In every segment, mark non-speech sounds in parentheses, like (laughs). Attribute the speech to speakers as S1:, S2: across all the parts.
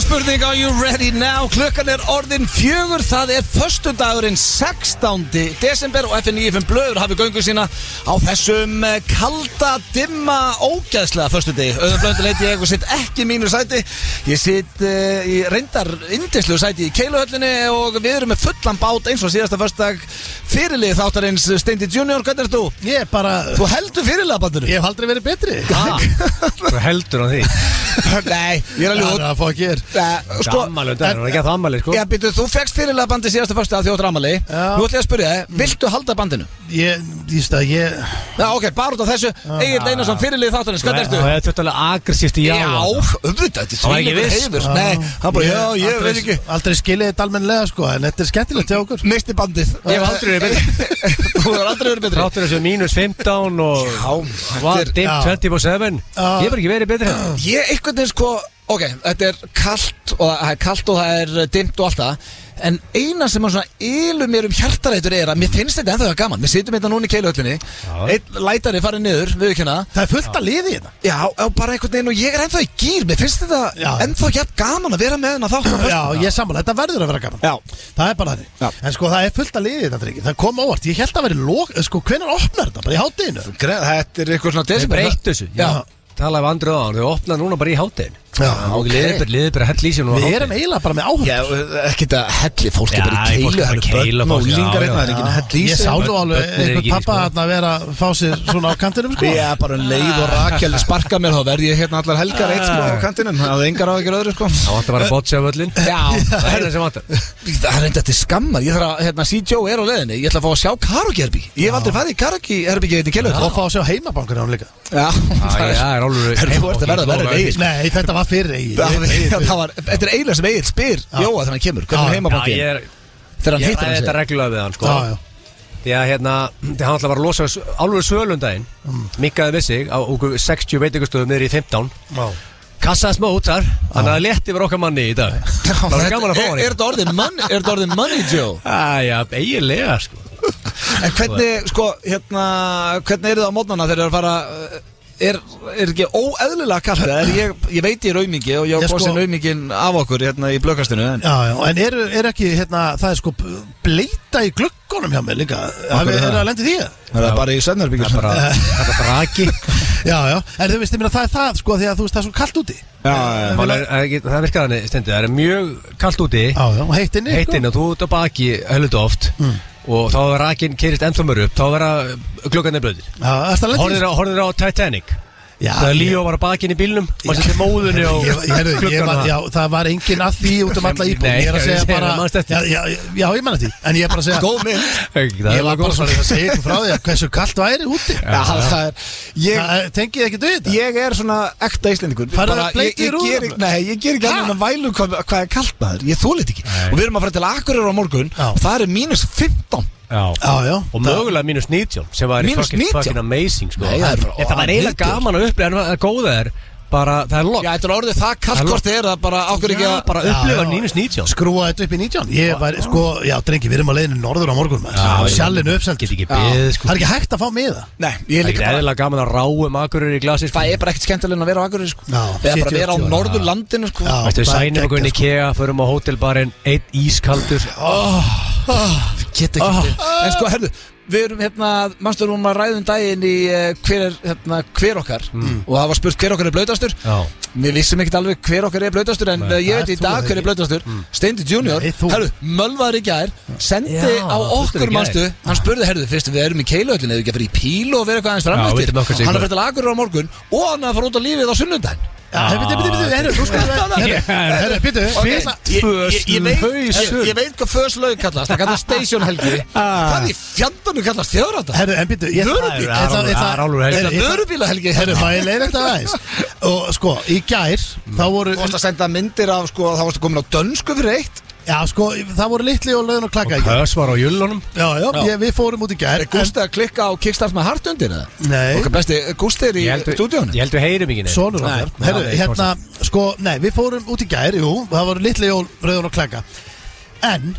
S1: spurning Are you ready now? Klukkan er orðin fjögur Það er föstudagurinn 16. desember og FNÍFM Blöður hafi göngu sína á þessum eh, kalda, dimma, ógæðslega föstudegi Öðum blöndu leiti ég og sitt ekki í mínu sæti Ég sitt uh, í reyndar indislu sæti í keiluhöllinni og við erum með fullan bát eins og síðasta föstudag fyrirlið þáttarins Steindi Junior, hvernig er þú?
S2: Ég er bara,
S1: Þú heldur fyrirlega bandinu?
S2: ég hef aldrei verið betri
S3: Þú heldur á því
S1: (laughs) Nei, ég er alveg
S2: Það er
S1: út
S2: að fá ekki er
S1: Eh,
S3: Sko,
S1: Sko,
S3: ammali, það er ekki að það ammali sko.
S1: Já, býtu, þú fegst fyrirlega bandi síðasta fyrsta að þjóttur amali
S2: Já.
S1: Nú ætlum ég að spyrja
S3: Mm.
S1: þig, viltu halda bandinu?
S2: Ég, ég stað, ég
S1: Já, ok, bara út af þessu Egil Einarsson, fyrirlið þáttanins, hvernig ertu?
S3: Það er tjóttalega agressíft í já
S1: Já, auðvitað, þetta er
S3: var ekki
S1: þvílíkur
S3: viss.
S1: heiður Nei, hann bara, já, ég veit ekki
S2: Aldrei skilið þetta almennilega sko En þetta er skemmtilegt hjá okkur
S1: Misti bandið
S3: Ég hef aldrei verið
S1: betri (laughs) Þú hefur aldrei verið betri
S3: Ráttur þessu mínus 15 og
S1: Já,
S3: Var
S1: þetta er
S3: dimm
S2: já.
S3: 27 Ég hef ekki verið betri hérna.
S1: Ég einhvern veginn sko, ok, þetta er kalt og það er kalt og það er eh, dimmt og allt það En eina sem að svona ilu mér um hjartarætur er að mér finnst þetta ennþá gaman Við sitjum hérna núna í keiluhöllinni Einn lætari farið niður, við
S2: Það er fullt að liði hérna
S1: Já, já, bara einhvern veginn og ég er ennþá í gýr Mér finnst þetta
S2: Já.
S1: ennþá ekki gaman að vera með hennar þátt á föstu-
S2: Já, ég er sammála, þetta verður að vera gaman
S1: Já.
S2: Það er bara þannig
S1: Já.
S2: En sko, það er fullt að liði þetta drikki Það kom óvart, ég held að vera lók Sko, hvenær opnar þetta? Bara í hátteginu
S1: Gre- Þetta er eitthvað svona
S3: Þau
S1: desember
S3: breyttu þessu
S1: Já,
S3: Talaði við andrið á hann Þau opnaði núna bara í hátinn
S2: Já,
S1: ok.
S3: Liðið bara hell í sér
S2: Við erum eiginlega bara með áhörn
S1: já ekki þetta helli Fólk
S3: Já,
S1: er bara í
S3: fólk
S1: keilu
S3: er bara í
S1: Það eru
S3: keilu,
S1: börn og
S3: fólk- já,
S1: úlingar hérna,
S3: já,
S1: Það er ekki
S2: Já,
S1: helli í
S2: Ég
S1: sig.
S2: sá nú alveg
S3: Börn- börn eru
S2: einhvern
S3: ekki í
S2: pappa
S3: skóla.
S2: hérna vera að fá sér svona á kantinum sko
S1: sko. Já, bara um leið og rakjali sparka mér Þá verð ég hérna allar helgar eitt smá á kantinum Það er engar á ekki öðru sko
S3: Það vantar bara að botja á
S1: (laughs)
S3: öllin
S1: Já,
S3: Það er það sem vantar
S1: það er enda til skammar Ég þarf að, hérna, CJO er á leiðinni Ég ætla að fá að sjá karaoke-herby Ég hef aldrei farið í karaoke-herby Ég veit í keilu
S2: Og fá að sjá heimabankunum líka
S1: Já,
S3: Já,
S1: það
S3: já,
S1: er
S3: er alveg
S1: Herri, þú ert að verða verri en Egill.
S2: Nei, þetta var fyrir
S3: (laughs)
S1: Það
S2: eigin
S1: var- (laughs) það var, þetta er eiginlega sem Egil spyr Jóa þegar hann kemur, hvernig er
S2: Já,
S1: heimabanki
S3: Já, ég er
S1: þegar hann hittir
S3: Ég ræði
S1: hann
S3: þetta
S1: segir.
S3: reglulega við hann sko
S2: Já, já.
S3: Því að hérna Því að hann alltaf var að losa s- Alveg sölundaginn mm. Mikkaði við sig Á okkur 60 veitingustöðum Niður í 15 Kassaði smá út þar Þannig að létti var okkar manni í dag Það var gaman að fá
S1: Er-
S3: hann
S1: Er þetta orðið money, er þetta orðið money Joe?
S3: Æja, eiginlega sko
S1: En hvernig, sko, hérna hvernig er það á mótnana þegar það er að fara uh, er, er ekki óeðlilega kallt eða er ég, ég veit ég er aumingi og ég á
S2: Ég sko-
S1: góðsinn sko... aumingin af okkur hérna í blökastinu en
S2: Já, já, en eru er ekki, hérna, það er sko bleita í gluggunum hjá mér líka Hafið
S1: er
S2: þið
S1: það?
S2: að lendi því? eða?
S1: það er bara í Svennarbyggjum
S3: Það er bara
S2: (laughs)
S3: Þetta er bara ekki
S2: Já, já, en þú veist, ég meina það er það, sko, því að þú veist, það er svo kallt úti Já,
S1: Já,
S3: Mál er- Það er ekki- það virkar þannig stendur Það er mjög kallt úti
S2: já, Mm. og heitt inni sko.
S3: Heitin og þú ert á baki Höllut oft Og þá er rakin kyrist ennþá mörg upp Þá verða gluggarnir blöðir
S2: Já, það er það lendi
S3: Horfir á, horfir á Titanic
S2: Já,
S3: Þegar
S2: ég-
S3: Líó var að bakinn í bílnum Og setti móðunni á
S2: Ég, ég, heyrðu, ég var, já, það var enginn að því út um alla
S3: Nei,
S2: íbúð Ég er að
S3: ég
S2: segja
S3: segi
S2: bara
S3: það, manstu eftir.
S2: Já, já, já, ég manna því En ég er bara að segja
S1: Góð mynd
S3: Það
S2: Ég var bara svona að segja ykkur frá því að hversu kallt væri úti
S1: Já, það er ég,
S2: Það- Tengið ekki döið þetta?
S1: ég er svona ekta íslendingur
S2: Farðu
S1: Bara,
S2: að
S1: ég,
S2: bleikja
S1: ég,
S2: í rúðuna?
S1: ger ekki- Nei, ég ger ekki
S2: Ha?
S1: annað en að vælu hvað, hvað er kallt maður Ég þólit ekki Og við erum að fara til Akureyra á morgun
S2: Já.
S1: og Það er mínus 15
S3: Já
S2: Já, já
S3: Og mögulega mínus 19 sem var
S1: Mínus
S3: fucking,
S1: 19?
S3: fucking amazing sko.
S1: Nei, það er bara-
S3: Þetta var eiginlega
S1: Hildur.
S3: gaman að upplifa en það góða er bara það er
S1: Já,
S3: lokk
S1: þetta er orðið það kallt
S3: Halló.
S1: hvort þið er að bara ákveður ekki að
S3: bara
S2: Já,
S3: upplifa
S2: já.
S3: mínus sko. 19
S2: Skrúa þetta upp í 19 Ég var, sko, já, drengi, við erum á leiðinu norður á morgun maður. Sjallinu uppselt
S3: Get ekki
S2: Það
S3: beðið sko
S2: er ekki hægt að fá miða
S1: Nei, ég er
S3: Það
S1: líka
S3: er
S1: bara
S3: eiginlega gaman að ráum akurur í glasi sko.
S1: Það er bara ekkert skemmtilegn að vera á Akureyri sko
S2: Já,
S1: Eða bara
S2: 70,
S1: vera á
S2: 80 ára.
S1: Norðurlandinu sko
S2: Já.
S3: Veistu,
S2: það
S3: við
S2: er
S3: sænum okkur inn í
S2: geggjað, sko.
S3: KEA förum á hótelbarinn Eitt ískaldur
S1: Get ekki En sko, herðu, við erum hérna Manstu við erum að ræðum daginn í eh, hver, er, hérna, hver okkar Og það var spurt hver okkar er blöytastur
S3: Já.
S1: Við vissum ekkert alveg hver okkar er blöytastur En eh, ég
S2: það
S1: veit
S2: er
S1: í
S2: þú
S1: dag
S2: það
S1: hver er
S2: ekki. Mm.
S1: blöytastur Steindi Junior,
S2: Nei, þú.
S1: herðu, mölvaður í gær Sendi
S3: Já,
S1: á
S3: það þurfti
S1: okkur,
S3: í gær.
S1: manstu Hann spurði, herðu, fyrst við erum í keiluhöllinu Eða ekki að fara í pílu og vera eitthvað aðeins
S3: Já, veitum
S1: framöftir
S3: okkur sigur.
S1: Hann er fyrir til Akureyri á morgun Og hann er að fara út á lífið á sunnundaginn
S2: Já, byrju, byrju, byrju, herru, þú skulum
S1: Ég-
S2: Herru, byrju,
S1: Ok, ég- ég- ég veit-
S3: Föslaug.
S1: Ég veit hvað föslaug kallast Það kallast station
S2: (laughs)
S1: helgi Það í fjandunum kallast þjóðrata
S2: Ah. Herru, en byrju ég-
S1: Vörubíl.
S2: Það er- það er-
S3: Það er alveg helgi.
S2: Herru,
S1: Þetta
S2: ég-
S1: vörubíla helgi
S2: Herru, má ég leiða þetta
S3: (laughs)
S2: aðeins Og sko, í gær, þá
S3: Mm.
S2: voru
S1: Þú varst að senda myndir af sko Það varst að komin á dönsku fyrir eitt
S2: Já, sko, það voru litli og löðin og klakka í gær
S3: Kös var á jullunum
S2: Já, já, ég, við fórum út í gær
S1: Er Gústi að klikka á kickstart með hart undir það?
S2: Nei.
S1: Ok, besti, Gústi er í
S3: Ég held við-
S1: stúdíónu
S3: ég held við heyrum ekki neitt.
S2: Sónur
S3: Nei,
S2: okkar
S3: það
S2: Herru,
S3: er
S2: hérna,
S3: konstant.
S2: sko, nei, við fórum út í gær, jú Það voru litli jól, rauðun (clears throat) og klaka En,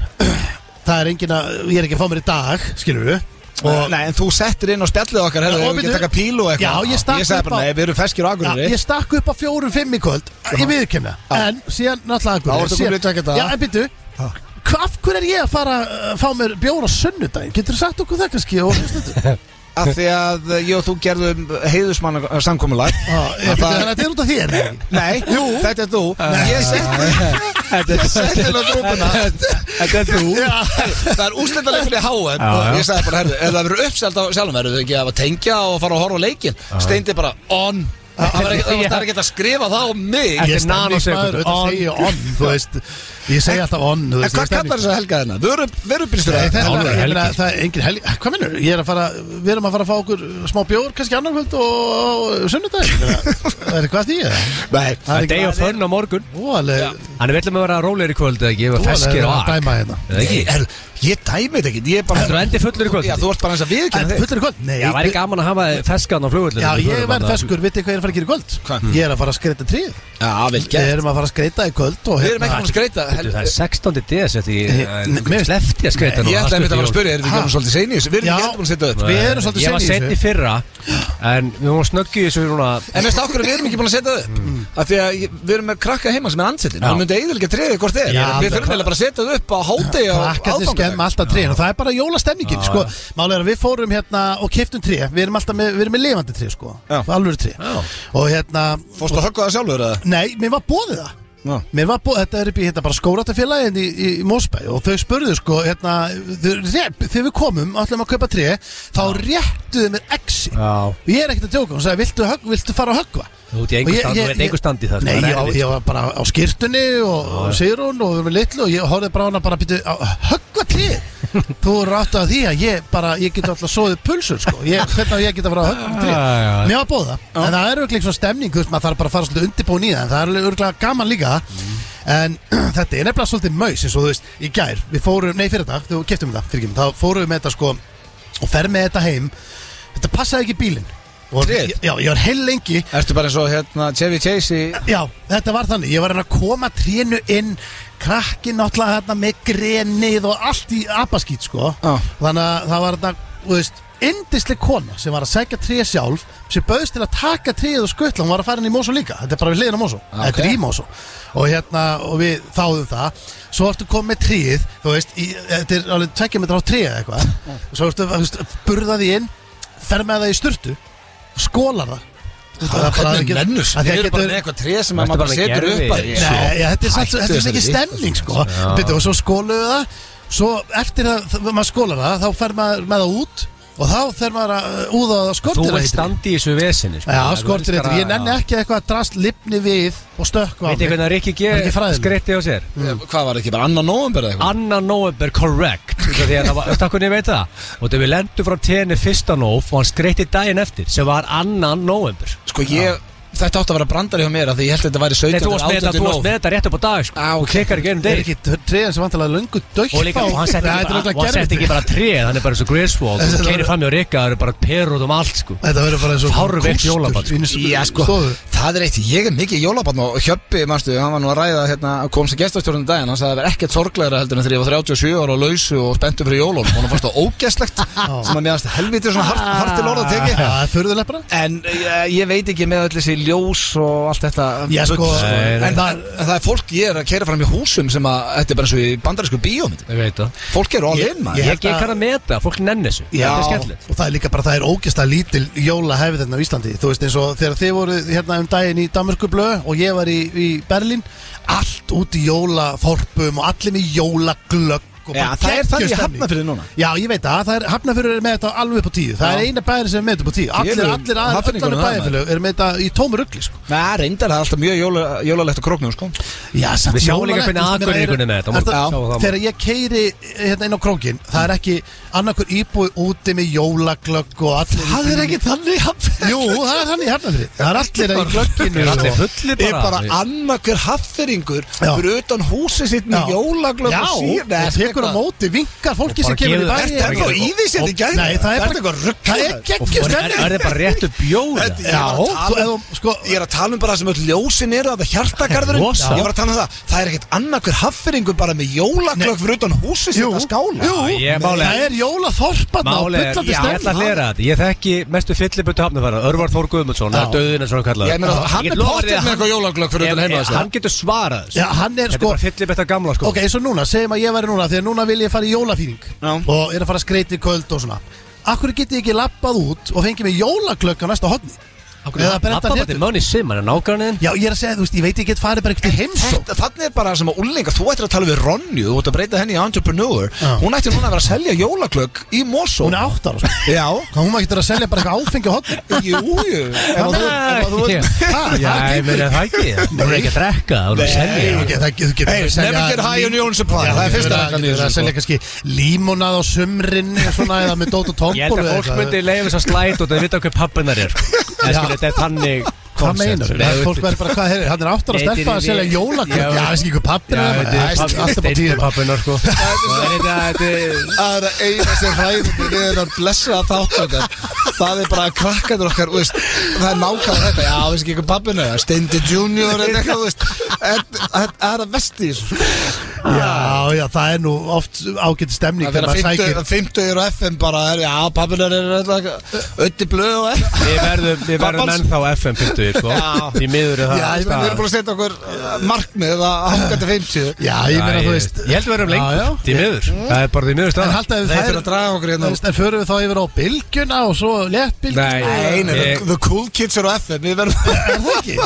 S2: það er engin að Ég er ekki að fá mér í dag, skilur við Og-
S1: Nei, en þú settir inn á spjallið okkar
S2: Já,
S1: Hefur
S2: og
S1: við ekki
S2: byrju-
S1: taka pílu og eitthvað
S2: Já, ég stakk
S1: sagði
S2: upp
S1: bara,
S2: á-
S1: nei, við erum feskir á
S2: Já,
S1: Akureyri
S2: ég stakk upp á fjórum fimm í kvöld Ég viðurkemna En síðan náttúrulega
S1: Já, ertu
S2: Akureyri
S1: kominn í jacket
S2: síðan,
S1: að-
S2: Já, en byttu Af hverju er ég að fara að fá mér bjóra sunnudaginn? Getur þú sagt okkur það kannski? Og,
S1: Af því að eh, ég og þú gerðum heiðusmann samkomulag
S2: á, Ah, ég,
S1: það-
S2: það... Þetta er út af þér eða ekki?
S1: (laughs) Nei, Jú. þetta er þú Ég setti Ég setti inn á grúpuna
S3: Þetta er þú
S1: Það er úslitaleikur í HM
S3: Já,
S1: og
S3: já.
S1: Ég sagði bara, herðu, ef það verður uppselt á sjálfum Verður þau ekki að tengja og fara að horfa á leikin Steindi bara, on Það var ekki- (laughs) það var ekki hægt að skrifa það á mig
S3: Þetta er
S2: Ég stemning
S3: nanosekúndur.
S2: maður, auðvitað segi ég on, þú veist Ég segi alltaf on, þú
S1: En
S2: veist
S1: hvað
S2: ég er stemning.
S1: kallar þess að helga þennan? Vöru, vörubýrstur
S2: Nei, þetta
S3: Hálfur
S2: er, ég
S3: helgi.
S2: meina, það er engin helgi Hvað minnur, ég er að fara, við erum að fara að fá okkur smá bjór, kannski annar kvöld og sunnudag Það er hvað því ég
S1: Nei,
S2: Það
S3: Day of fun á morgun
S2: Ó, alveg,
S3: Þannig við ætlum að vera rólegir í kvöld eða ekki Ef
S2: þú
S3: að feskir
S2: alveg
S3: á
S2: að
S3: ak
S2: dæma hérna
S3: Eða ekki
S1: er, ég dæmi þetta ekki Ég er bara
S3: Þetta er endi fullur í kvöld
S1: Já, þú ert bara eins að viðkynna
S2: En
S1: þig
S2: fullir í kvöld? Nei,
S3: Já, væri gaman að hafa feskan á flugvöldinu
S2: Já, ég verð feskur, vitið hvað ég er að fara að gera í kvöld?
S1: Hvað?
S2: Ég er að fara að skreita tríð
S1: Já, vel
S2: Við
S1: gert
S2: erum að fara að skreita í kvöld og hérna
S1: Við erum ekki búin að skreita
S3: Það er 16. DS Þetta
S2: Nei, Eh, mér-
S3: er slefti að skreita nú
S1: Ég ætlaði mitt að fara að spyrja, erum við
S2: Ha?
S1: komin svolítið seinir Við erum
S2: Já.
S1: ekki endur búin að setja upp
S2: Við erum svolítið
S3: Ég var
S2: sein í
S3: sent í fyrra En við vorum snöggið þessu núna
S1: En veist okkur, við erum ekki búin að setja það upp Af því að ég- við erum með krakka heima sem er ansettin
S3: Já.
S1: Hann myndi eiginlega treðið hvort þið er
S2: Já,
S1: Við
S2: það-
S1: þurfum eiginlega bara að setja það upp á hátegi á
S2: Krakkarnir skemma
S1: aðfangadag
S2: alltaf tríðin og það er bara jólastemningin sko. Málega er að við fórum hérna og keftum trí Við erum alltaf með, við erum með lifandi trí sko.
S1: Já.
S2: Alvöru trí
S3: Já.
S2: Og hérna,
S1: Fórstu að höggva það sjálfur eða?
S2: nei, mér var bóðið það
S1: Já.
S2: Mér var búið, þetta er upp í hérna bara skóratafélagin í, í, í Mósbæ og þau spurðu sko hérna, þau- rétt- þegar við komum og ætlum að kaupa tré, þá réttuðu mér exi
S3: Já
S2: og ég er ekkert að djóka, hún sagði, viltu, högg, viltu fara að höggva?
S3: Þú ert í einhver
S2: Og ég- ég-
S3: stand- þú ert í einhver stand í það, sko,
S2: Nei,
S3: það er
S2: ég,
S3: erfitt.
S2: ég var bara á skýrtunni og, og Sigrún og við erum litlu og ég horfði bara á hana bara að byrja að höggva til
S3: (laughs)
S2: Þú eru átt að því að ég bara, ég get alltaf soðið pulsur sko ég, Hvernig á ég get að fara að höggva til
S3: Já, já.
S2: Mér var bóða, en það er örglega svona stemning, þú veist, maður þarf bara að fara svolítið undirbúin í það En það er örglega gaman líka
S3: Mm.
S2: En (clears throat) þetta er nefnilega svolítið maus eins og þú veist, í gær, við fórum, nei fyrir þetta, þú keftum þetta, fyrir þá fórum við með þetta sko og fer með þetta heim, þetta passaði ekki í bílinn Og-
S1: Tréð?
S2: Já, ég var heil lengi
S1: Ertu bara eins og hérna Chevy Chase í
S2: Já, þetta var þannig, ég var að reyna að koma trénu inn krakkin náttúrulega hérna með grenið og allt í abaskýt sko
S1: Já.
S2: þannig að það var þarna, þú veist indisleg kona sem var að segja tréð sjálf sem bauðst til að taka tréð og skuttla hún var að fara inn í Mosó líka, þetta er bara við hliðin á Mosó
S1: Ah, ok.
S2: þetta er í Mosó og hérna, og við þáðum það svo ertu komið með tréð, þú veist í, þetta er alveg tvekja metra á tréð eða eitthvað svo ertu, þú veist, burðaði inn fer með það í sturtu skólar það Það er bara-
S1: Hvernig mennus?
S2: Af því að
S1: Við erum bara
S2: getur-
S1: með eitthvað treð sem að maður
S3: Ertu
S1: bara
S3: bara
S1: setur
S3: gervi?
S1: upp að
S3: Nei.
S1: Já.
S2: Nei, já, þetta er samt-
S1: Hættu
S2: þetta er
S1: þessari
S2: svo mikið stemning sko Byrju, Og svo skóluðu það Svo eftir að þegar maður skólar það Þá fer maður með það út Og þá fer maður að uh, úða það
S3: Þú
S2: skortir
S3: ert standi í þessu vesinni sko.
S2: Já,
S3: Þú
S2: skortir
S3: elskar
S2: þetta
S3: að-
S2: Ég nenni ekki að eitthvað að drast lipni við Og stökkva á
S3: Veit ég
S2: mig
S3: hvernig að Rikki G
S2: Það er ekki fræðilegt.
S3: skreitti á sér
S1: Hvað var ekki, bara annan nóvumber eða eitthvað?
S3: Anna November correct Því að það var, takk hvernig ég veit það Og þegar við lendum frá tenni fyrsta nóf Og hann skreitti daginn eftir Sem var annan November
S1: Sko ég, þetta átti að vera brandari hjá mér af Því ég held að þetta væri
S3: Nei,
S1: 17.
S3: þú varst með þetta,
S1: 18.
S3: þú varst
S1: nóv
S3: með þetta rétt upp á dag sko.
S1: Á,
S3: Þú klikkar ekki einum
S2: Er
S3: deg
S2: ekki treðan sem vantilega löngu dökk
S3: Og líka, og hann setti ekki, bara- og hann setti ekki bara treð Hann er bara eins og Griswold
S2: Þetta
S3: Þú
S2: er-
S3: keirir fram hjá Rikka, það eru bara perur út um allt sko
S2: Þetta verður bara eins og
S3: Fárveikt
S2: kústur
S3: jólabarn, sko.
S2: inni í
S1: Já sko,
S2: stofu.
S1: það er eitt, ég er mikið jólabann og Hjöppi, mannstu, hann var nú að ræða hérna, kom sem gestastjórnum daginn, hann sagði að það er ekkert sorglegra heldur en þegar ég var 37 ára og lausu og spenntu fyrir jólun, hann fannst það
S2: (laughs)
S1: ógeslegt sem að mér fannst helviti svona hart, hartil orða
S2: Já,
S1: teki
S2: það er furðulegt bara
S1: en eh, ég veit ekki með öll þessi ljós og allt þetta
S2: Já, sko,
S1: bull,
S2: nei, nei.
S1: En, það, en það er fólk, ég er að keira fram í húsum sem að, þetta er bara eins og í bandarísku bíómynd
S3: Ég veit það
S1: fólk eru
S2: Ég-
S1: alveg inn maður
S3: Ég
S2: held
S3: ekki
S2: að-
S3: kann að meta, fólk nenni þessu
S1: Já.
S3: Þetta er skemmtilegt
S2: Og það er líka bara, það er ógæsta lítil jóla hefið þarna á Íslandi Þú veist eins og þegar þið voru hérna um daginn í Danmörkublö og ég var í, í Berlín Allt út í jólaforpum og allir með jólaglögg og
S1: Já,
S2: bara
S1: það er
S2: geggjuð
S1: þannig í
S2: stemning.
S1: Hafnarfirði núna.
S2: Já, ég veit það, það er hafnafyrir er með þetta alveg upp á tíu Það
S1: Já.
S2: er eina bæri sem er með þetta upp á tíu Allir,
S1: Félögum-
S2: allir aðeins,
S1: Hafnfirðingunum það,
S2: allir
S1: maður.
S2: bæðifélög er með þetta í tómu ruggli sko.
S1: Nei, reyndar það er alltaf mjög jóla, jólalegt á króknum sko.
S2: Já, samt
S3: Við sjáum
S2: jólalegt,
S3: líka hvernig
S2: þú veist, meira
S3: Akureyri kunni með þetta á
S2: er
S3: morgun. Já, það var-
S2: Þegar ég keiri hérna inn á krókin Það er ekki annarkur íbúi úti með jólaglögg og allir í
S1: Það er ekki þannig hafnir
S2: Jú, það er hann í Hafnarfri Það er allir í glögginu
S3: Þeir eru allir
S2: og-
S3: fullir
S1: er bara
S3: bara
S1: annarkur hafferingur
S2: Já.
S1: fyrir utan húsið sitt með
S2: Já.
S1: jólaglögg
S2: Já,
S1: og síðan
S2: og tekur á móti, vinkar fólki sem
S3: bara
S2: kemur í
S3: gefur-
S2: bæri
S3: Ertu ennþá
S1: í því sem þið gæði?
S2: Nei, það er
S1: Ertu eitthvað ruglaður?
S2: Það er geggjum
S3: Er er
S2: stemning
S3: þið bara réttu bjóða?
S1: Þetta- ég
S2: Já,
S1: var að tala
S2: þú
S1: um-
S2: eða sko
S1: Ég er að tala um bara það sem öll ljósin eru að það hjartagarðurinn
S3: Rosa.
S1: Ég var að tala um það Það er ekkert annað hver haffyringu bara með jólaklökk fyrir utan húsi sem
S2: Jú,
S1: það skála
S2: jú,
S3: Já, ég- málið-
S2: það er jólaþorparna og
S3: Máli er,
S2: bullandi
S3: já, ég ætla að
S2: stemning
S3: hlera þetta Ég þekki mestu fyllibötu hafnafæra Örvar Þór Guðmundsson, það er döðin eins og hann kallar
S1: Ég meina, hann er pottet með eitthvað jólaglögg fyrir utan heima
S3: Hann getur svarað þessu.
S2: Já, hann er
S3: Þetta er
S2: sko
S3: bara fyllibötu gamla sko
S2: Ok, eins og núna, segjum að ég væri núna Þegar núna vil ég fara í jólafýring
S1: Já.
S2: Og er að fara skreiti kvöld og svona Akkur get ég ekki labbað út og fengið mig jólaklökk á næsta hodni Eða brenta
S3: Abba, þetta er
S2: hlutur
S3: Money Sim, hann er nágrannin
S2: Já, ég er að segja, þú veist, ég veit ekki get farið bara eitthvað heimsó
S1: Þetta- Þannig er bara sem að úrlinga, þú ættir að tala við Ronju Þú ættir að breyta henni í entrepreneur
S2: Já.
S1: Hún ættir núna að vera að selja jólaklögg í Mosó
S2: Hún er áttar og
S3: (laughs)
S2: svona
S1: Já,
S2: Hvað hún maður getur að selja bara eitthvað áfengi á hodni
S1: jú, jú Ef að þú- ef að þú-
S3: Já, ég meina það ekki Hún er ekki að drekka, hún er að selja
S2: Nei, það getur
S1: Hey, never get high on your own supply.
S2: Já,
S1: Það er fyrsta reglan í
S2: reglan
S1: þessu,
S2: Það er
S1: sko.
S2: að selja kannski límonað á sumrin og svona eða með dót og tombol
S3: Ég held að fólk myndi leiða þess að slæta og það vita hvað pappinar er En sko, þetta er þannig
S2: Hvað meinar?
S3: Nei,
S2: Fólk verður bara, hvað er, hann er áttar að
S3: Nei,
S2: stelpa að
S3: þetta er-
S2: selja jólaklökk
S3: Já,
S2: Já, veist ekki hvað pappir
S3: Já,
S2: er
S3: þetta er
S2: maður.
S3: papp-
S2: Allt upp á
S3: þetta
S2: tíu
S3: er pappinar sko Þetta er
S1: Það er að eina sem (laughs) hræðum við þennan blessaða þáttakar Það er bara að krakkandur okkar þú veist, Það er nákvæmlega þetta Já, veist ekki hvað pappinu Steindi Junior eða eitthvað þú veist. En- en- Það er að vesti í þessu, sko.
S2: Já, já, það er nú oft ágætt stemning
S1: Það er
S2: þegar maður sækir
S1: að 50 og FM bara er, Já, pappinu er Ötti blöð og F
S3: Við verðum, við verðum
S1: Babbans.
S3: ennþá FM 50 sko.
S1: Já.
S3: Því miður er
S1: Já,
S3: það
S1: ég meina, við erum
S3: staðan.
S1: búin að setja okkur uh, markmið að hanga til 50
S2: Já, ég meina,
S3: Já,
S2: þú veist
S3: Ég held við erum
S2: Já, já.
S3: lengur, því miður Það er bara því miður
S2: En
S3: staðan
S2: haldaðu
S1: Þeir fyrir að
S2: það
S1: draga okkur hérna út.
S2: En förum við þá yfir á bylgjuna og svo létt
S3: Nei.
S2: bylgjuna
S1: Nei, nei,
S3: Ég-
S1: the- the cool kids eru á FM Við verðum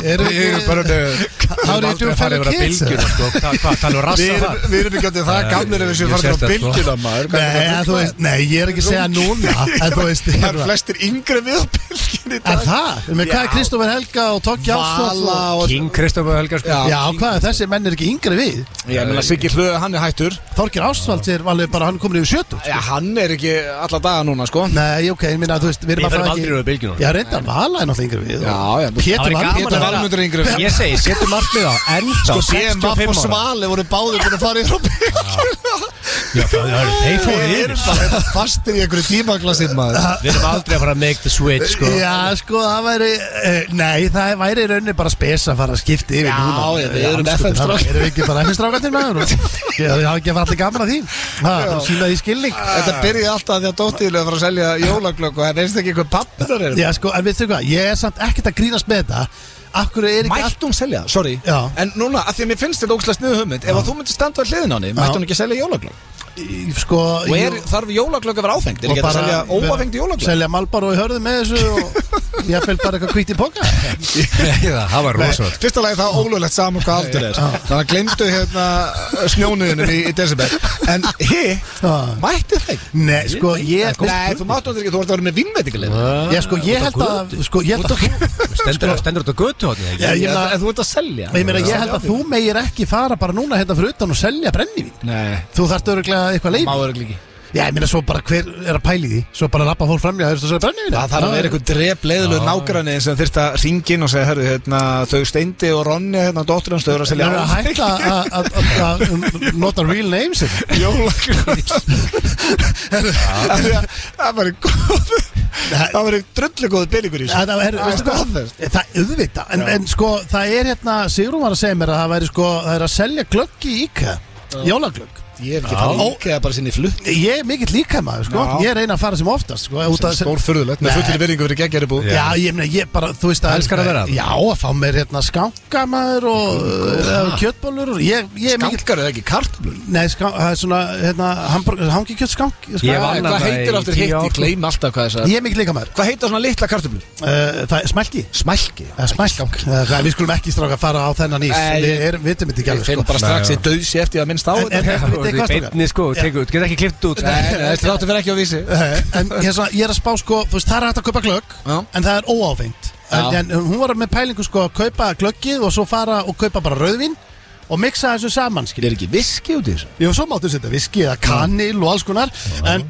S2: Erum við ekki-
S3: Þá
S2: How do you do fellow kids?
S3: sko. Hvað, hvað, tala
S1: Við
S3: um rassa
S1: erum,
S3: það?
S1: við erum ekki áttið það
S3: Nei,
S1: gamlir ef við séum
S3: ég
S1: farið
S3: sést
S1: á
S3: það, sko.
S1: bylgjuna maður Hvað
S2: Nei,
S1: er
S2: en
S1: það?
S2: þú veist, nei, ég er ekki að segja núna En þú veist,
S1: Það eru flestir yngri við á bylgjunni í
S2: Er
S1: dag.
S2: það? Með hvað er Kristófer Helga og Tóki Ástofn?
S1: Vala
S2: og-
S1: og
S3: King Kristoffer Helga sko.
S2: Já, hvað er þessi menn er ekki yngri við?
S1: Ég meina Siggi Hlöðu, hann er hættur
S2: Þorkir Ástofn er alveg bara, hann komin yfir 70
S1: Já, hann er ekki alla daga núna, sko
S2: Nei, ok, ég minna, þú veist, við erum
S3: Við
S2: að fara
S3: verðum um aldrei
S2: ekki
S3: yfir bylgjuna.
S2: Já, reyndan Vala er náttúrulega yngri við
S1: Já, já,
S3: Það
S2: Pétur
S3: væri
S2: Val-
S3: gaman
S1: Pétur
S3: að vera-
S1: Valmundur er yngri.
S3: Ég segi, setjum markmið á ennþá
S1: Sko, BMF
S3: 65
S1: og
S3: ára
S1: Svali voru báðir búin að fara í þá bylgjuna
S3: Já, það eru- Þeir fóru
S1: Við
S3: yfir
S1: erum bara fastir í einhverju tímaglasinn, maður
S3: Við erum aldrei að fara að make the switch sko.
S2: Já, sko, það væri eh, Nei, það væri í rauninni bara spes að fara að skipta yfir
S1: Já, já, við erum FM
S2: strákar
S1: strákar.
S2: Erum við ekki bara FM strákar til
S1: (laughs)
S2: maður? Já, við hafa ekki að fara allir gaman að því Það er sína því skilning
S1: Þetta byrjaði alltaf því að dóttiðlega fara að selja jólaglögg og það veist ekki hvað pappar er
S2: Já, sko, en veistu hvað, ég er samt ekkert að grínast með þetta Akkur er ekki
S1: Mættu hún selja, það? sorry
S2: Já.
S1: En núna, að því að mér finnst þetta ógslast niður hugmynd Ef að þú myndir standa á hliðin á henni, mættu hún ekki selja jólaglögg
S2: all... Sko,
S1: Og
S2: jú-
S1: er, þarf jólaglögg að vera áfengt? Er
S2: og
S1: ekki hægt að selja
S2: vera-
S1: óáfengt (laughs)
S2: (laughs)
S1: jólaglögg?
S2: Selja Malboro í hörðu með þessu
S1: (laughs)
S2: og ég fel bara eitthvað kvítið póka
S3: Já, Það var rosalegt
S1: Fyrsta lagi það ólöglegt saman hvað aldur er Þannig að glemdu hérna snjónuðunum í, í desember En hitt,
S2: Já.
S1: mættu þeim
S2: Nei, sko, ég
S1: Nei, þú máttu hann ekki, þú ert að vera með vinnveitingalið
S2: Ég sko, ég held að Sko, ég held að
S3: Stendur stendur út á götu hóttin
S2: Já, ég meina-
S1: En þú ert að selja
S2: Ég meina, ég held að þú megir ekki fara bara núna hérna fyrir utan og selja brennivín
S1: Nei,
S2: Þú þarft öruglega eitthvað leið
S1: má örgli ekki
S2: Já, ég meina, svo bara hver er að pæli því Svo bara rappa fólk framlega, þú veist að selja brennivín
S1: Það þarf að vera eitthvað drep leiðilegu nágræni sem þyrst að ringin og segja, herru, hérna, þau steindi og Ronni, hérna, dóttur hans, þau eru að
S2: Það
S1: selja
S2: er að
S1: áfengt."
S2: hætta að- að- að- að nota real names hérna.
S1: Jólakrús Það var góð Það var drullu góð peningur í
S2: Það er,
S1: Það er
S2: veistu hvað?
S1: staðfest.
S2: Það auðvita en, en sko, það er hérna Sigrún var að segja mér að það væri sko Það er að selja glögg í IKEA Jólaglögg
S1: Ég hef ekki farið ókæða bara sinni flutt
S2: Ég er mikill líka maður, sko
S1: Já.
S2: Ég reyna að fara sem oftast, sko út að-
S1: Stór furðulegt,
S2: Nei.
S1: með fullir veringu fyrir geggjari bú
S2: Já, ég meina, ég bara, þú veist að
S3: Elskar að vera þarna.
S2: Já, að fá mér hérna skankamaður og uh, kjötbólur og ég, ég er mikill
S1: Gangar eða ekki kartablur
S2: Nei, ská- það er svona, hérna, hamburger, hangi kjött skank
S3: Ég
S2: Ég,
S3: var
S1: Hvað
S3: annað bara
S1: heitir
S3: í
S1: aftur
S3: tíu
S1: hitt?
S3: ár,
S1: Ég
S3: sko.
S1: gleym alltaf hvað þess að
S2: ég er mikill líka maður
S1: Hvað heitir svona litla kartablur?
S2: uh, Það er smælki
S1: Smælki
S2: Það er smælk uh, Við skulum ekki stráka að fara á þennan ís
S1: Nei,
S2: Við erum, vitum þetta ekki
S1: Ég
S2: alveg,
S1: finn
S2: sko
S1: bara strax í döðsi eftir að minnst á
S2: En- en-
S1: þetta
S2: Vitið þið hvað, strákar?
S3: Einni sko, tekur- þú getur ekki klift út
S1: Nei, nei, þetta þáttu fyrir ekki á vísi
S2: Eh, En ég er, svona, ég er að spá, sko, þú veist, það er hægt að kaupa glögg
S1: Já.
S2: En það er óáfengt en,
S1: Já.
S2: en hún var með pælingu, sko, að kaupa glöggið og svo fara og kaupa bara rauðvín og mixa þessu saman, skil
S1: Er ekki viski út í þessu?
S2: Jú, svo máttu setja viski eða kanil og alls konar En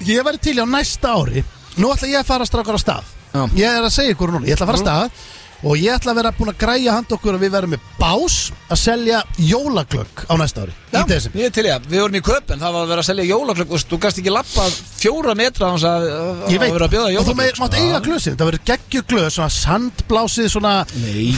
S2: ég væri til á næsta ári Nú ætla ég að fara strákar á stað
S1: Já.
S2: Ég er að segja ykkur núna, ég ætla að fara á stað Og ég ætla að vera búin að græja hand okkur að við verum með bás að selja jólaglögg á næsta ári
S1: Já,
S2: Í desember
S1: ég er til ég að, við vorum í köp en það var að vera að selja jólaklökk og þú gæst ekki lappa fjóra metra hans að, að
S2: Ég veit,
S1: vera að bjóða sko.
S2: og þú
S1: jólaklökk
S2: meir, mátt eiga glösin, það verður geggjuglös, svona sandblásið, svona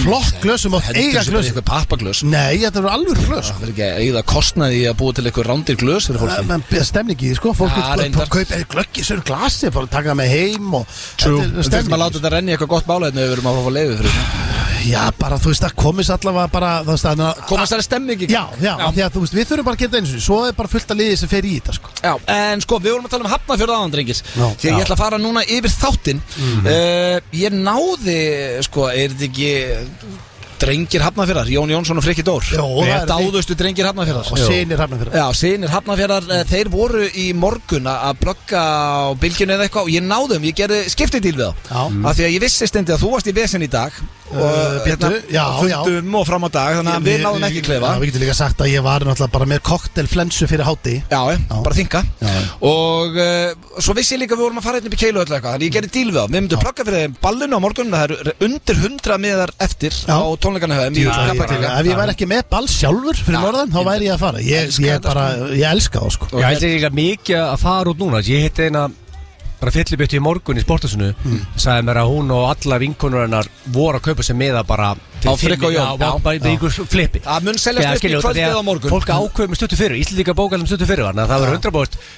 S2: flott glös, þú mátt eiga glösin
S1: Eitthvað pappaglös
S2: Nei, þetta verður alveg glös sko.
S1: Það er ekki að eigða kostnaði í að búa til eitthvað rándir glös fyrir
S2: Það
S1: Ah, fólki
S2: menn beða stemning í því sko Fólk
S1: Ja,
S2: vil
S1: reyndar.
S2: kaupa glöggi sér glasi Fólk taka það með heim og
S1: True
S2: Þetta er
S1: Við þurfum að láta
S2: stemning
S1: þetta renni í eitthvað gott mála hérna ef við erum að fá að leiðu fyrir það
S2: Já bara þú veist það komist allavega bara þú veist, þannig að-
S1: Komast þær stemning í
S2: Já, já, já. Því að, þú veist, við þurfum bara að gera það eins og því. Svo er bara fullt að liði sem fer í þetta sko
S1: Já, en sko, við vorum að tala um hafnafjörða áðan, drengir
S2: Já.
S1: Því að ég
S2: Já. Mhm.
S1: ætla að fara núna yfir þáttinn uh, Ég náði, sko, er þetta ekki Drengir hafnafjörðar, Jón Jónsson og Frikki Dór
S2: Jó, það er-
S1: Dáðustu drengir hafnafjörðar
S2: Og sinir hafna fyrir
S1: Já, sínir hafnafjörðar, uh, þeir voru í morgun að- að blögga á bylginu eða eitthvað Og ég náði um, ég gerði skiptidíl við þá
S2: Já.
S1: Af því að ég vissi stendi að þú varst í vesen í dag Og hérna,
S2: Uh, Pétur, já, já.
S1: fundum og fram á dag Þannig að við náðum ekki klefa
S2: Já, Við getum líka sagt að ég var náttúrulega bara með koktelflensu fyrir háti
S1: Já, já,
S2: Já.
S1: bara þinga
S2: Já, já.
S1: Og uh, svo vissi ég líka að við vorum að fara einn upp í keilu öll eitthvað Þannig ég gerði díl við á Við myndum plugga fyrir þeim ballinu á morgun Það eru undir hundra miðar eftir
S2: Já.
S1: á tónleikana höfum í Kaplakrika.
S2: Ef ég væri ekki með ball sjálfur fyrir
S1: Já.
S2: norðan þá væri ég að fara Ég,
S1: Elska
S2: ég,
S1: þetta,
S2: bara, ég elska það sko
S1: Og
S3: Ég held ekki að mikið að fara út núna Ég hitti eina bara fyllibjötti í morgun í sportasunu sagði mér að hún og alla vinkonur hennar voru að kaupa sér miða bara
S1: Á Frigg og Jón,
S3: já,
S1: já.
S3: bara í ykkur flipi
S1: Það mun seljast upp í
S3: skilur,
S1: kvöld
S3: því að
S1: eða á morgun.
S3: Fólk ákveður með stuttu fyrir, Íslendinga bókaldum stuttu fyrir þannig að það var
S1: Eh,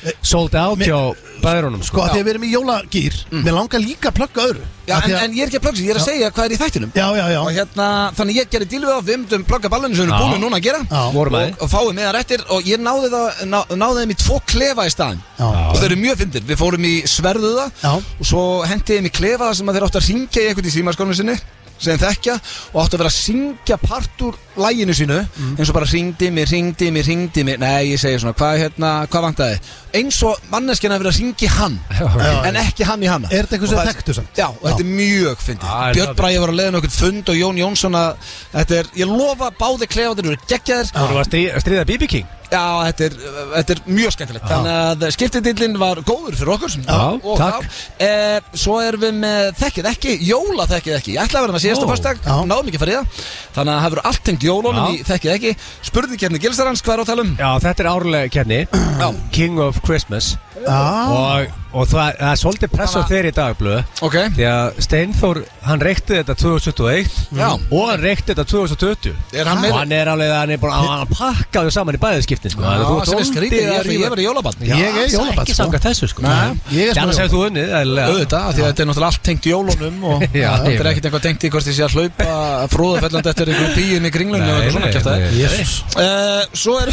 S3: 100% sold out
S2: Mér-
S3: hjá bæðurunum
S2: Sko, að því að við erum í jólagýr Mér langar líka að plugga öðru
S1: Mm. Já,
S2: Af því
S1: en,
S2: að-
S1: en ég er ekki að plugga sér, ég er að segja hvað er í þættinum
S2: Já, já, já
S1: Og hérna, þannig ég gerði díl við á Við myndum plugga ballinu sem við erum
S3: Já.
S1: búin núna að gera
S2: Já.
S3: Vorum að
S1: og, og fáið miðar eftir Og ég náði, það, ná, náði þeim í tvo klefa í staðin
S2: Já.
S1: Og þau eru mjög fyndir Við fórum í Sverðuða
S2: Já.
S1: og svo hendi ég mig klefa þar sem að þeir áttu að ringja í eitthvað í símaskónu sinni sem þeir þekkja og áttu að vera að syngja part úr læginu sínu eins og bara ringdi mig, ringdi mig, ringdi mig nei, ég segi svona, hvað hérna, hvað vantaði eins og manneskina að vera að ringi hann
S3: Já.
S1: en ekki hann í hanna
S2: Er þetta eitthvað
S1: Og
S2: sem
S1: það-
S2: þekktu samt?
S1: Já, og þetta er mjög fyndið
S3: Já, ég
S1: Björn
S3: love
S1: Bræði var að leiða okkur fund og Jón Jónsson að þetta er, ég lofa báði klefa þeir eru geggjaðir
S3: Vorum að stríða- stríða BB King
S1: Já, þetta er, þetta er mjög skemmtilegt Þannig að skiptidillin var góður fyrir okkur Já, og
S3: takk.
S1: þá e, Svo erum við með þekkið ekki, jóla þekkið ekki Ég ætla að vera með síðasta
S3: Ó.
S1: fyrstak,
S2: Já.
S1: náðum ekki að fara í það Þannig að það hefur allt tengt jólunum
S3: Já.
S1: í þekkið ekki Spurði kérni Gilsarans, hvað er á talum?
S3: Já, þetta er árlega
S1: (clears throat)
S3: kenni King of Christmas
S1: Ah.
S2: Já
S3: og, og það, það er svolítið press á
S1: Þannig að-
S3: þeir í dag blöðu
S1: Ok,
S3: því að Steinþór, hann reykti þetta 2021
S1: Já.
S3: og hann reykti þetta 2020
S1: Er hann meira-
S3: og hann er alveg, hann er bara, hann pakkaði saman í bæðiskiptin sko.
S1: Já,
S3: Þannig að þú ert
S1: sem er
S3: svolítið
S1: skrítið,
S3: að
S1: ég, ég
S3: rífa-
S1: verið jólabann
S2: Ég er
S3: það
S2: jólabarn,
S3: ekki
S2: sko.
S3: samkvæmt þessu sko
S2: Nei, ég er smá
S3: þannig að þú unnið eðlilega.
S1: Auðvitað, af því að þetta er náttúrulega allt tengt jólunum og
S3: Já,
S1: (laughs) þetta
S3: ég
S1: er
S3: veit.
S1: ekkert eitthvað tengt í hvort ég sé að hlaupa fróðafellandi eftir einhverjum píin í kringlunni og
S3: Nei,
S1: eitthvað svona
S3: nei,
S1: kjæftæði
S3: nei.
S2: Jésús
S1: Uh, svo er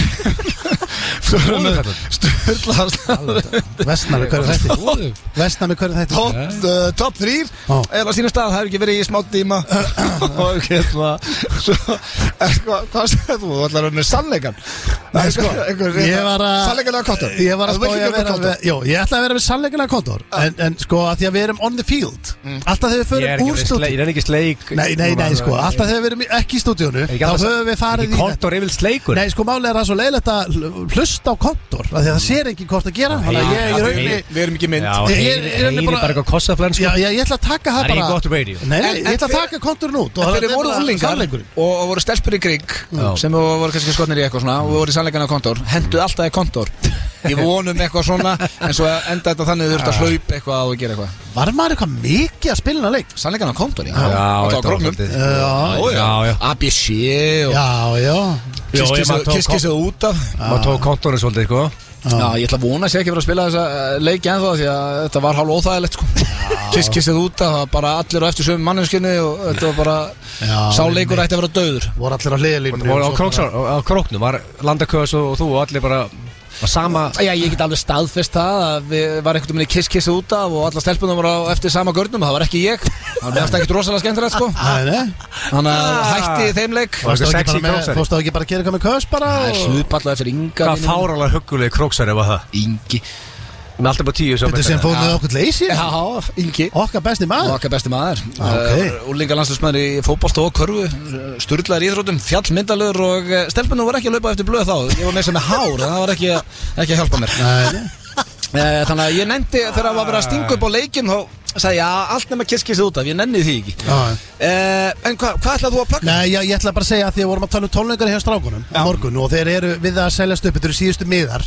S1: Svo erum við Sturlaðast
S2: Vestnar með hverju þætti Vestnar með hverju þætti
S1: Top, uh, top 3
S2: Já.
S1: er á sína stað, það hefur ekki verið í smá
S2: (coughs)
S1: díma og hérna svo, er, sko, hvað segir þú? Þú ætlar að vera sannleikan Nei,
S2: sko, ég var að-
S1: Sannleikanlega kottur
S2: Ég var að spá ég að vera
S1: kottur
S2: með Jó, ég ætla að vera með sannleikilega kontor en, en sko, að því að við erum on the field Alltaf þegar við
S3: Ég er
S2: förum
S3: ekki
S2: úr
S3: orðinn sleik-
S2: stúdíu
S3: ég er ekki sleik
S2: Nei, nei, nei, sko, alltaf þegar við erum í- ekki í stúdíunu
S3: Er ekki
S2: Þá
S3: alltaf-
S2: höfum við farið
S3: Ekki
S2: í
S3: kontor yfir sleikur
S2: Nei, sko, málega er það svo leiðilegt að hl- hlusta á kontor Því að það sér enginn hvort að gera Þannig að ég, ég, ég, ég,
S1: Við erum ekki mynd
S3: Já,
S2: Ég- ég-
S3: heyri
S2: ég er
S3: heyri
S2: bara-
S3: bara eitthvað kossaflenn sko
S2: Já, já, ég ætla að taka það
S3: Það er
S2: bara
S3: ekki gott radio.
S2: Nei, nei,
S1: En-
S2: ég
S1: en
S2: ætla að
S1: fyrir-
S2: taka konturinn út og
S1: En
S2: það
S1: þeir
S2: er
S1: voru
S2: nefnilega
S1: úlingar
S2: sannleikurinn.
S1: og og voru stelpur í krig
S3: Já.
S1: sem voru kannski skotnir í eitthvað svona og voru í sannleikana á kontor, henduð alltaf í kontor
S2: (laughs)
S1: ég vonum eitthvað svona en svo enda þetta þannig að þú ert að hlaupa eitthvað og gera eitthvað
S2: Var maður eitthvað mikið að spila hana leik?
S1: sannleikana á kontor, já,
S3: þetta
S1: þetta
S3: var
S1: var gróknum
S3: svolítið-
S2: Já,
S1: Ó,
S3: Já, já.
S1: ABC og
S2: já, já
S3: Jó, ég maður tók-
S1: kisskissið út af
S3: maður tók kontorinn svolítið sko
S1: Já, ég ætla að vona að sé ekki verið að spila þessa eh, leiki ennþá því að þetta var hálf óþægilegt sko. kisskissið út af það var bara allir á eftir sömu manninskinu og þetta var bara
S2: Já,
S1: sá leikur ætti að vera döður
S2: Voru allir á
S3: Og
S2: liðlínu
S3: á, króksar, á, á króknum var landaköðs og, og þú og allir bara var sama
S1: Já, ég get alveg staðfest það að við var einhvern veginn kiss-kissið út af og alla stelpunum voru á eftir sama görnum, það var ekki ég Það var ekkert rosalega skemmtilegt sko
S2: Nei, nei
S1: Þannig að hætti ég þeim leik
S3: Og
S2: Fórstu
S3: eitthvað
S2: á ekki
S3: sexy
S2: bara með-
S3: króksari.
S2: fórstu á ekki bara að gera eitthvað með kös bara
S1: Það er
S2: og-
S1: hlutballað eftir Inga
S3: Hvað
S1: vinur minn.
S3: fáralega huggulegi króksari var það
S1: Ingi
S3: Með alltaf bara tíu
S2: Þetta sem fór með okkur leysi
S1: Já, Ingi
S2: Okkar besti maður
S1: Okkar besti maður
S2: Ok.
S1: Úlinga landslismæður í fótbolta og körfu eh, Sturlaðir íþrótum, fjallmyndalur og stelpunum var ekki að laupa eftir blöð þá Ég var með sem með hár, en það var ekki, ekki að hjálpa mér
S2: Nei, nei.
S1: Eh, Þannig að ég nefndi þegar það var verið að stinga upp á leikin þá sagði já, allt nema kirkis út af, ég nenni því ekki
S2: Já, já.
S1: uh, En hvað hva ætlað þú að plugga?
S2: Nei, já, ég ætla bara að segja að því að vorum að tala um tónleikar hjá strákunum á morgun og þeir eru við að seljast upp þetta eru síðustu miðar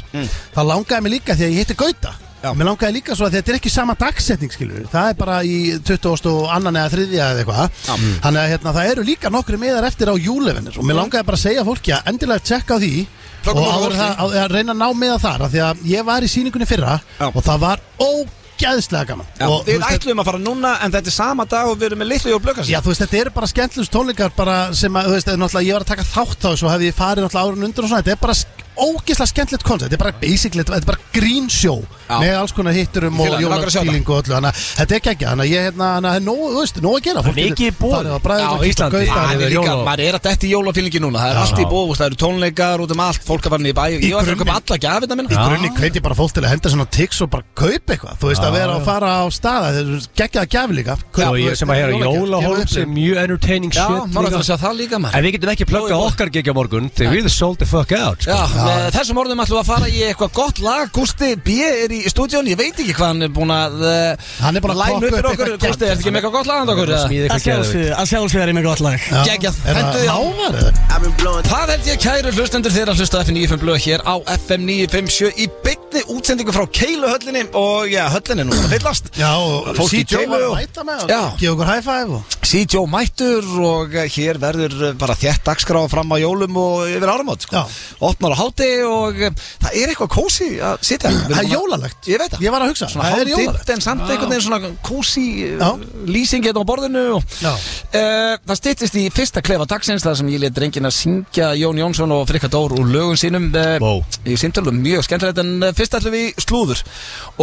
S2: það langaði mig líka því að ég hitti Gauta
S1: Mm. Já.
S2: mér langaði líka svo að þetta er ekki sama dagsetning skilur það er bara í 20. og annan eða þriðja eða eitthvað
S1: Mm.
S2: þannig að hérna, það eru líka nokkru miðar eftir á júlefinir og mér langaði bara að segja fólki að endilega tjekka á því
S1: Plöggum
S2: og
S1: okkur
S2: áður
S1: fólki.
S2: það, að, að reyna að ná miða þar af því að ég var í síningunni fyrra
S1: Já.
S2: og það var ógeðslega gaman
S1: Já,
S2: og, þú
S1: við
S2: veist,
S1: ætluðum að fara núna en þetta er sama dag og við erum með litlu jól blöggast
S2: Já, þú veist, þetta eru bara skemmtlust tónleikar bara sem að, þú veist, eða náttúrulega ég var að taka þátt á þessu og hefði ég farið náttúrulega árun undur og svona þetta er bara sk- ógeðslega skemmtilegt koncept þetta er bara basically, þetta er bara green show
S1: Já.
S2: með alls konar hitturum
S1: Ég fíla
S2: og
S1: það, mig langar að sjá
S2: jólafíling og öllu þannig að þetta er geggja, þannig að ég, hérna, þannig að það er nógu, þú veist, nógu að gera
S3: er mikið í boði.
S2: Það er bara
S3: Já, á Íslandi.
S1: Já,
S3: Já,
S1: en
S3: við
S1: líka,
S3: jóla-
S1: maður er að detti jólafílingi núna Það er
S2: Já.
S1: allt í bóð, það eru tónleikar út um allt Fólk að fara niður í bæ Ég var fyrir að köpa
S2: grunni-
S1: alla gafina
S2: Í
S1: minna
S2: grunni hveit ég bara fólk til að henda svona tics og bara kaupa eitthvað Þú veist að vera að fara á staða Þetta er geggjað að gefa líka Kaupa,
S3: Og
S2: þú
S3: ég
S2: veist,
S3: sem að hér á
S2: jólagjöf.
S3: jólahólm
S2: Gefa
S3: sem
S2: upplifun.
S3: mjög entertaining
S1: Já,
S3: shit
S1: maður ætlar
S3: líka.
S1: að sjá það líka maður
S3: En við getum ekki plugga okkar gegja morgun Þegar við sold the fuck out sko.
S1: Já, með þessum orðum ætlum við að fara í eitthvað gott lag Gústi B. er í stúdíón, ég veit ekki hvað hann er búin að uh,
S2: Hann er búinn að
S1: line
S2: kokka
S1: upp fyrir
S2: upp
S1: okkur
S2: eitthvað
S1: Gústi, ertu ekki með eitthvað gott lag handa okkur? eða?
S3: Smíði
S4: Að
S3: eitthvað geðveikt.
S4: sjálfsögðu, að sjálfsögðu er ég með gott lag
S2: Já.
S1: Geggjað.
S2: Er
S1: Hentu
S2: það
S1: því á.
S2: hávar eða?
S1: Það held ég kæru hlustendur þeirra að hlusta á FM 95 blöð hér á FM 957 í byggni útsendingu frá Keiluhöllinni og já, höllinni nú, það fyllast
S2: Já, og
S1: Fólk í
S2: CJ var
S1: deilu
S2: að
S1: og-
S2: mæta með
S1: Já.
S2: og gefa okkur high five og
S1: CJ mættur og eh, hér verður eh, bara þétt dagskrá fram á jólum og yfir áramót sko.
S2: Já.
S1: opnar á háti og eh, það er eitthvað kósi að sitja hérna. Við
S2: Það er
S1: erum búin að-
S2: jólalegt
S1: ég veit það
S2: Ég var að hugsa
S1: svona
S2: Það er
S1: hálfdimt
S2: jólalegt
S1: en samt einhvern veginn svona kósi
S2: Já.
S1: lýsing hérna á borðinu og,
S2: Já.
S1: Eh, það styttist í fyrsta klefa dagsins þar sem ég let drengin að syngja Jón Jónsson og Frikka Dór úr lögum sínum uh,
S3: Vó.
S1: í símtölum mjög skemmtilegt en eh, fyrst ætlum við í slúður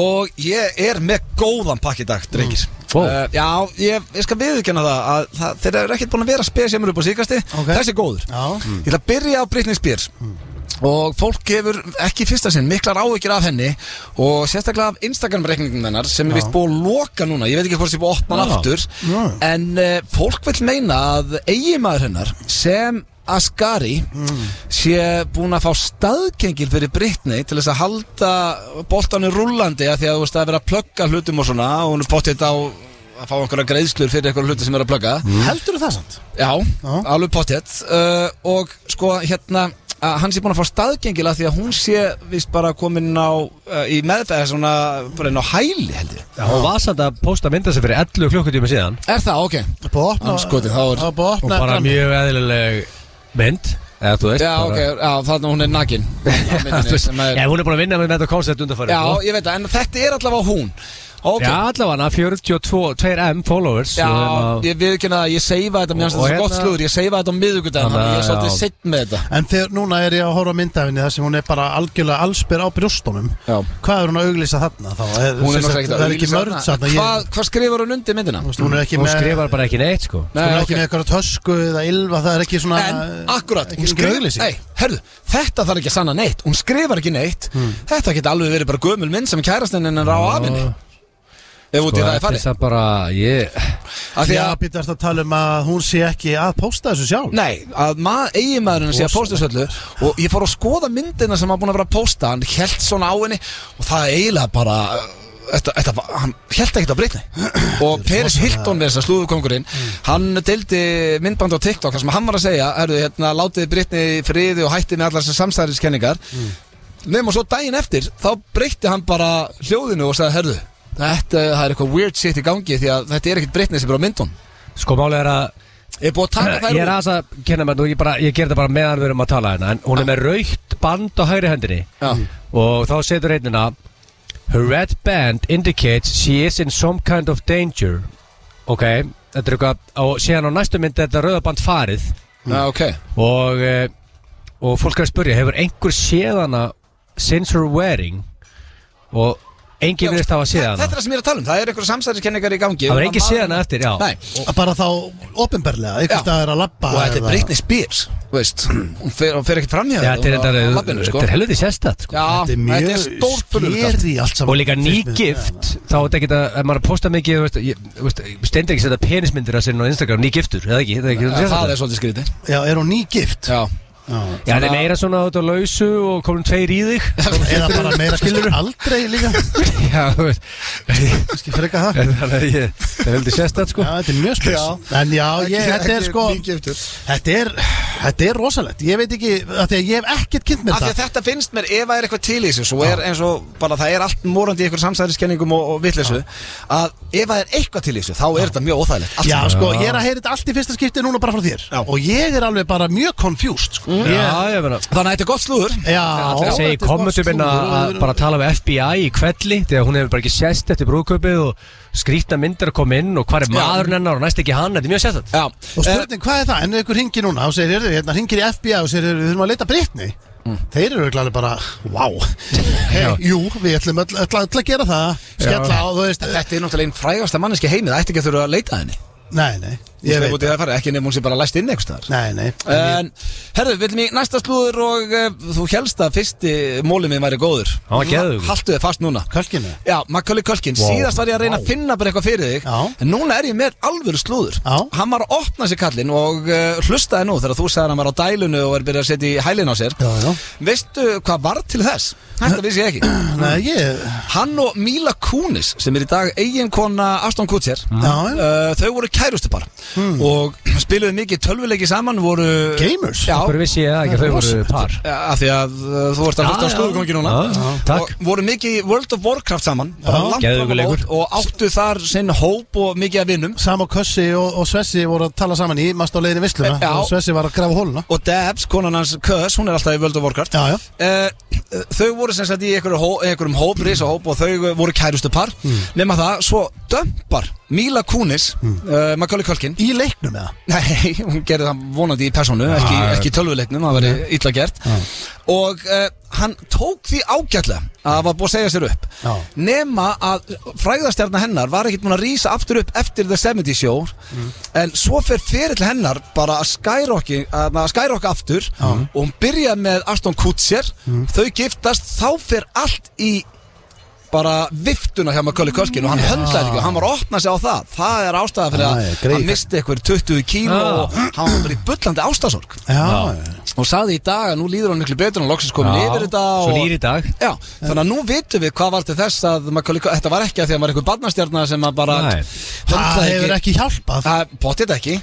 S1: og ég er með góðan pakki í dag drengir
S3: Vó.
S1: Eh, Já, ég, ég skal viðurkenna það að það, þeir eru ekkert búin að vera spesjumur upp á síkasti
S2: Ok.
S1: þessi er góður
S2: Já.
S1: Ég ætla að byrja á Britney Spears Og fólk hefur ekki í fyrsta sinn miklar áhyggjur af henni og sérstaklega af Instagram-reikningum hennar sem er vist búið að loka núna, ég veit ekki hvort það er búið að opna hann
S3: Já.
S1: aftur
S2: Já.
S1: en uh, fólk vil meina að eiginmaður hennar sem Ascari sé búin að fá staðkengil fyrir Britney til þess að halda boltanum rúllandi að því að þú veist að vera að plugga hlutum og svona og hún er pottitt á að fá einhverja greiðslur fyrir einhverja hluti sem er að plugga
S2: Heldur þú það samt?
S1: Já,
S2: Já.
S1: alveg pottet uh, Og sko hérna að hann sé búin að fá staðgengila því að hún sé vist bara komin á uh, í meðferð svona bara inn á hæli held ég
S3: Já, Hún var samt að posta mynda sig fyrir 11 klukkutíma síðan
S1: Er það, ok
S2: Það er búið að opna
S1: Andskotið, þá er-
S2: Það er búið að
S3: Og
S2: opna
S3: bara
S2: grann.
S3: mjög eðlileg mynd Eða þú veist
S1: Já, ok,
S3: bara-
S1: já, þannig að hún er
S3: (laughs)
S1: nakin á
S3: Já, (laughs) þú
S1: myndinni
S3: veist,
S1: sem er-
S3: Já, hún er búin að vinna með þetta koncept undanfæri
S1: Já, ég veit það, en þetta er allavega hún Ok,
S3: Já, allavega 42 2M followers
S1: já,
S3: og hérna-
S1: ég við ekki að ég seifa þetta mér finnst
S3: Og- og
S1: þetta svo gott
S3: hérna-
S1: slúður, ég seifa þetta á miðvikudaginn þannig að ég er
S3: Þannig að-
S1: svolítið
S3: já.
S1: sitt með þetta
S2: En þegar núna er ég að horfa á myndafinni þar sem hún er bara algjörlega allsbyr á brjóstunum
S1: Já.
S2: Hvað er hún að auglýsa þarna þá? Er,
S1: Hún er
S2: sem sagt,
S1: náttúrulega ekkert
S2: Það er ekki
S1: auglýsa
S2: mörg
S1: þarna.
S2: þarna
S1: Hvað
S2: ég-
S1: hvað skrifar hún undir myndina?
S2: þú veist, Hún er ekki
S3: Hún
S2: með
S3: skrifar bara ekki neitt sko
S2: Hún
S1: Nei,
S2: er
S1: ok.
S2: ekki með eitthvað tösku eða ylva Það er ekki svona
S1: En, akkurat,
S2: Ekki svona auglýsing
S1: eh, Nei, herðu, þetta þarf ekki að sanna neitt Hún skrifar ekki neitt Þetta geta alveg verið bara gömul minn sem kærastinn hennar á afinni Ef út í það sko, er farið
S3: það sko, bara ég
S1: Af því
S2: Já,
S1: að,
S2: býttu eftir að tala um að hún sé ekki að posta þessu sjálf
S1: nei, að eiginmaðurinn sé að posta þessu öllu Og ég fór að skoða myndina sem var búin að vera að posta Hann held svona á henni Og það er eiginlega bara uh, Þetta, þetta, var- hann held ekki á
S3: (clears throat)
S1: breytni og Peris Hilton við þess að slúðukongurinn
S3: Mm.
S1: hann deildi myndband á TikTok þar sem hann var að segja, herru, hérna, látiði breytni friði og hætti með allar þessar samstæðiskenningar
S3: Mm.
S1: nema svo daginn eftir þá breytti hann bara hljóðinu og sagði herðu, þetta það er eitthvað weird shit í gangi því að þetta er ekkit breytni sem er á myndun
S3: Sko málega er að
S1: er búið að taka
S3: (clears throat)
S1: þær
S3: Ég er
S1: úr
S3: aðeins að kenna mér nú, ég, bara, ég ger þetta bara meðan við erum að tala hérna En hún er með raukt band á hægri hendinni
S1: Já.
S3: Og þá setur einnina Her red band indicates she is in some kind of danger Ok, þetta er eitthvað Og síðan á næstu mynd er þetta rauða band farið
S1: Já, ok,
S3: Og, eh, og fólk er að spyrja Hefur einhver séð hana since her wedding Og enginn virðist hafa séð
S1: þetta
S3: hana
S1: er það sem ég er að tala um það er eitthvað samstæðiskenningar í gangi
S3: Það var enginn séð hana eftir, já
S1: Nei,
S2: Að Bara þá opinberlega,
S1: Já.
S2: einhvers staðar að labba
S1: og þetta er
S2: eða-
S1: Britney Spears þú veist, hún fer, hún fer ekkert fram hjá
S3: Já, Þetta er, þetta er,
S1: sko.
S3: þetta er helviti sérstætt sko.
S1: Já,
S2: Þetta er
S1: þetta er
S2: mjög
S1: stórpulur
S2: skeri allt saman
S3: og líka
S2: Fyrst-
S3: nýgift þá er þetta ekki að, ef maður er að posta mikið þú veist, ég, þú veist, stendur ekki að setja penismyndir að sinna á Instagram nýgiftur, eða ekki, eða ekki, eða ekki
S1: Það er svolítið skrítið
S2: Já, er hún nýgift?
S1: Já, (laughs)
S3: Já, það er meira svona út á lausu og komin tveir í þig
S2: Eða bara meira skilur aldrei líka
S3: (laughs) Já, þú veist (laughs)
S2: Kanski fyrir eitthvað það
S3: Þannig að ég, það er heldur sérstætt sko
S2: Já, þetta er mjög spes En já, ég, þetta er sko Þetta er, þetta er rosalegt Ég veit ekki, af því að ég hef ekkert kynnt með
S1: Af því að
S2: þetta
S1: þetta finnst mér ef það er eitthvað til í þessu og er eins og bara það er allt morandi í einhverjum samsæðiskenningum og, og vitleysu að ef það er eitthvað til í þessu þá er þetta mjög óþægilegt allt
S2: Já,
S1: saman.
S2: sko, ég er að heyra þetta allt í fyrsta skipti núna bara frá þér
S1: Já.
S2: Og ég er alveg bara mjög confused sko.
S3: Já, ég meina
S1: Þannig að þetta er gott slúður
S2: Já,
S3: Það er að segja í
S2: þetta er
S3: kommentum minna
S2: gott
S3: að
S2: slúður.
S3: bara tala við FBI í kvelli þegar hún hefur bara ekki sérst eftir brúðkaupið og skrýtna myndir að koma inn og hvað er
S1: Já.
S3: maðurinn hennar og næst ekki hann, þetta er mjög sérstætt
S1: Já, Eh,
S2: Og spurning, hvað er það? En ef ykkur ringir núna og segir, heyrðu, hérna ringir í FBI og segir, heyrðu, við þurfum að leita brittni Þeir eru örugglega alveg bara, wow (laughs) hey,
S3: Já.
S2: Jú, við ætlum öll, öll, öll að gera það Skella á, þú veist
S1: Eh, þetta er náttúrulega einn frægasta manneski heimið það ætti ekki að þurfa að leita að henni
S2: Nei, nei, ég veit
S1: það farið, ekki nefnum hún sé bara læst inn einhvers staðar
S2: Nei, nei
S1: En, herðu, við viljum í næsta slúður og uh, þú helst að fyrsti mólið minn væri góður
S3: Hann var geðveikur.
S1: Haltu þið fast núna
S2: Kölkinu
S1: Já, Macaulay Culkin, síðast var ég að reyna að finna bara eitthvað fyrir þig
S2: Já.
S1: En núna er ég með alvöru slúður
S2: Já.
S1: Hann var að opna sér kallinn og uh, hlustaði nú þegar þú sagði hann var á dælunu og er byrjað að setja í hælinn á sér
S2: Já, já
S1: Veistu hvað var til þess? Þetta vissi ég ekki
S2: Nei, ég
S1: Hann og Mila Kunis sem er í dag eiginkona Aston Kutcher
S2: Já, já
S1: Uh, þau voru kærustupar
S3: Hmm.
S1: og spiluðu mikið tölvuleiki saman voru
S2: Gamers?
S1: já,
S3: Hverju vissi ég það ekki að þau voru par
S1: af því að uh, þú varst að hlusta á
S3: Já, já.
S1: slúðugangi núna
S3: Já, já. Takk.
S1: og voru mikið í World of Warcraft saman bara
S2: Já.
S1: langt fram á
S3: Geðveikur
S1: mót
S3: leikur.
S1: og áttu þar sinn hóp og mikið að vinnum
S2: Sam og Kössi og, og Svessi voru að tala saman í Mast á leiðinni visluna
S1: Já.
S2: Og Svessi var að grafa hóluna
S1: og Debs, konan hans Kös, hún er alltaf í World of Warcraft
S2: Já, já
S1: Uh, þau voru sem sagt í einhverju hó, einhverjum hóp,
S3: Hmm.
S1: risahóp og þau uh, voru kærustupar nema það, svo dömpar Mila Kunis, mm.
S3: Hmm.
S1: uh, Macaulay Culkin
S2: Í leiknum eða
S1: Nei, hún gerði það vonandi í personu, ekki, ekki í tölvuleiknum, það væri illa gert Og uh, hann tók því ágætlega að það var búið að segja sér upp
S2: Já.
S1: Nema að fræðastjarnar hennar var ekkert múin að rýsa aftur upp eftir The 70 Show En svo fer ferill hennar bara að skyrocki, að að skyrocka aftur Og hún byrjaði með Aston Kutcher, þau giftast, þá fer allt í bara viftuna hjá Macaulay Culkin og hann höndlaði ekki og hann var að opna sig á það það er ástæða fyrir
S2: Ah,
S1: að
S2: ég greið.
S1: hann misti eitthvað 20 kíló
S3: Ah.
S1: og hann var bara í bullandi ástæðsorg
S2: Já,
S1: og sagði í dag að nú líður hann miklu betur hann loksins komin yfir þetta
S3: Svo nýr
S1: og...
S3: í dag
S1: Já, þannig að nú vitum við hvað var til þess að Macaulay Culkin, þetta var ekki að því að hann var eitthvað barnastjarnar sem að bara
S3: Nei.
S2: það
S1: höndlaði
S2: hefur ekki hjálpað
S1: Það bóttið ekki,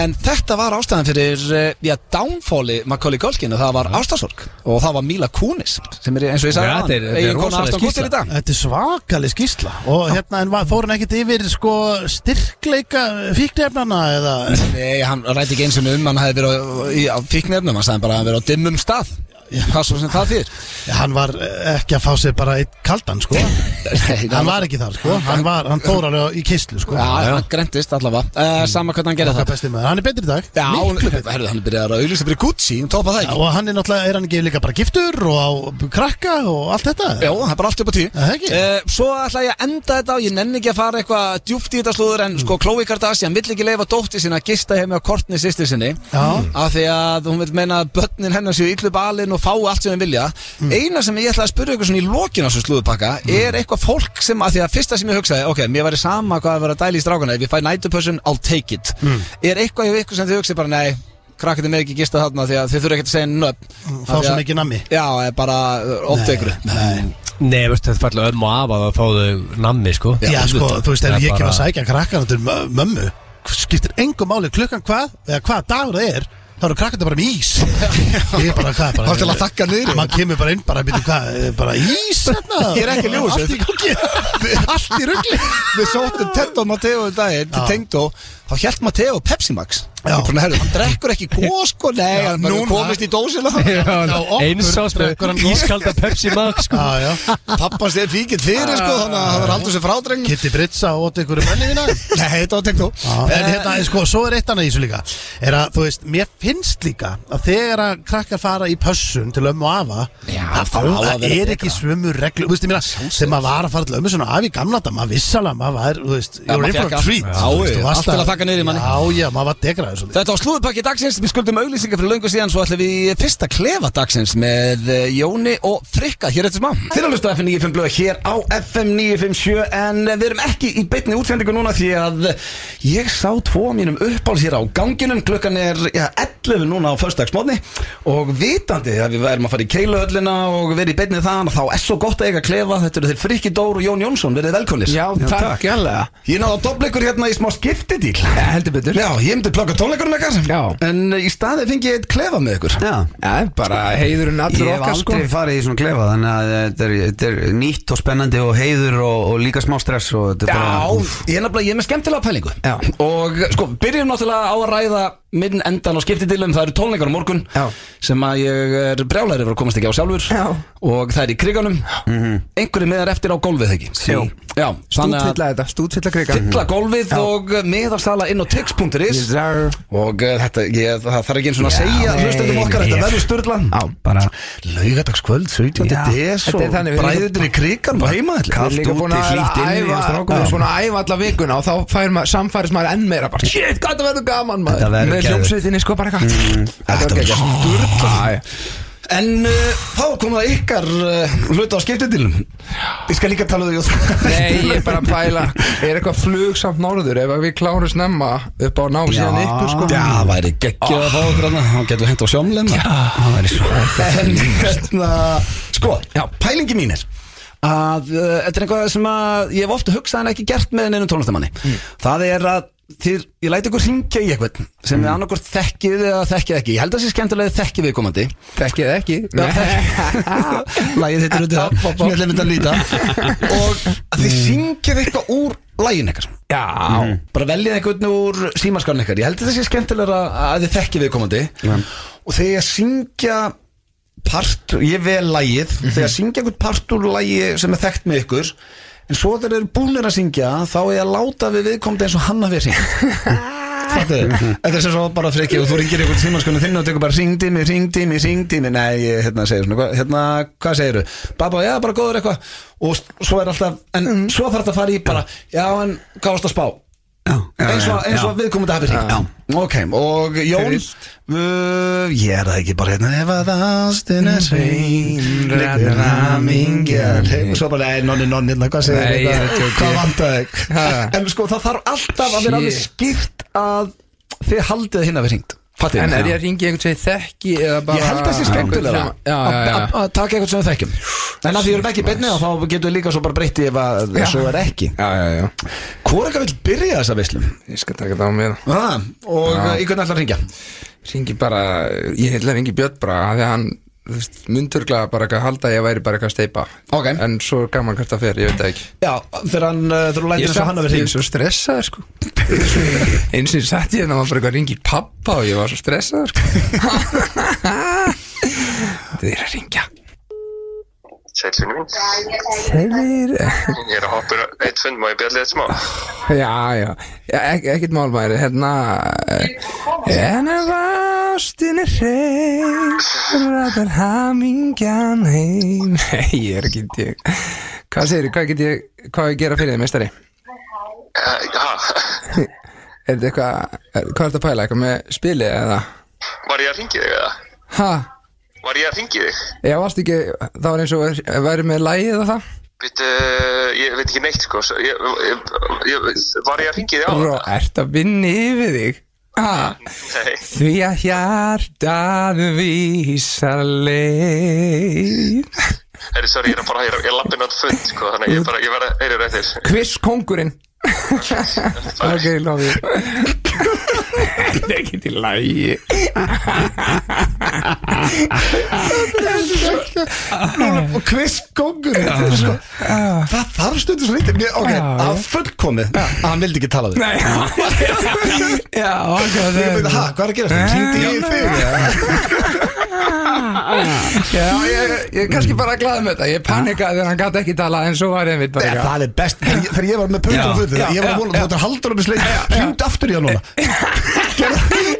S1: en þetta var ástæðan fyrir, eh, já, downfalli Macaulay Culkin og það var ástæðsorg og það var Mila Kunis, sem er eins og ég sagði
S3: Já, þetta er-
S1: áðan,
S3: þetta er
S1: eiginkona
S3: rosaleg
S1: Aston Kutcher
S3: skýrsla.
S1: í dag
S2: Þetta er svakalig skýrsla Og hérna, en var, fór hann ekkert yfir sko styrkleika fíknefnana eða
S1: Nei, hann rætti ekki eins og um hann hefði verið á, í, á fíknefnum, hann sagði bara að hann verið á dimmum stað Hvað svo sem það þýr
S2: Hann var eh, ekki að fá sér bara eitt kaldan sko Hann var ekki þar sko Hann, var, hann fór alveg í kistlu sko
S1: Já, hann grendist allavega uh, Sama hvernig hann gerði
S2: Okkar
S1: það
S2: besti maður, hann er betri í dag
S1: Já, hún, herrðu, hann byrjaði að auðvitað fyrir Gucci, hún topa það
S2: Já,
S1: ekki
S2: og hann er náttúrulega, er hann ekki líka bara giftur og á krakka og allt þetta?
S1: Já, það er bara allt upp á tíu
S2: Það er ekki.
S1: Eh, Svo ætla ég að enda þetta og ég nenni ekki að fara eitthvað djúpt í þetta slúður en
S2: Mm.
S1: sko Chloe Kardashian vill ekki leifa dótti sinna að gista heim með kortni sýstir sinni
S2: Já.
S1: af því að hún vil meina að börnin hennar séu illu balin og fái allt sem hún vilja
S2: Mm.
S1: Eina sem ég ætla að spyrja ykkur svona í lokin á þessu slúðupakka er eitthvað fólk sem að því að fyrsta sem ég hugsaði ok, mér væri sama hvað að vera að dæla í strákana ef ég fæ nætupössun, I'll take it
S2: Mm.
S1: Er eitthvað hjá ykkur sem þið hugsið bara nei krakkandi með ekki gista þarna því að þið þurfa ekki að segja nöfn Af því
S2: Fá svo
S1: að-
S2: mikið nammi
S1: Já, eh, bara ofdegur Nei,
S3: Nei, veistu, þetta falla ömmu af að það fáðu nammi, sko
S2: Já, sko,
S1: auðvitað.
S2: þú veist, ef
S3: Það er
S2: ég kemur að
S3: bara-
S2: sækja krakkan til mö- mömmu skiptir engum máli klukkan hvað eða hvað dagur það er þá eru krakkan bara með ís
S1: (laughs)
S2: Ég er bara hvað bara
S1: Þá til að þakka niður í.
S2: Man kemur bara inn bara, byrju hvað, eh, bara ís hérna
S1: (laughs) Ég er ekki að ljúga þessu.
S2: Allt í gangi Allt í rugli
S1: (laughs) Við sóttum Ted og Matteo í daginn til
S2: Já.
S1: Tengdó Þá hjælt Matteo Pepsi Max
S2: Já.
S1: Ég bara, herru, hann drekkur ekki gos sko Nei,
S2: Já,
S1: hann bara
S2: núna.
S1: komist í dósina
S2: Já, okkur
S3: Einsás
S2: drekkur hann
S3: með
S2: gott.
S3: ískalda Pepsi Max, sko
S2: (laughs) Já, já
S1: Pappa sér fíkitt fyrir sko Þannig að það var aldrei sér frádreng
S2: Kitty Britsa og óta ykkur menni þína
S1: Nei, þetta var Tengdó
S2: En hérna, sko, svo er eitt annað í þessu líka Er að, þú veist, mér finnst líka að þegar að krakkar fara í pössun til ömmu og afa
S1: Já,
S2: að
S1: það á að
S2: það
S1: vera
S2: er
S1: betra.
S2: ekki svömu reglu Þú veist, ég meina, sem maður var að fara til ömmu sinna og afi í gamla þetta, maður vissalega, maður var, þú veist,
S1: maður
S2: you're in
S1: fékk
S2: for a
S1: allt.
S2: treat
S1: Já,
S2: þú veist, þú
S1: allt
S2: varst
S1: til að þakka niður í manni.
S2: Já, já, maður var degraður er svolítið
S1: Þetta var slúðupakki dagsins, við skuldum auglýsingar fyrir löngu síðan Svo ætlum við í fyrsta klefa dagsins með eh, Jóni og Frikka hér eftir smá Þeir að hlusta á FM 95 blöð hér á FM 957 En eh, við erum ekki í beinni útsendingu núna Því að ég sá tvo af mínum uppáls hér á ganginum Klukkan er ja, 11 núna á föstudagsmóðni Og vitandi að við værum að fara í keiluhöllina Og verið í beinni þaðan Þá er svo gott að eiga klefa Þetta eru þeir Frikki Dór og Jón Jónsson, verið velkonir
S4: Já, takk jælega
S1: Ég náði að dobla ykkur hérna í smá skiptidíl
S4: Eh, Heldur betur
S1: Já, ég myndi plaka tónleikunum ykkar
S4: Já.
S1: En í staði fengi ég eitt klefa með ykkur
S5: Já,
S4: Já, bara heiðurinn
S5: ég
S4: allur
S5: hef
S4: okkar sko
S5: aldrei farið í svona klefa þannig að þetta er, þetta er nýtt og spennandi og heiður og, og líka smá stress og þetta
S1: Já,
S5: er bara úff.
S1: ég er nefnilega, ég er með skemmtilega pælingu
S5: Já.
S1: Og sko, byrjum náttúrulega á að ræða minn endan á skiptidilum Það eru tónleikar á morgun
S5: Já.
S1: Sem að ég er brjálæri fyrir að komast ekki á sjálfur
S4: Já. Mhm.
S1: Og það er í kriganum mm -hmm. Einhverju miðar eftir á gólfið ekki
S5: Sí.
S1: Já, þannig að
S4: Stútfylla þetta, stútfylla krigan
S1: fylla gólfið og miðarsala inn á tix.is
S4: sir
S1: Og uh, þetta, ég, það þarf ekki eins og að segja
S5: nei,
S1: Hlustendum okkar,
S5: nei.
S1: þetta verður styrlan
S5: Já, bara
S1: Laugardagskvöld, 17.
S4: Já,
S1: des
S4: þetta er
S1: og
S4: þannig, við erum
S1: bræðutir í krigan og heimaðall
S4: Við erum líka búin að
S5: hlýtt inni
S4: æfa
S5: og strákum.
S4: já, Svona æfa alla vikuna og þá fær maður, samfæris maður enn meira bara Shit, hvað það verður gaman maður
S5: Þetta verður
S4: Með
S5: geðveikt.
S4: hljómsveitinni sko bara
S1: Mm.
S4: eitthvað Þetta verður gaman
S1: En uh, þá kom það ykkar uh, hluta á skiptidilum Ég skal líka tala um því
S4: Nei, ég er bara að pæla Er eitthvað flug samt norður ef að við klárum snemma upp á nám síðan
S5: Já.
S4: ykkur sko
S1: Já, það væri geggjað að fá okkur hana Þá getum við hendt á sjómlinna
S5: það er svo
S1: En hérna, sko, já, pælingi mín er að uh, þetta er eitthvað sem að ég hef ofta hugsað en ekki gert með neinum tónlistamanni það er að þér, ég læti ykkur hringja í eitthvað sem mm. er annarkvort þekkið eða þekkið ekki ég held að það sé skemmtilega þekkið viðkomandi
S4: Þekkið þið ekki
S1: (laughs) Lægið hittir út í það sem ég ætla mynd að líta og að þið syngið eitthvað úr lægin eitthvað
S4: Já
S1: bara veljið einhvern úr símaskarn eitthvað ég held að það sé skemmtilega að þið þekkið viðkomandi og þegar syngja part, ég vel lægið þegar syngja einhvern part úr lægi sem er þekkt með ykkur en svo þegar þeir eru búnir að syngja þá er ég að láta við viðkomandi eins og hann hafi syngt Fattu, þetta er sem svo bara freki og þú ringir einhvern símaskunni þinn og tekur bara ringdi mig, ringdi mig, ringdi mig nei, ég, hérna segir svona, hva, hérna, hvað segirðu baba, já, bara góður eitthvað og s- svo er alltaf, en svo þarf þetta að fara í bara, já, en hvað varst að spá eins og, eins og viðkomandi hafi hringt ok, og Jón uh, ég er það ekki bara hérna ef að ástin
S4: Mhm.
S1: er hrein liggur hamingjan og svo bara, ei, nonni, nonni, hérna, hvað segir
S4: Nei, ég er
S1: þetta
S4: að tjóka,
S1: hvað
S4: ég-
S1: vantar þig en sko, það þarf alltaf að vera alveg
S4: Shit.
S1: skýrt að þið haldið hinn að vera hringt fattið
S4: En er
S1: þið?
S4: ég að ringi einhvern veginn þekki eða bara
S1: Ég held að það sé skemmtilega
S4: Já, já,
S1: að
S4: já,
S1: að- að taka eitthvað sem við þekkjum En að því við erum ekki beinnið þá getum við líka svo bara breytti ef að
S4: Já.
S1: svo er ekki
S4: já Já, já, já
S1: Hvor eitthvað vil byrja þessa veislum?
S4: Ég skal taka þetta á mér
S1: Ah, og já. í hvernig ætlar að ringja?
S4: Ringi bara, ég hefði að ringi Björn bara af því að hann þú veist, myndurglega bara eitthvað halda að ég væri bara eitthvað að steipa
S1: Ok.
S4: En svo er gaman hvert það fer, ég veit það ekki
S1: Já, þegar hann, uh, þegar hún lætur eins og hann hafi
S4: ég er
S1: hringt
S4: svo stressaður sko Eins og ég satt ég en það var bara eitthvað að ringi pappa og ég var svo stressaður sko (laughs) Þið er að ringja
S6: Sælunum mín.
S4: Þeir
S6: Ég er að hoppa upp eitt fund, má ég bjalla eitt smá?
S4: Já, já, já ek, ekkert málmæri, hérna eh, En ef ástin er hrein Ræðar hamingjan heim (laughs) Nei, ég er ekki ég. Hvað segir, hvað get ég, hvað á ég að gera fyrir þið, meistari?
S6: Eh, Ha, (laughs)
S4: Er þetta eitthvað, er, hvað er þetta að pæla, eitthvað með spilið eða?
S6: var ég að ringi þig eða?
S4: Ha,
S6: Var ég að ringi þig?
S4: ég varst ekki, það var eins og væri- væri með lægið og það
S6: Býttu, ég veit ekki neitt sko, svo- ég, ég, ég, var ég að ringi þig á?
S4: Ró, ert að vinni yfir þig? Ha,
S6: Nei,
S4: Því að hjartað vísar leið
S6: herri, sorry, ég er að bara, ég er, ég lappi nátt fund sko, þannig að ég bara, ég verð að heyri rættir.
S4: Quiz kongurinn Ok, lofi Það er ekki til lægi
S1: og Chris Kongur sko, það þarf stundu svo lítið Mér- ok,
S4: Já, já.
S1: að fullkomið að hann vildi ekki tala við
S4: Nei Já, ok það
S1: Ég
S4: er-
S1: myndi, ha, hvað er að gera þetta? Kynnti ég í þig?
S4: Já, ég, ég er kannski bara glaðið með þetta Ég panikaði þegar hann gæti ekki tala En svo var ég einmitt bara
S1: Nei,
S4: ekki
S1: Það er best, þegar ég- þegar ég var með pöntum
S5: Já.
S1: fyrir þetta Ég var
S4: Já,
S1: að vona að þú ættir að halda hann um í sleik Hringd aftur í hann núna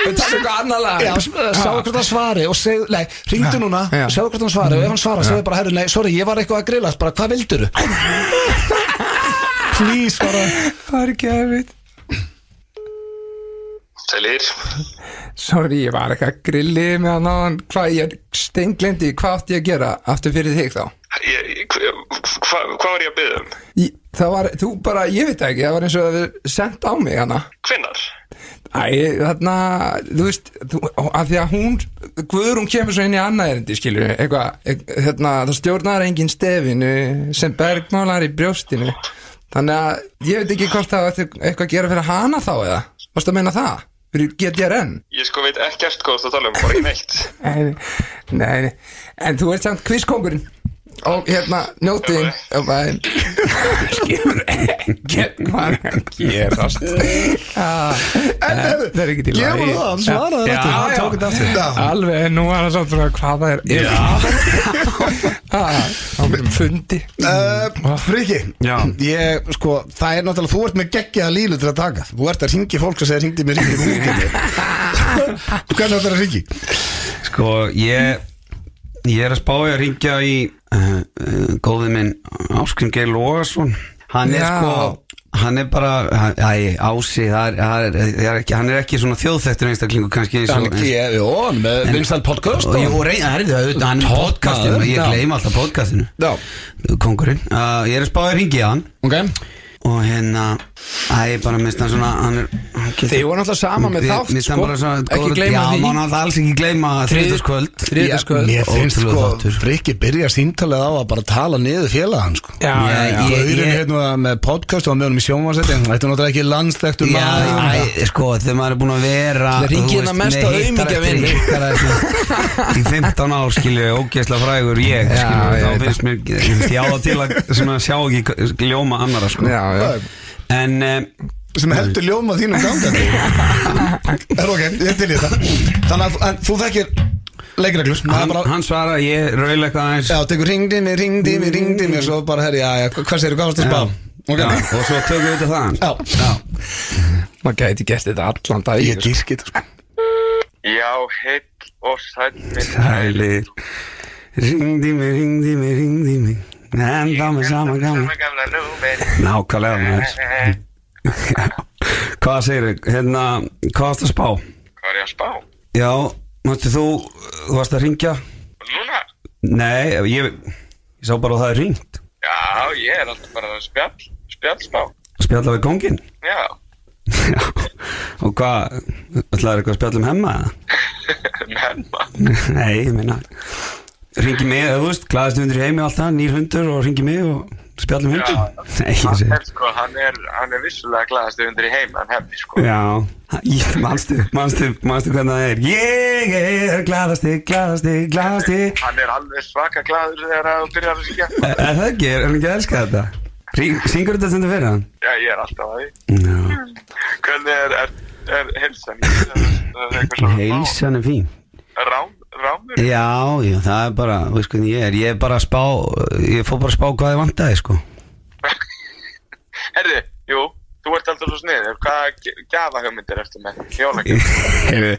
S4: Við tala eitthvað annar lag
S1: Já, s- sjá hvort hann svari og segð, nei, hringdu núna
S4: Já.
S1: sjá hvort hann svari og ef hann svara, segðu bara, herru, nei, sorry, ég var eitthvað að grillast, bara, hvað vildur Please, bara
S4: Það er ekki að við
S6: Sælir
S4: Sorry, ég var eitthvað grillið með hann áðan Hvað ég steinglendi, hvað átti ég að gera Aftur fyrir þig þá
S6: Ég- hva- hva- Hvað var ég að byggja um?
S4: Í- Það var, þú bara, ég veit það ekki Það var eins og það við sendt á mig hana
S6: Hvennar?
S4: Æ, þarna, þú veist þú, að Því að hún, Guðrún kemur svo inn í annað erindi Skilur, eitthvað eit- Þarna, það stjórnar engin stefinu Sem bergmálar í brjóstinu Þannig að ég veit ekki hvort það átti Eitthvað að gera fyrir hana þá eða Varstu að meina það? Fyrir GTRN?
S6: Ég sko veit ekkert hvað þú ert að tala um, bara ekki neitt
S4: Nei, nei, nei. en þú ert samt kvískongurinn og hérna njótiðin og bara skilur ekkert hvað er að gerast Ah, en það er ekki til
S2: Ég var það, hann svaraði
S4: Já,
S2: aftur.
S4: já.
S2: Hann tók þetta aftur. Já.
S4: alveg, nú var það samt svona hvað það er Ah, á mér fundi
S7: Uh, Friki,
S5: Já.
S7: ég, sko, það er náttúrulega, þú ert með geggjaða lílu til að taka Þú ert að ringi fólk sem segir ringdi mér ringdi mér ringdi mér
S1: (laughs)
S7: Hvernig þetta er að ringi?
S5: Sko, ég Ég er að spá ég að ringja í uh, uh, Góðið minn Áskrim Geir Lógason Hann er
S4: Já.
S5: sko Hann er bara, hann- æ, ási það er, það er, það er ekki, Hann er ekki svona þjóðþektur einstaklingu kannski eins
S1: Hann
S5: og
S1: ekki, ég- Jó, hann er með
S5: En-
S1: vinsæl podcast
S5: og,
S1: og-
S5: Jú, reyna, það er það auðvitað, hann er með
S1: Topp
S5: podcastinu
S1: maður,
S5: Ég
S1: já.
S5: gleym alltaf podcastinu
S7: Já,
S5: Kongurinn, uh, ég er að spá ég að ringja hann
S1: Ok
S5: Og hérna, æ, bara mist hann svona Hann er, hann getur-
S4: Þið voru náttúrulega saman með
S5: Við-
S4: þátt, sko.
S5: mér stann bara svona
S4: Ekki
S5: góður-
S4: gleyma
S5: Já,
S4: því.
S5: maður náttúrulega alls ekki gleyma þriðutaskvöld
S4: þriðjudagskvöld.
S7: Mér finnst
S5: Ótrúlegur
S7: sko,
S5: þáttur.
S7: Friki byrja síntalið á að bara tala niður félagann sko
S4: já, já, já
S5: Ég-
S7: Gaurin
S5: ég-
S7: hérna með podcast og með honum í sjónvarsætti Þetta er náttúrulega ekki landstæktur
S5: Já, æ,
S7: maður
S5: sko, þegar maður er búin að vera
S4: Það ringi
S5: þú
S4: hérna
S5: veist,
S4: mest á
S5: með hittar
S4: aumingja
S5: eftir
S4: vini.
S5: hittara þessu- Í 15 ár skilju, ógeðslega frægur ég
S4: Já,
S5: skilju,
S4: ég
S5: þá
S4: veit
S5: finnst mér, ég finnst ég á það til að svona, sjá ekki gljóma annara sko
S4: já, já.
S5: En um,
S7: sem heldur ljóma þínum gangandi Er ok, ég er til í þetta Þannig að en, þú þekkir leikreglur Það er
S5: hann,
S7: bara-
S5: hann svarar, ég raula eitthvað aðeins
S7: Já, tekur ringdi mig, ringdi mig, ringdi mig og svo bara, herri, já, já, hvað segir þú, hvað varst að spá? Ok.
S5: Já, og svo tökum við þetta þaðan
S7: Já.
S4: maður gæti gert þetta allan dag
S7: Ég gyrki þetta, sko.
S6: Já, heill og sæll minn
S5: Sælir Ringdi mig, ringdi mig, ringdi mig En þá með sama gaman
S6: Sama gamla númer
S5: Nákvæmlega maður Já. Hvað segir þau? Hérna, hvað varst að spá?
S6: Hvað er ég að spá?
S5: Já, mátti þú, þú varst að ringja?
S6: Núna?
S5: Nei, ég, ég sá bara að það er ringt
S6: Já, ég er alltaf bara að spjall, spjallspá
S5: Spjalla við kongin
S6: Já, (laughs)
S5: Já, og hvað, ætlaður eitthvað að spjalla um hemma? eða?
S6: menna
S5: (laughs) Nei, ég meina Ringi mig, þú veist, glaðast hundur í heimi og allt það, nýr hundur og ringi mig og spjalla um hundur (laughs) Nei, ég
S6: Hann
S5: segi
S6: er sko, hann er, hann er vissulega glaðast undir í heim en hefði sko
S5: Já, ég- manstu, manstu, manstu hvernig það er Ég er glaðasti, glaðasti, glaðasti
S6: Hann er alveg svaka glaður þegar að þú byrjar að syngja
S5: Er E, er það ekki, er hann ekki að elska þetta? Ring- Syngur þetta stundu fyrir hann?
S6: Já, ég er alltaf að því
S5: Já,
S6: Hvernig er, er, er heilsan? Er eitthvað svona
S5: heilsan er fín
S6: Rám, rámur? (laughs)
S5: Já, já, það er bara, veist hvernig ég er Ég er bara að spá, ég fór bara að spá hvað ég vantaði, sko
S6: Herri, jú, þú ert alltaf svo sniður Hvaða gjafa hugmyndir ertu með? Jólagjöf
S5: Heyrðu,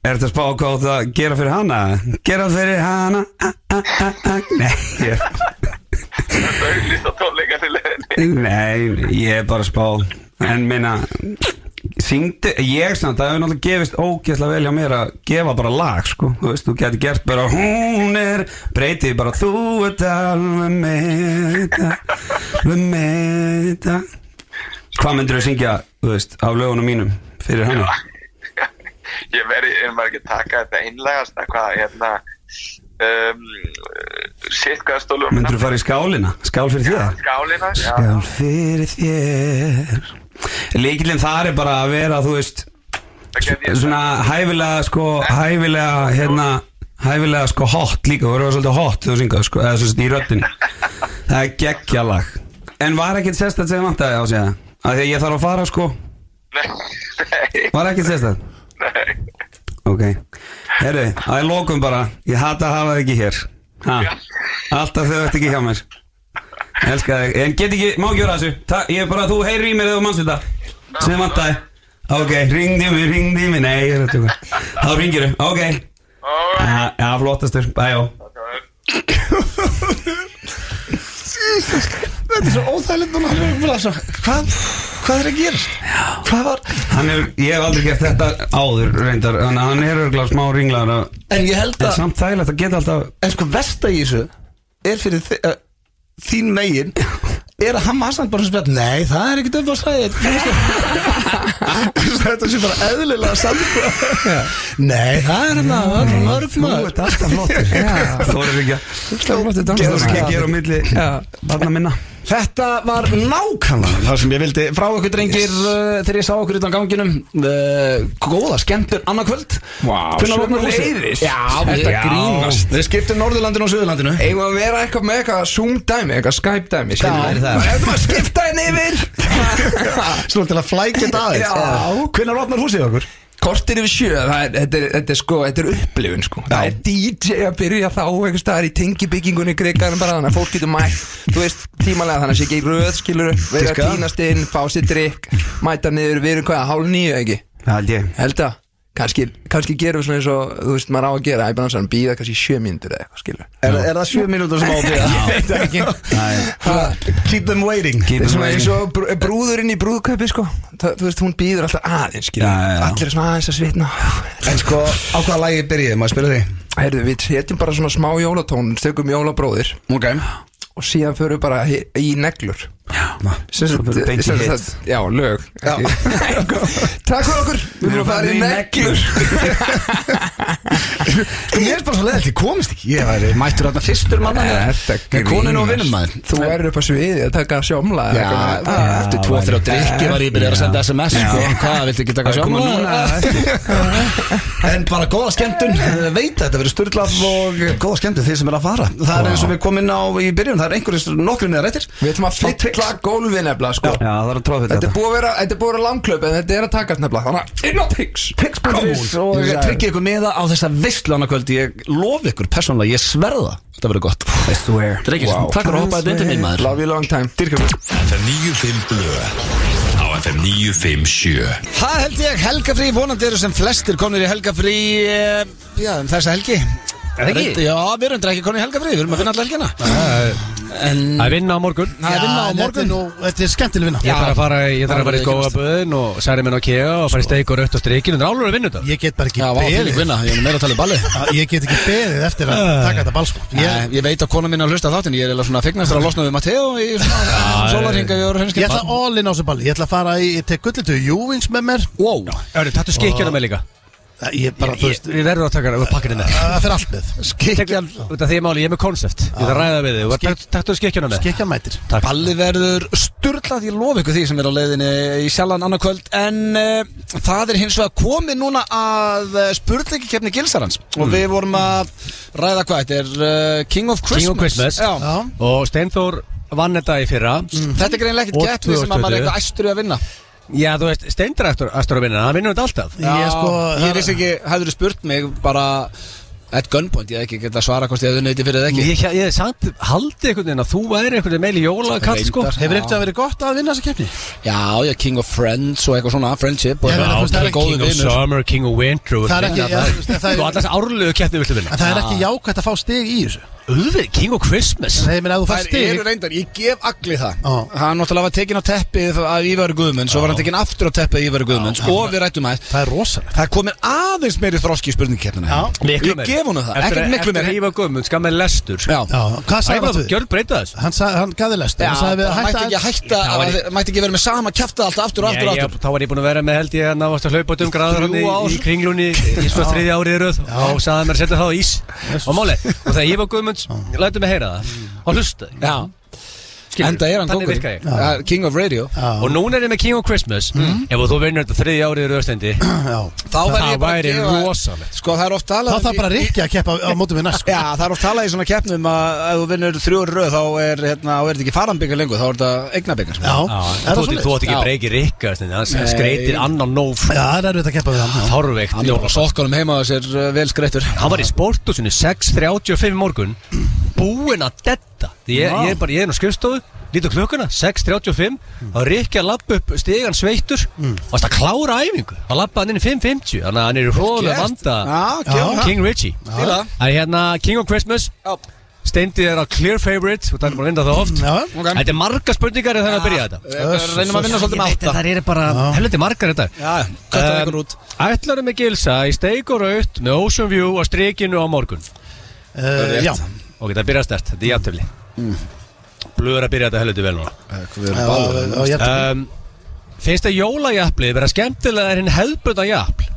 S5: Er þetta að spá hvað þú átt að gera fyrir hana? Gera fyrir hana a, a, a, a. Nei, ég,
S6: Þetta er auðvitað tónleikar í leiðinni
S5: nei, ég er bara að spá En minna Syngdu, ég samt, það hefur náttúrulega gefist ógeðslega vel hjá mér að gefa bara lag sko, þú veist, þú getur gert bara hún er, breytið bara þú ert alveg með þetta alveg með þetta hvað myndir þú syngja, þú veist, af lögunum mínum fyrir hana?
S6: Ég veri, er maður ekki að taka þetta einlegasta Hvað, hérna um, Sitt, hvað stólu
S5: Myndir þú fara í skálina? Skál fyrir þér?
S6: Skálina, já
S5: Skál fyrir þér Líkilinn þar er bara að vera þú veist
S6: Það get ég
S5: svona hæfilega sko hæfilega hérna hæfilega sko hot líka þú verður svolítið hot þegar þú syngur sko eða svolítið í röddinni það er geggjalag en var ekkert sérstætt sem vantaði á sig það af því að ég þarf að fara sko
S6: (laughs) Nei,
S5: var ekkert sérstætt
S6: nei, nei
S5: ok herru að ég lokum bara ég hata að hafa þig ekki hér ha alltaf þau ert ekki hjá mér elska þig en get ekki má ekki vera að þessu Ta, ég er bara þú heyrir í mér eða þú manns þetta sem vantaði ok ringdi mig ringdi mig nei ég er að tjóka þá ringir þau ok
S6: All right
S5: Já, já, flottastur, bæjó
S7: Þetta er svo óþægilegt núna Hvað, hvað er að gerast? Hvað var?
S5: Hann er, ég hef aldrei gert þetta áður reyndar Þannig að hann er örgulega smá ringlar
S7: En ég held
S1: Ah.
S5: En
S7: að,
S5: samt þægilegt að geta alltaf
S7: en sko versta í þessu er fyrir þi, uh, þín megin er að hann var samt bara sem spjall Nei, það er ekkert upp á sæðið (laughs) Þetta sé bara eðlilega samt Nei, það er hérna hann að það er mörgmaður
S5: Þetta er alltaf
S7: (laughs)
S5: flottur Þórir ekki að Gerður ekki að gera á milli Barna minna
S7: Þetta var nákvæmlega það sem ég vildi frá okkur drengir uh, þegar ég sá okkur utan ganginum uh, góða skemmtur annarkvöld
S5: Vá,
S7: Hvenær opnar húsið?
S5: sömuleiðis.
S7: Já,
S4: Þetta
S7: já.
S4: grínast.
S7: Við skiptum Norðurlandinu og Suðurlandinu
S4: Eigum að vera eitthvað með eitthvað Zoom dæmi, eitthvað Skype dæmi
S7: Já,
S4: skilurðu?
S7: það.
S4: Ef maður skipta henni yfir
S7: Svo til að flækja þetta aðeins
S4: Já.
S7: Hvenær opnar húsið okkur?
S4: Kortir yfir sjö, það er, þetta, er, þetta er sko, þetta er upplifun sko Það er DJ að byrja þá einhvers staðar í tengibyggingunni krigarinn bara þannig að fólk getur mætt, þú veist, tímalega þannig að sé ekki í röð skilur Verið að
S7: Diska.
S4: týnast inn, fá sér drikk, mæta niður, við erum hvað, hálf nýju ekki
S5: Það held ég
S4: Held að, kannski, kannski gerum við svona eins og, þú veist, maður á að gera, æbæðan sann, býða kannski í sjö mínútur eða eitthvað skilur
S7: Er, er það sjö mínútur sem á að
S5: (laughs)
S7: byrja? Keep them waiting
S4: Það er
S5: Keep
S4: svona
S5: it
S4: eins og brú- brúðurinn í brúðkaupi sko Þa, Þú veist, hún býður alltaf aðeins skilur
S5: Já, já, já.
S4: Allir er svona aðeins að svitna
S7: En sko, á hvaða lægi byrjið, maður spila því?
S4: Herðu, við setjum bara svona smá jólatón Stökum jólabróðir
S7: Ok
S4: Og síðan förum við bara he- í neglur Sem sagt-
S5: Svo beint í
S4: sem
S5: hit.
S4: sagt- Já, lög ekki- (laughs) Takk fyrir okkur Við erum að fara í neglur
S7: Sko, mér er bara svo leiðilt, ég komist ekki Ég væri mættur þarna fyrstur manna Með konun og vinnum maður
S4: Þú erur upp á sviði að taka sjómla eða
S7: Já,
S4: eitthvað.
S7: það-
S1: Eftir 2-3 drikki var ég byrjað að senda SMS sko, Hvað, viltu ekki taka
S5: Koma
S1: sjóma?
S5: núna
S7: En bara góða skemmtun, (laughs) eh, veit að þetta verður styrlað og góða skemmtun þið sem er að fara Það er eins og við komum inn á í byrjun, það er einhverjum nokkru neðar eittir
S4: Við ætlum að fylla gólfi nefnilega sko
S5: Já, það er að tróða
S4: Þetta
S5: þetta
S4: er búið að vera, þetta er búið að vera langklöp en þetta er að takast nefnilega Þannig að inn á pigs
S7: Pix.is og tryggja ykkur meða á þessa veistlana kvöld Ég lofi ykkur persónulega, ég sverða Þetta verður gott I swear Drengir, takk fyrir að hoppa þetta undir minn maður
S4: Love you long time
S8: FM 95 Blö Á FM 957
S1: Það held ég helgafrí, vonandi eru sem flestir komnir í helgafrí eh, Já, um þessa helgi Er
S3: ekki?
S1: Já, við erum reyndar ekki konið í helgafrí, við erum að vinna alla helgina En
S3: Það er vinna á morgun
S1: það er vinna á
S2: en þetta er
S1: morgun
S2: nú- Þetta er skemmtileg vinna
S3: Ég þarf að fara, í- ég þarf að fara í
S1: Alveg
S3: skóaböðin og særi minn á kega og fara í steik og rött og strikin Þetta er álur að vinna þetta
S2: Ég get bara ekki
S1: Já, vá, fyrir
S2: beðið
S1: vinna, ég er meira að tala um balli
S2: Já, Ég get ekki beðið eftir að taka þetta ball sko Ég
S1: Ég, ég veit að kona mín er að hlusta á þáttinn, ég er eða svona fegnast að losna við Matteo í svona sólarhinga við vorum
S2: Ég
S1: henskip
S2: ætla all in á þessu balli Ég ætla að fara í, ég tek gullitu Júvins með mér
S1: Wow,
S3: Örnum, taktu skikkjana með líka
S2: Ég bara, þú veist,
S3: Við verðum að taka það, við pakkinni með
S2: það fer allt með
S1: skikjan
S3: Þetta er því máli, ég er með konsept Ég þarf að ræða við þig, Takk- taktu skikkjana með
S2: Skekja mætir
S1: Balli verður sturlað, ég lofa ykkur því sem er á leiðinni í sjálfan annarkvöld En uh, það er hins vegar komið núna að uh, spurningikefni Gilsarans
S3: Mm.
S1: Og við vorum að ræða hvað, þetta er uh, King of Christmas
S3: King of Christmas.
S1: Já. Mm.
S2: Já,
S3: Og Steinþór vann þetta í fyrra
S1: Þetta er greinlega
S3: Og
S1: ekkert keppni sem að maður er
S3: 2020.
S1: eitthvað æstur í að vinna
S3: Já, þú veist, Steindur eftir að vinna, hann vinnur þetta alltaf
S2: ég sko
S1: ég vissi ekki, hefur þú spurt mig bara at gunpoint, ég hef ekki geta svara hvort ég hefði nöyti fyrir það ekki
S3: Ég, ég, ég samt haldi einhvern veginn að þú væri einhvern veginn meil í jólakall sko
S1: Reyndar.
S2: Hefur eftir að verið gott að vinna þessa keppni?
S1: Já, já, King of Friends og eitthvað svona, friendship og
S2: Ég meina, þú veist, það
S1: það
S2: er
S1: er góðu
S3: King of
S1: vinur
S3: Summer, King of Winter og
S2: Það er ekki-
S3: allar-
S2: já, þú veist, það er-
S3: Þú allast árlegu keppni viltu vinna
S2: En það er ekki jákvæmt að fá stig í þessu
S3: Uðvið, King of Christmas
S2: Nei, ég meina, ef þú fær
S1: Það eru
S2: stig
S1: reyndar, ég gef agli það
S2: Já.
S1: Hann náttúrulega var tekinn á teppið af Ívar Guðmunds og var hann tekinn aftur á teppið af Ívar Guðmunds og við rættum aðeins
S2: Það er rosalegt
S1: Það er komin aðeins meiri þroski í spurningkeppnina
S2: Já.
S3: Miklu
S1: Ég
S3: meira.
S1: gef honum það,
S3: Eftir-
S1: ekkert miklu meira
S3: Eftir Ívar Guðmund, skam með lestur sko.
S1: Já,
S2: Já, hvað sagði
S3: Ævar,
S2: hann
S3: þú
S2: við?
S3: gjörð breyta þessu
S2: Hann, sagði, hann gaði lest
S1: já
S2: Hann sagði við
S1: það mætti ekki
S2: hætta
S1: að hætta
S3: Já,
S1: að-
S3: var ég-
S1: Mætti ekki vera með sama kjafta alltaf aftur og aftur
S3: Ég-
S1: og
S3: ég-
S1: aftur
S3: Þá var ég búin að vera með held ég að náast að hlaupa út um graður hann í,
S1: Þrjú ár.
S3: í kringlunni í svona þriðja árið í röð og sagði mér að setja það á ís og máli og þegar ég var Guðmunds, lættu mig heyra það og hlusta
S1: Já, enda er hann
S3: þannig
S1: kókur
S3: virka ég
S1: King of Radio
S3: og núna er ég með King of Christmas ef þú vinnur þetta þriðja árið í röðstendi
S2: Já.
S1: Mm. Þá verð
S3: Það
S1: ég bara að
S3: væri
S1: gefa-
S3: rosalegt.
S1: Sko það er oft
S2: Þá
S1: talað um
S2: þarf bara
S1: í-
S2: Rikki að keppa á mótum við næst sko.
S1: Já, það er oft talað í svona keppnum að ef þú vinnur þrjóri röð þá er, hérna, þá er þetta ekki farambyggar lengur, þá er þetta eignabyggar
S2: Já, er það
S3: þú þú
S2: svoleiðis?
S3: átt ekki
S1: Já.
S3: að breyki rikka hann
S1: Nei.
S3: skreitir annan nóf
S2: Já, það er erfitt að keppa við hann já.
S3: þárveikt
S1: Hann er bara
S3: hann
S1: sokkunum heima og sér uh, vel skreittur
S3: var í sportusinu 6.35 í morgun búinn að detta Því ég, ég er bara, ég er nú skrifstofu lít á klukkuna, 6.35
S1: Mm.
S3: þá er Rikki að lappa upp stegan sveittur og það klára æfingu þá lappa hann inn í 5.50 þannig að hann er í hróðulega
S1: Gert.
S3: vanda
S1: Já, gefum
S3: King Richie
S1: Fíla.
S3: það er hérna King of Christmas
S1: Já.
S3: Steindi er á clear favorite og það er bara að vinna það
S1: Mm,
S3: oft Þetta er marga spurningar þegar það
S1: Ah.
S3: byrja þetta
S1: Eh,
S9: Reynum að vinna svolítið með átta
S3: Það eru bara helviti margar þetta Um,
S9: Já, köttum við ykkur út
S3: Ætlarum við gilsa í steik og raut með Ocean View á strikinu á morgun
S2: uh, Já,
S3: Ok, það byrja stert, þetta er jafntöfli Blöður að byrja þetta helviti vel núna
S2: já, já, já, já
S3: um, Finnst það jólajafli vera skemmtilega en hefðbunda jafl?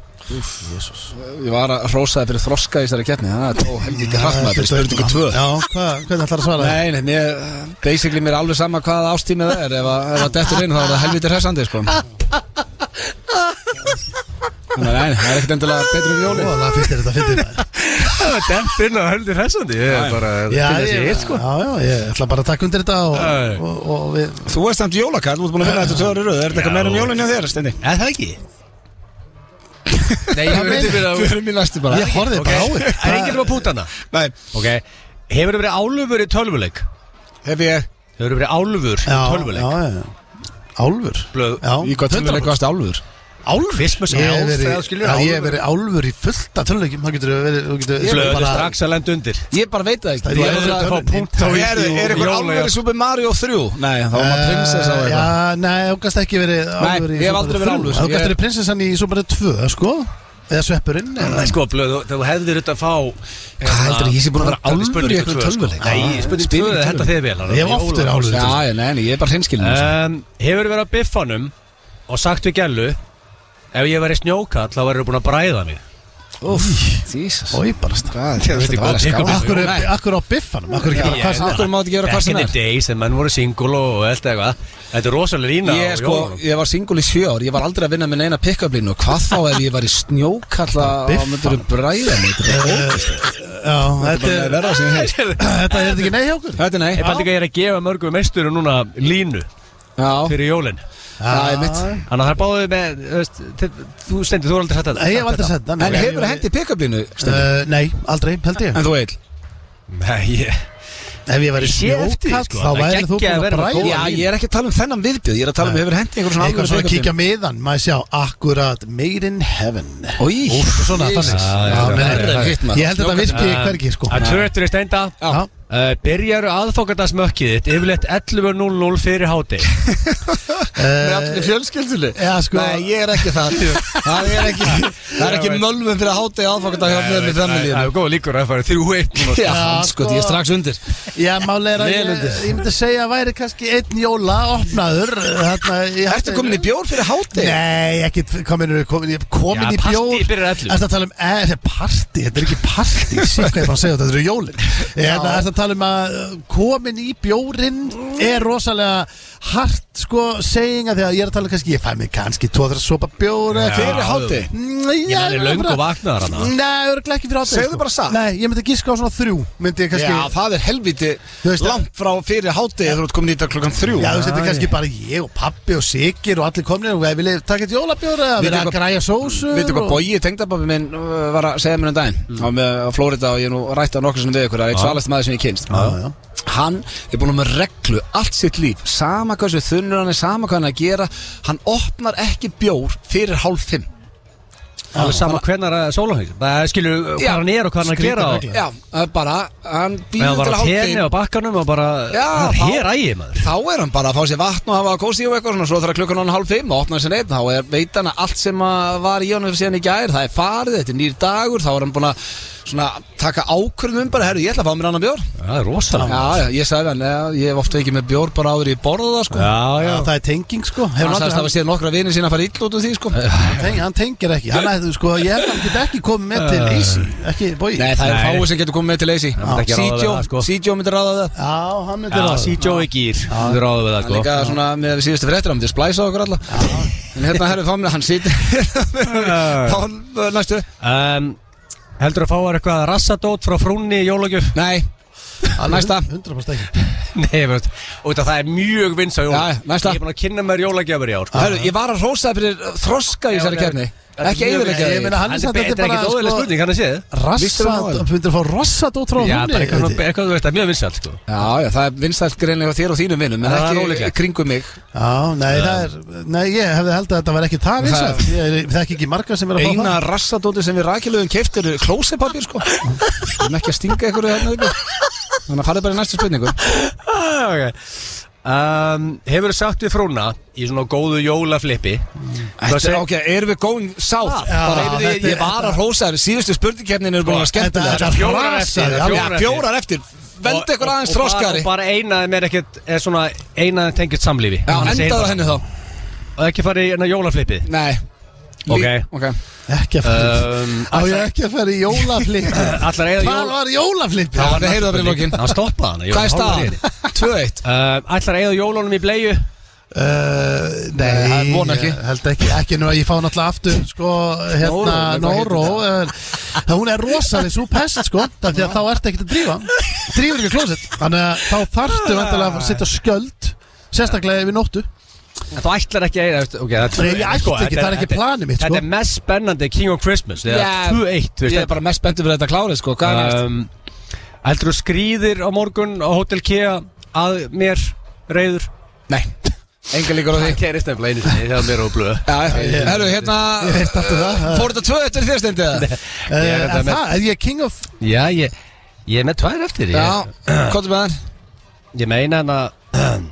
S1: Ég var að hrósaði fyrir þroska í þessari keppni Þannig að það tók helviti hratt maður fyrir spurningu 2
S2: Já, hvað, hvernig ætlar að svara
S1: Nei, nei, mér, basically mér er alveg sama hvaða ástími það er Ef að, ef að dettur inn þá er það helviti hressandi sko. Þannig að nei, það er ekkert endilega betri en jóli
S2: Það finnst þér þetta fyndið maður.
S3: Það er dempt inn á helviti hressandi Ég er sko. bara
S2: Já, ég, já, já, ég ætla bara að taka undir þetta
S3: Já, já.
S2: og, og, og við
S10: Þú er stemt jólakall, þú ert búin að finna þetta tvö ári röð Er þetta eitthvað meira um jólun hjá þér, Steindi?
S3: Er það ekki? Nei,
S2: Hvað
S3: ég veit ekki
S1: Við erum í næstu bara
S2: Ég horfði bara á
S3: Það er enginn um að púta hana
S10: Nei,
S3: Ok, hefur verið álfur í tölvuleik?
S10: hef ég
S3: Hefur verið álfur í
S2: Já,
S3: tölvuleik?
S2: já, já Álfur
S3: Blöð-
S2: Já,
S1: Í hvað tölvuleik varstu álfur?
S3: Álfur? Fismus
S2: Ég hef
S3: álf,
S2: verið,
S3: það skilur
S2: já,
S3: álfur.
S2: ég hef verið álfur í fullt af töluleikjum Það getur verið, þú getur
S3: Blöður strax að lenda undir
S1: Ég bara veit það ekki
S2: Það
S1: Þú hefur
S2: er alveg
S1: það-
S2: tölvuleik.
S3: punkt á í-
S10: Er,
S3: í-
S10: er
S3: í
S10: eitthvað
S3: jólajafl.
S10: álverið Super Mario 3?
S1: Nei, þá var maður prinsessa og
S2: Eh,
S1: eitthvað
S2: Já, nei, þú gæst ekki verið álfur í
S1: ég hef aldrei verið
S2: Super
S1: álfur,
S2: Þú
S1: ég-
S2: gæst verið prinsessan í Super 2, sko Eða sveppurinn
S3: Nei, sko, blöð, þú- þú hefðir þetta að fá hérna, Hvað
S1: heldur þú, ég sé búin að vera álfur í einhverjum tölvuleik?
S3: sko. Nei, spurning
S1: Spilum
S3: 2,
S1: í
S3: þetta þið vel
S2: Ég hef oft verið álfur í
S1: Já,
S2: þessu.
S1: já, nei, nei, ég er bara sko. hreinskilin
S2: Eh,
S3: um, Hefur verið á biffanum og sagt við gælu Ef ég verið snjókall, þá verður búin að bræða mig
S1: Úff, Jesus
S2: Ói, bara strax
S1: Hvað,
S3: veit ekki
S1: þetta var
S3: hvað
S1: að
S3: tekur
S1: skála
S3: mig.
S2: Akkur, akkur á biffanum, akkur ekki bara hvað sem
S1: Akkur
S2: er
S1: mátt ekki gera hvað
S3: Back
S1: sem
S3: in the
S1: er
S3: days, þegar menn voru singul og og allt eitthvað Þetta er rosalega lína
S1: Ég,
S3: á
S1: sko,
S3: jólunum.
S1: ég var singul í sjö ár, ég var aldrei að vinna minn eina pick-up línu Hvað þá ef ég var í snjókalla og
S2: Biffa.
S1: myndur um bræða mig Þetta er bara ógeðslegt.
S2: Eh, Já, þetta
S1: Þetta er
S2: er,
S1: verða sem ég heist
S2: þetta er þetta ekki nei hjá okkur
S1: Þetta er nei
S3: Ég paldi ekki að ég er að gefa mörgum meisturum núna línu
S1: Já,
S3: fyrir jólin
S1: það er mitt
S3: Þannig að það er báðið með, þú veist, þið- þú stendur, þú er aldrei sett að
S2: Nei, ég hef aldrei sett það nei.
S1: En hefur það hendi pick-up línu? Steini?
S2: Eh, Nei, aldrei, held ég
S1: En þú eil?
S3: Nei, ég
S2: Ef ég væri
S3: Ég sé eftir því,
S2: snjókall,
S3: sko.
S2: þá
S3: Það
S2: væri þú
S3: geggja
S2: búin
S3: að
S2: að
S3: vera með
S2: bræða
S1: Já, ég er ekki að tala um þennan viðbjöð Ég er að tala um hefur hendi einhver svona
S2: Eitthvað svona
S1: alvöru
S2: að kíkja
S1: pickup línu.
S2: miðan, maður sjá Akkurat, made in heaven
S1: Oj,
S2: Úf, svona,
S1: Jesus.
S2: þannig
S3: Já,
S2: Já,
S3: já,
S2: nei,
S1: já,
S2: nei,
S1: já, hitt maður.
S2: Ég held að þetta virki hvergi, sko
S3: Að tvötur í steinda
S2: Já.
S3: Uh, byrjaru aðfókardagsmökkið þitt yfirleitt 11.00 fyrir háti
S1: Með allir fjölskylduli
S2: Já, sko.
S1: Nei, ég er ekki (laughs) það Það er ekki, það er ekki mölvun fyrir að háta í aðfangata hjá mér með
S3: Eh, Það
S1: femmilíðinu
S3: er góð líkur að fara 3-1
S1: Já,
S2: Já,
S1: sko, ég er strax undir
S2: Já, málega er að
S1: Vel
S2: ég,
S1: undir.
S2: ég myndi segja að væri kannski einn jóla opnaður þarna, ég,
S1: Ertu komin í bjór fyrir háti?
S2: Nei, ekki komin, komin, ég er komin
S3: Já,
S2: í
S3: partí
S2: bjór
S3: byrjar 11.
S2: Ertu að tala um, er þetta partí? Þetta er ekki partí,
S3: (laughs)
S2: síðan hvað ég bara að segja þetta, þetta eru jólin Þetta er að tala um að uh, komin í bjórin er rosalega hart, sko, seginga Þegar ég er að tala um kannski, ég fæ mig kannski tóður að sopa bjór eða eitthvað.
S1: Fyrir háti?
S2: Mm,
S3: Ég menn er löngu
S2: bara-
S3: vaknaðar hana
S2: Nei, örglega ekki fyrir hátti
S1: Segðu bara satt.
S2: Nei, ég myndi giska á svona þrjú Myndi ég kannski
S1: Já, það er helviti
S2: Þú veist-
S1: langt frá fyrir háti Þú ert komin í þetta klukkan þrjú
S2: Já, þú veist, þetta er kannski bara ég og pappi og Sigir og allir komnir og við viljum taka eitt jólabjóra að
S1: Vitið
S2: vera að
S1: hvað-
S2: græja sósu
S1: Veitu hvað Bói, tengdababbi minn uh, var að segja mér um daginn mm. á, með, á Florida og ég hef nú rætti á nokkur sem við ykkur, það er eitt svalast maður sem ég kynst
S2: já.
S1: Hann er búin með reglu allt sitt líf, sama hvað sem þunnur hann er sama hvað hann er að gera, hann opnar ekki bjór fyrir hálf fimm
S3: Alveg sama hvernar að sólahengis Það skilur hvað
S1: Já.
S3: hann er og hvað hann er að gera og-
S1: Já, það er bara, hann
S3: Meðan hann
S1: býður til
S3: var á
S1: hálf
S3: tenni
S1: fimm
S3: á bakkanum og bara
S1: Já,
S3: Það
S1: þá-
S3: er ægi maður
S1: Þá er hann bara að fá sér vatn og hafa að kósi og eitthvað svona Svo þarf að klukkan hann hálf fimm og opna sér einn Þá er, veit hann að allt sem að var í honum síðan í gær Það er farið, þetta er nýr dagur Þá er hann búin að svona, taka ákvörðum um bara Herru, ég ætla að fá mér annan bjór
S3: Það er rosalega
S1: Já, já, ég sagði hann, já, ég hef ofta ekki með bjór bara áður í borða það sko
S3: Já,
S2: Já,
S3: já
S2: það er tenging, sko Hefur
S1: Hann
S2: aldrei-
S1: sagðist að það séð nokkra vini sína að fara ill út úr því sko Nei,
S2: hann, teng, hann tengir ekki Hann ættu, sko, ég held að hann get ekki komið með til Easy Ekki Bói Já,
S1: það er
S3: Nei.
S1: fáið sem getur komið með til leysi
S3: Það myndi ekki ráða við
S1: Sítjó,
S3: það, sko.
S1: Sítjó myndir ráða það
S2: hann myndi
S3: Já,
S2: ráða.
S3: C.J. í gýr Þú ráðu við það
S1: Hann
S3: sko
S1: líka svona með við síðustu fréttir, hann myndi splæsa okkur alla En hérna herri fá mér, hann
S2: (laughs)
S1: sitja Þá næstu
S3: um, Heldur að fá þér eitthvað rassadót frá frúnni í jólagjöf?
S1: (laughs) Nei,
S2: Alveg
S1: næsta.
S2: 100% ekki
S3: Nei, veist, út af það er mjög vins á jólagjöf
S1: Já, næsta.
S3: Ég er búin að kynna mér jólagjafur í ár sko.
S1: Herru, ég var að rósa það fyrir uh, þroska í
S3: Já,
S1: þessari
S3: það er-
S1: kefni
S3: það er
S1: Ekki
S3: mjög-
S1: eiginlega
S2: Ég meina, hann er
S3: Þetta
S2: satt
S3: er
S2: þetta
S3: ekki
S2: bara,
S3: dóðileg
S2: sko
S3: spurning, hann er séð
S1: Vissirðu það
S2: Rassat,
S1: áður?
S2: hann myndir að fá rassat út frá
S3: Já,
S2: húnni
S3: bara eitthvað, svona- eitthvað þú veist, það er mjög vinsælt sko
S1: Já, já, það er vinstælt greinlega þér og þínum vinnum En
S3: Það er
S1: ekki
S3: ólíklegt.
S1: kringum mig
S2: Já, nei, það er Nei, ég hefði held að þetta var ekki það
S1: Það-
S2: vinsælt Ég ég þekki ekki marga sem er að fá það
S1: Eina rassadóti sem við rækilegum keftir Klósepapir sko Við erum ekki að stinga ykkur hérna upp Þannig að farið bara í næstu spurningu
S3: Ah, okay. um, Hefur sagt við frúna í svona góðu jólaflippi Það
S1: Þetta,
S3: seg-
S1: ok, erum við going south?
S2: Já,
S1: Bara, heyrðu, ég,
S2: þetta- Sko,
S1: ég var að hrósa þér, síðustu spurningkefnin eru búin að vera skemmtilega
S2: þetta-
S3: fjórar eftir,
S2: rasaði,
S3: það er
S1: Já,
S3: fjórar eftir.
S1: fjórar eftir, veldu ykkur
S3: Og-
S1: aðeins
S3: og- og bara-
S1: þróskari
S3: Og bara einaðum er ekkert, er svona einaðum tengjast samlífi
S1: Já, endaðu á henni þá
S3: Og ekki farið í hérna jólaflippið
S1: Nei
S3: Ok.
S1: Lí- ok
S2: Ekki að fara
S3: um,
S2: Á ég ekki að fara í jólaflipp
S3: Allar eða
S2: Hvað
S3: (laughs) jól
S2: var jólaflipp?
S1: Já, við heyrðum það bara í lokin
S3: Það stoppaði hann
S1: Hvað er staðan? 2-1
S3: Um, ætlar að eigða jólunum í bleiu
S2: Uh,
S1: Nei, það
S2: nei,
S1: er von ekki.
S2: ég held ekki Ekki nú að ég fá náttúrulega aftur Sko, hérna,
S1: Nóró,
S2: Nóró eh, en það- Hún er rosalega svo pest, sko af Því að þá ertu ekkert að drífa Drífur ekki klósett Þannig að þá þarftu vantilega að setja skjöld Sérstaklega yfir nóttu
S3: En þú ætlar ekki að eigða okay,
S2: Nei,
S3: það er
S2: ég
S3: 2-1,
S2: ætla
S3: sko,
S2: ekki,
S3: þetta
S2: það er ekki
S3: þetta-
S2: planið mitt, sko.
S3: Þetta er mest spennandi King of Christmas Það
S1: Já,
S3: er 2-1 þú veist,
S1: Ég er bara mest spenntið fyrir þetta klárið sko Hvað er næst?
S3: um, Heldur þú skrýðir á morgun á Hotel Kea að mér reyður?
S1: Nei Enga líkur á því
S3: gerist nefnilega einu sinni þegar mér og blöð
S1: Já, herru, hérna
S2: Ég veist aftur það uh,
S1: Fór þetta 2-1 fyrir þér stendið
S2: uh,
S3: ég er þetta
S2: en
S3: með-
S2: Það, er ég king of
S3: Já, ég, ég er með tvær eftir
S1: Já,
S3: Ég,
S1: hvað með hann?
S3: ég meina hérna, hann að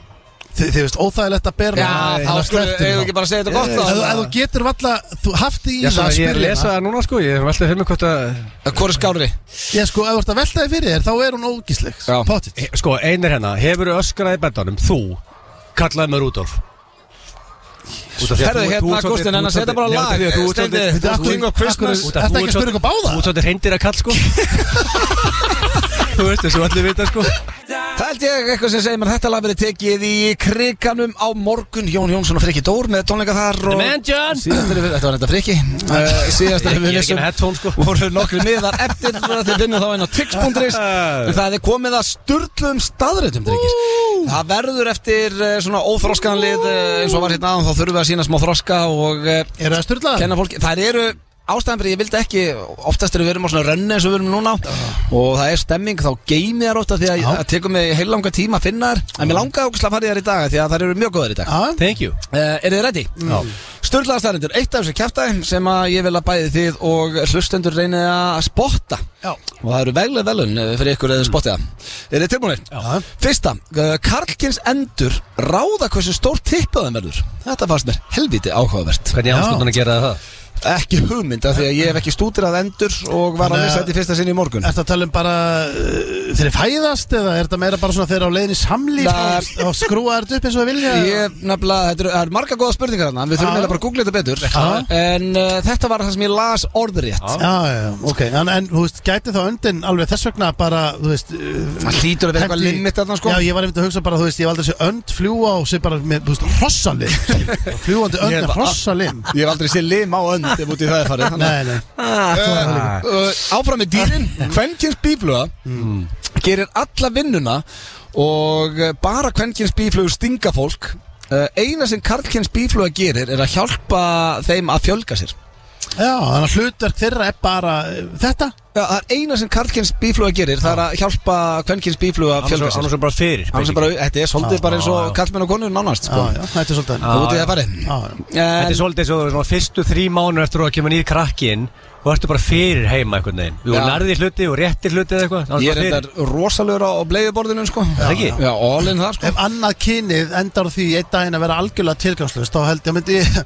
S2: Þið, þið veist, óþægilegt að bera hérna
S1: Já, þá skulum við eigum við ekki bara að segja þetta gott
S2: Eh, Ef
S1: þá
S2: ef þú getur valla, þú haft því í
S3: Já,
S2: það
S3: svona,
S2: að
S3: ég er að
S2: spyrja
S3: lesa
S2: hana.
S3: það núna sko Ég velta fyrir mig hvort að
S1: Hvor er skárri?
S2: Ég sko, ef þú ert að velta þig fyrir þér, þá er hún ógísleg
S1: Já.
S2: Pottit
S3: He- Sko, einir hérna Hefur öskraði bendanum Þú kallaði mig Rúdolf
S1: Herðu, hérna, Kostin, en að setja bara lag. Steindi,
S2: Þetta er
S1: King of Christmas.
S2: Þetta er ekki að spyrja ykkur báða
S3: um Þú tóttir reyndir að kall sko Þú veist þessu allir vita sko
S1: Það held ég eitthvað sem segir mér að þetta lag verið tekið í kriganum á morgun Jón Jónsson og Friki Dór með tónleika þar og
S3: John
S1: síðast erum við, þetta var þetta Friki uh, síðast
S3: Ég
S1: erum
S3: ég
S1: við
S3: er ekki
S1: vissum
S3: með headphone sko
S1: voru (laughs) nokkru miðar eftir þið vinnum þá inn á
S3: (laughs)
S1: tix.is en það er komið að sturdlum staðrætum drengir það verður eftir eh, svona óþroskanlið eh, eins og var hérna aðan þá þurfum við að sína smá þroska og eh,
S2: Er það
S1: (laughs)
S2: styrlaðar?
S1: kenna fólki, þær eru ástæðan fyrir ég vildi ekki, oftast eru við erum á svona rönni eins og við erum núna og það er stemming, þá geimi þær ofta því að það tekur mig heilanga tíma að finna þær en mér langaði okkur að fara í þær í dag af því að þær eru mjög góðar í dag
S2: Já,
S3: Thank you
S1: uh, Er þið ready? Mm. Sturlaða staðarindur, eitt af þessu kjæftæðum sem að ég vil að bæði þið og hlustendur reynið að spotta
S2: Já.
S1: og það eru veglega velun eh, fyrir ykkur eða spottið það Er þið tilbúinir?
S2: Já.
S1: Fyrsta, eh, Karlkins endur ráða hversu stór tippaðum verður Þetta fannst mér helviti áhugavert
S3: Hvernig áskotan að gera það?
S1: Ekki hugmynd af því að ég hef ekki stútirað endur og var að
S2: Þannig að-
S1: lesa þetta í fyrsta sinni í morgun
S2: Er það að tala um bara uh, þeir fæðast eða er þetta meira bara svona þeir á leiðin í samlíf
S1: Nei.
S2: og, og skrúa þetta upp eins og það vilja?
S1: Ég nefnilega, þetta eru- það eru marga góða spurningar hann Við þurfum
S2: Já.
S1: eiginlega bara að googla þetta betur
S2: Já.
S1: En uh, þetta var það sem ég las orðrétt
S2: Já, já, já, ok, en, en þú veist, gæti þá öndin alveg þess vegna bara, þú veist uh,
S1: Það hlýtur að vera eitthvað
S2: hendi-
S1: limit þarna sko
S2: Já, ég var einmitt að hugsa bara, þú veist, ég hef aldrei sé önd fljúa og sé bara með, þú veist,
S1: (laughs)
S2: hrossalim Fljúandi önd
S1: Ég
S2: með
S1: var-
S2: hrossalim
S1: Ég hef aldrei séð lim á önd ef út í það er (laughs) farið þannig að-
S2: Nei, nei,
S1: uh, uh, Áfram með dýrin Kvenkins bífluga
S2: Hmm.
S1: Gerir alla vinnuna Og uh, bara kvenkins bíflugur stinga fólk uh, Eina sem karlkins bífluga gerir Er að hjálpa þeim að fjölga sér
S2: já, þannig að hlutverk þeirra er bara uh, þetta
S1: Já, það er eina sem karlkins bífluga gerir Það er að hjálpa kvenkins bífluga að fjölga sér
S3: Annars er bara fyrir
S1: Annars er bara, þetta er svolítið bara eins og karlmenn og konur nánast
S2: Já,
S1: sko.
S2: já, þetta er svolítið þannig.
S1: Það er út í það farið
S2: Já, já,
S3: Þetta er
S1: En-
S3: svolítið eins og svona fyrstu þrý mánu eftir að kemur nýr krakkinn og ertu bara fyrir heima einhvern veginn Þú
S1: Já.
S3: nærði hluti og rétti hluti eða eitthvað annars
S1: Ég er
S3: bara fyrir.
S1: þetta rosalur á bleiðuborðinu sko.
S3: Það ekki?
S1: Já, all in það sko.
S2: Ef annað kynið endar á því einn daginn að vera algjörlega tilgangslust þá held ég, myndi ég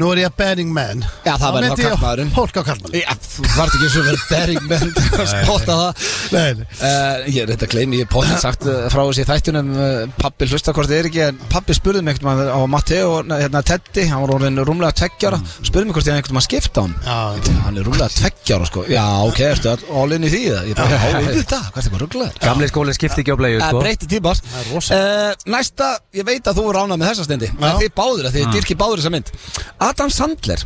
S2: Nú er ég að bearing man
S1: Já, það verður þá
S2: myndi ég
S1: karlmaðurinn.
S2: Hólka á karlmaðurinn
S1: Já, þú þarf ekki eins og verið bering menn til að spotta það
S2: Nei, nei.
S1: uh, Ég er þetta að gleymi, ég er potið sagt uh, frá þessi þættunum uh, Pappi hlusta hvort þið er ekki En pappi spurði mig einhvern veginn á Matteo nei, hérna Teddy, hann var orðin rúmlega tveggjara Spurði mig hvort þið er einhvern veginn að skipta hann
S2: Já,
S1: Hann er rúmlega tveggjara sko Já, ok, ertu all- all in í því eða? Ég bara, já, veitu þetta, hvað er þetta rugglaður?
S3: Gamli skólinn skipti ekki á bleiðu
S1: Það
S3: sko
S1: breyti tímar uh, Næsta, ég veit að þú er ránað með þessa stendi
S2: Já.
S1: Þið báður, að þið mm. dyrki báður þessa mynd Adam Sandler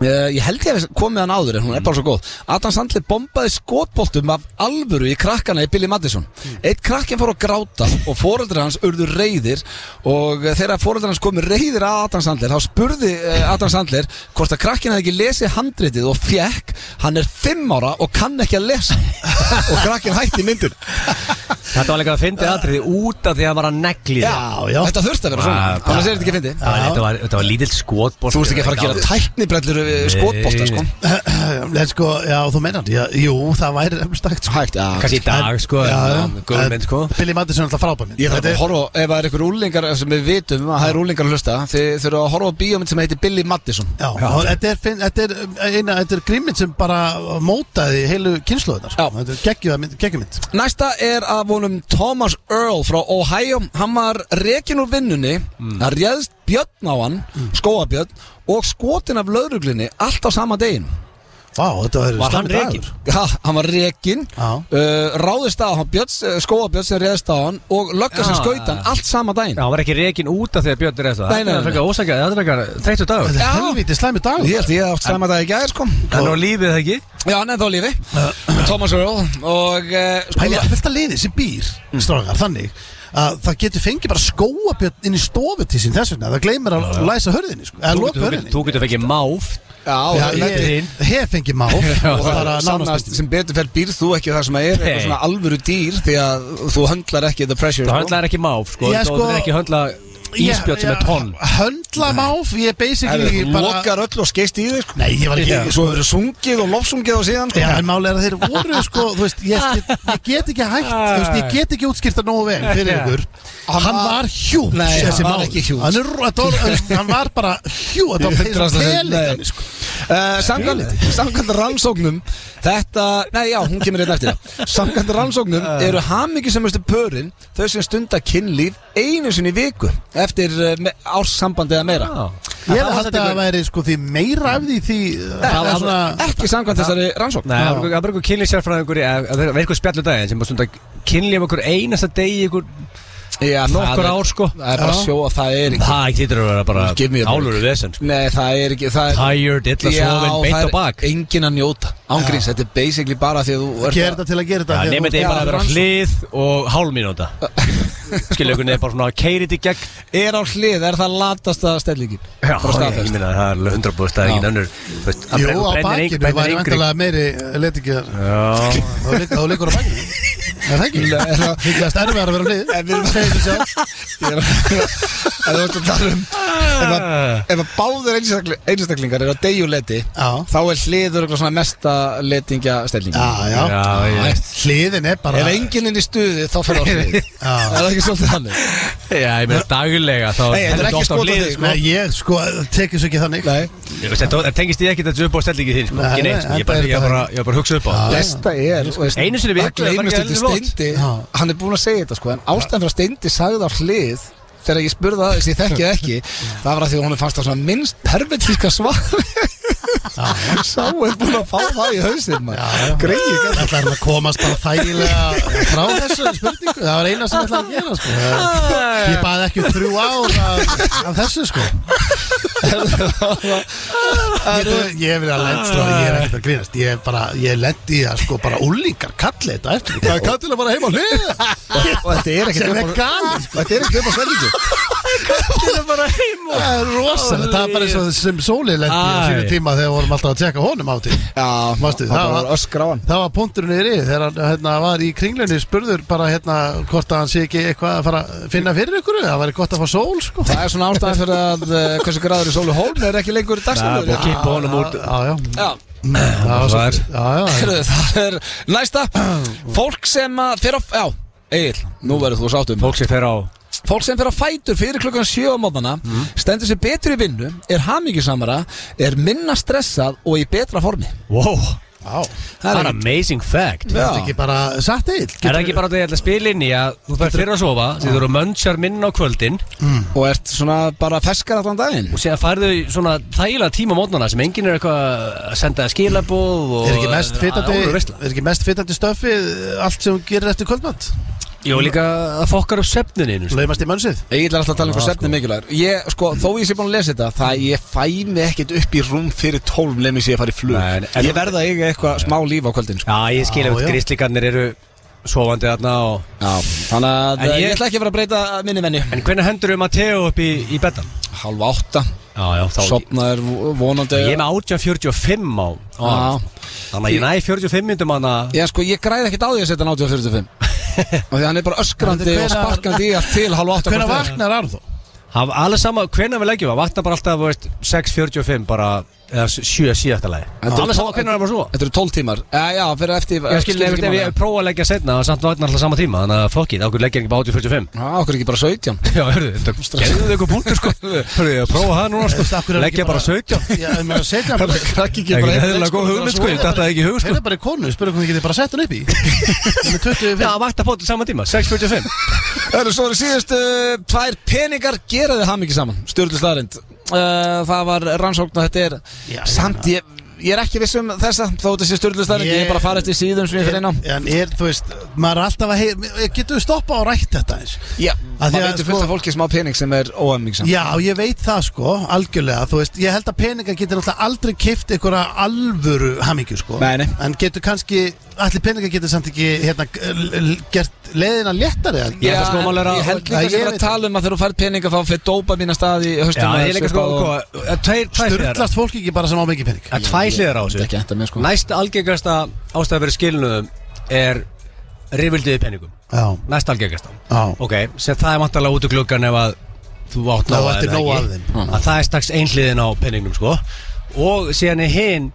S1: uh, Ég held ég að komið hann áður en hún er bara svo góð Adam Sandler bombaði skotboltum af alvöru í krakkana í Billy Madison Eitt krakkin fór að gráta og foreldrar hans urðu reyðir og eh, þegar foreldrar hans komu reyðir að Adam Sandler þá spurði eh, Adam Sandler hvort að krakkin hefði ekki lesið handritið og fekk hann er fimm ára og kann ekki að lesa og krakkin hætti myndun
S3: Þetta var líka að fyndi aðriði út af því að hann var að negli
S1: Já, já Þetta þurfti að vera svona
S3: Ah,
S1: Þannig að þetta ekki fyndi
S3: Þetta var, þetta var lítill skotból
S1: Þú ert ekki að fara að gera tæknibrellur við skotbolta sko
S2: En sko, já, þú meinar já, Jú, það væri eftir stækt sko.
S1: Hægt, já
S3: Kanski í dag sko
S2: Já, já.
S3: Góð mynd sko
S2: Billy Madison er alltaf frábæð mynd
S1: Ég þarf að horfa, á- ef það er ykkur úlingar sem við vitum að það er úlingar að hlusta þið þurfa að horfa á bíómynd sem heitir Billy Madison
S2: Já, og þetta er, finn- þetta er, eh, eina, þetta er grimmynd sem bara mótaði heilu kynnslóðunar
S1: Já.
S2: Þetta er geggjumynd, geggjumynd.
S1: Næsta er að vonum Thomas Earl frá Ohio Hann var rekin úr vinnunni Það réðst björn á hann, skóabjörn Og skotin af lauruglinni allt á sama degin
S2: Vá, þetta var,
S3: Var hann
S2: slæmur dagur.
S3: rekin?
S1: Ha, Hann var rekin
S2: Já.
S1: uh, Ráðist á hann, björns, skóabjörn sem réðst á hann Og lögga sem
S3: Já.
S1: skaut hann allt sama degin
S3: Já, hann var ekki rekin út af því að Björn er eftir
S1: Nei, nei,
S3: Það er
S1: nei.
S3: frekar ósækja, það er frekar 30 dagur
S2: Þetta
S1: Já.
S2: er helviti slæmi dag
S1: Ég held ég hafði átt sama dag í gær sko
S3: Hann var lífið það ekki
S1: Já, hann er þá á lífi Thomas Earl Og uh, sko,
S2: Pæli að fylta liði sem býr Strákar, þannig að það getur fengið bara skóabjörn inn í stofu til sín þess vegna Það gleymir að læsa hörðinni sko, Eða
S3: Þú
S2: loka
S3: getur-
S2: hörðinni
S3: Þú getur fengið máf
S1: já,
S2: Já,
S1: þetta-
S2: ég hef fengið máf og það er að
S1: Sannast
S2: nánast
S1: sem betur fer býr þú ekki það sem að er eitthvað
S3: Nei.
S1: svona alvöru dýr því að þú höndlar ekki the pressure
S3: Þú
S1: sko.
S3: höndlaðir ekki máf sko
S2: Já,
S3: Þú
S2: sko-
S3: getur ekki höndla íspjörn sem er tonn
S2: Höndla máf, ég er basically
S1: Þú
S2: bara
S1: lokar öll og skeist í þig sko.
S2: Nei, ég var ekki
S1: Svo verður sungið og lofsungið og síðan sko.
S2: Já, en máli er að þeir voru sko, þú veist, ég, ég, ég get ekki hægt, þú veist, ég get ekki útskýrt það nógu vel fyrir ykkur. Hann var hjúts,
S1: Nei,
S2: þessi
S1: hann var
S2: máli.
S1: ekki huge.
S2: Hann, er, þetta var, hann var bara hjúts, þetta var fyrir
S1: Hundraðasta sem-
S2: pelikan,
S1: nei.
S2: sko.
S1: Eh, Samkvæmt samkvæmt rannsóknum Þetta, nei já, hún kemur einn eftir það Samkvæmt rannsóknum
S2: Ah.
S1: eru hamingisamustu pörin Þau sem stunda kynlíf einu sinni í viku Eftir eh, me- árssambandi eða meira
S3: Ah.
S2: Ég hef haldið að það væri sko því meira af því því það er svona
S1: Ekki samkvæmt þessari rannsókn
S3: Nei, það var einhver- það var einhver kynlíf sérfræðingur Það var einhver spjallu daginn sem var svona kynlíf um einhver einasta degi í einhver
S1: Já, það
S3: nokkur
S1: er-
S3: ár sko
S1: Það er bara að sjó að það er ekki
S3: Það getur að vera bara
S1: Give me a break.
S3: álur vesen sko
S1: Nei, það er ekki það er,
S3: Tired, illa
S1: Já,
S3: sofin,
S1: það
S3: beint
S1: er
S3: á bak
S1: engin að njóta Ángríns, þetta er basically bara því að þú ert
S2: gera þetta til að gera þetta.
S3: Já,
S2: því að
S3: nema
S2: þú-
S3: þetta er bara að vera
S1: rannsókn.
S3: hlið og hálf mínúta Skilja ykkur nefn bara svona keirið í gegn
S1: Er á hlið, er það latasta stellingin
S3: Já,
S1: Bara
S3: ég, ég
S1: staðfest
S3: minna það er alveg 100 búst, það er ekki önnur Þú veist, það
S2: Jú, á
S3: brennir- brennir
S2: bakinu væri
S3: yngri.
S2: vantilega meiri letikjar.
S3: Já,
S2: Þá leikur á bakinu. Er það ekki?
S1: Nei,
S2: Það
S1: það-
S2: er líklegast erfiðar að vera lið.
S1: En við erum að segja þessu sjálf Ég er að- að þú ert að tala um Ef að, ef að báður einstakli- einstaklingar eru á degjuleti
S2: Já.
S1: Þá er hliður eitthvað svona mesta letingja stellingin
S2: Já, já.
S3: já, ég
S2: Hliðin er bara...
S1: Ef enginn er í stuði, þá fer það á (laughs) hlið
S2: Já.
S1: Er það ekki svolítið þannig?
S3: Já, ég meina daglega þá
S1: Nei, þetta er ekki skot á þig,
S3: sko.
S2: Nei, ég sko, tekið svo ekki þannig.
S1: Nei
S3: Ég veist, Þetta þetta tengist ég ekki þetta upp á stellingi þín sko.
S2: Nei,
S3: Ekki neitt, sko.
S2: nei,
S3: ég bara-
S2: þetta er
S3: ég
S2: þetta
S3: bara ég bara hugsa upp á það.
S1: Besta er þú veist,
S3: Einu sinni í viku,
S1: Það gleymist
S3: það er bara
S1: þetta
S3: ekki eðlilegt.
S1: steindi
S2: Já.
S1: Hann er búinn að segja þetta sko En ástæðan fyrir að steindi sagði á hlið Þegar ég spurði það, þess ég þekki það ekki Það var að því að hún fannst það svona minnst pervertíska svar (laughs) Sá er búinn að fá það í hausinn Greið
S2: Það ætlaði hann að komast bara þægilega frá þessu spurningu Það var eina sem ég ætlaði að gera sko. Eh, Ég baði ekki um þrjú ár af, af þessu sko. Ég ég hef verið að lenda sko, Ég er ekkert að grínast Ég, er bara, ég lendi í að sko, bara úlingar kalli þetta eftir Það er kallin að bara heima hlið
S1: Og þetta er ekkert
S2: Sem er
S1: upp á-
S2: gali sko.
S1: Þetta er ekkert upp á sverðingu
S2: Það er rosalega Það er bara eins og sem sólið lendi á sínu
S3: Æ.
S2: tíma Þegar við vorum alltaf að tjekka honum á til
S1: Já,
S2: Manstu,
S1: það
S2: það
S1: var
S2: var-
S1: öskra á hann
S2: Það var punkturinn yfir í þegar hann hérna, var í kringlunni spurður bara hérna hvort að hann sé ekki eitthvað að fara að finna fyrir ykkur það væri gott að fá sól sko
S1: Það er svona ástæðan fyrir að eh, hversu gráður í sólu hólm er ekki lengur
S3: Það er búið að
S1: dagsnæður
S3: kippa honum úr
S2: Já, já,
S1: Já,
S2: það var
S3: Það er-
S2: svolítið- já, já, já.
S1: Herðu, það er næsta Fólk sem að fyrir á Já, Egil, nú verður þú sáttum
S3: Fólk sem fer á Mhm.
S1: Fólk sem fyrir á fætur fyrir klukkan 7 á móðana Stendur sér betur í vinnu Er hamingjusamara Er minna stressað og í betra formi
S3: Wow,
S2: Já.
S3: það er amazing fact
S2: Það er ekki bara satt eil
S3: Er það ekki bara þetta ég ætla að spila inn í að þú fer fyrir að sofa því þú eru mönnsjar minna á kvöldin
S1: Og ert svona bara feskar allan daginn
S3: og séðan færðu í svona þægilega tíma mótnana sem enginn er eitthvað að senda skilabóð og
S2: Er ekki mest
S3: Það er
S2: fyrtandi
S3: óveisla.
S2: Er ekki mest fyrtandi stöfið allt sem hún gerir eftir kvöldmatt
S3: Jó, líka að fokkar upp svefnininu sko.
S2: Laumast í mönnsið
S1: Egil er alltaf að tala um hvað svefni mikilvægur Ég, sko, þó ég sé búin að lesa þetta Það ég fæ mig ekkert upp í rúm fyrir 12 Lemmi sé að fara í flug
S3: Nei, en-
S1: Ég verða eiga eitthvað smá líf á kvöldin sko.
S3: Já, ég skilja
S2: Já,
S3: út
S2: já.
S3: gríslíkarnir eru sofandi þarna og
S1: Já, þannig að
S3: En
S1: ég,
S3: ég-
S1: ætla ekki að vera að breyta minni venni
S3: En hvernig hendur við Matteo upp í, í betan?
S1: Halv átta,
S3: Já, já, þá
S1: sopnaður vonandi
S3: Ég er með 18.45 á, á
S1: Já.
S3: Þannig að ég næ 45 myndum hann að
S2: (laughs)
S1: Já, sko, ég græði ekkert á því að setja hann 80 og 45 og því hann er bara öskrandi
S2: Hvenær-
S1: og sparkandi í allt til halva átta
S2: Hvernig
S1: hvort er.
S2: vaknar Arnþór?
S3: Haf, alveg sama, hvenær við leggjum það, vatna bara alltaf, þú veist, 6.45 bara, eða 7 síðasta lagi.
S1: Þetta eru
S3: Alveg sama,
S1: tól-
S3: hvenær það var svo?
S1: Þetta eru 12 tímar Já, já, fyrir eftir
S3: Ég skil, ef,
S1: ekki
S3: ef
S1: máli.
S3: ég prófa að leggja setna, samt vatna alltaf sama tíma, þannig að fokkið, ákveð leggja ekki bara 8.45.
S1: Já, okkur ekki bara 17
S3: (laughs) Já, hörðu, þetta gerðu þau eitthvað búntur, sko. Hörðu, ég prófa það núna,
S2: Þú veist, af
S3: sko.
S2: hverju er ekki
S3: Leggja bara 17.
S2: Já, ég meina, setja hann bara
S1: Krakki
S3: Það er heðilega góð hugmynd, sko, ég dattaði ekki í hug, sko.
S2: Heyrðu bara í konu, spurðu hvernig getið bara sett hann upp í
S3: (laughs)
S2: Með 25
S3: Já, vatna bótið sama tíma, 6.45.
S1: Það svo eru síðustu Tvær peningar geraði ham ekki saman Stjórnlega staðarind Það var rannsókn og þetta er
S2: Já,
S1: Samt ég Ég er ekki viss um þessa Þó þetta sé stjórnlega staðarind Ég er bara að fara eftir síðum sem ég fyrir inn á
S2: En er, þú veist, maður er alltaf að heyra Getur við stoppað og rætt þetta eins?
S1: Já,
S2: Að því
S1: maður
S2: að,
S1: veitur
S2: sko-
S1: fullt af fólki sem á pening sem er óamíksam
S2: Já, ég veit það sko, algjörlega Þú veist, ég held að peningar getur náttúrulega aldrei kift einhverja alvöru hamingju sko
S1: Nei, nei.
S2: En getur kannski, allir peningar getur samt ekki hérna, l- l- gert leiðina léttari eða?
S3: Já, það sko mál er að-
S1: ég held líka
S2: Nei,
S1: sem
S2: ég
S1: er
S2: veit
S1: að tala um að þegar þú færð peninga þá fyrir dópa mína staði í höstum
S3: Já, ég er líka sko, sko, tveir, tveir hliðar.
S2: Sturlast fólk ekki bara sem á mikið pening
S3: Það er tveir hliðar á þessu.
S1: Ekki enda mér sko
S3: Næst algengasta ástæða fyrir skilnuðum er rifildið í peningum
S2: Já,
S3: Næst algengasta
S2: já
S3: Ok, sem það er vantarlega út úr gluggan ef að þú átt
S2: Ná,
S3: nóg
S2: eftir
S3: þeim,
S2: nóg
S3: ekki?
S2: af þeim. Hmm.
S3: Að það er strax einhliðin á peningnum sko Og síðan er hinn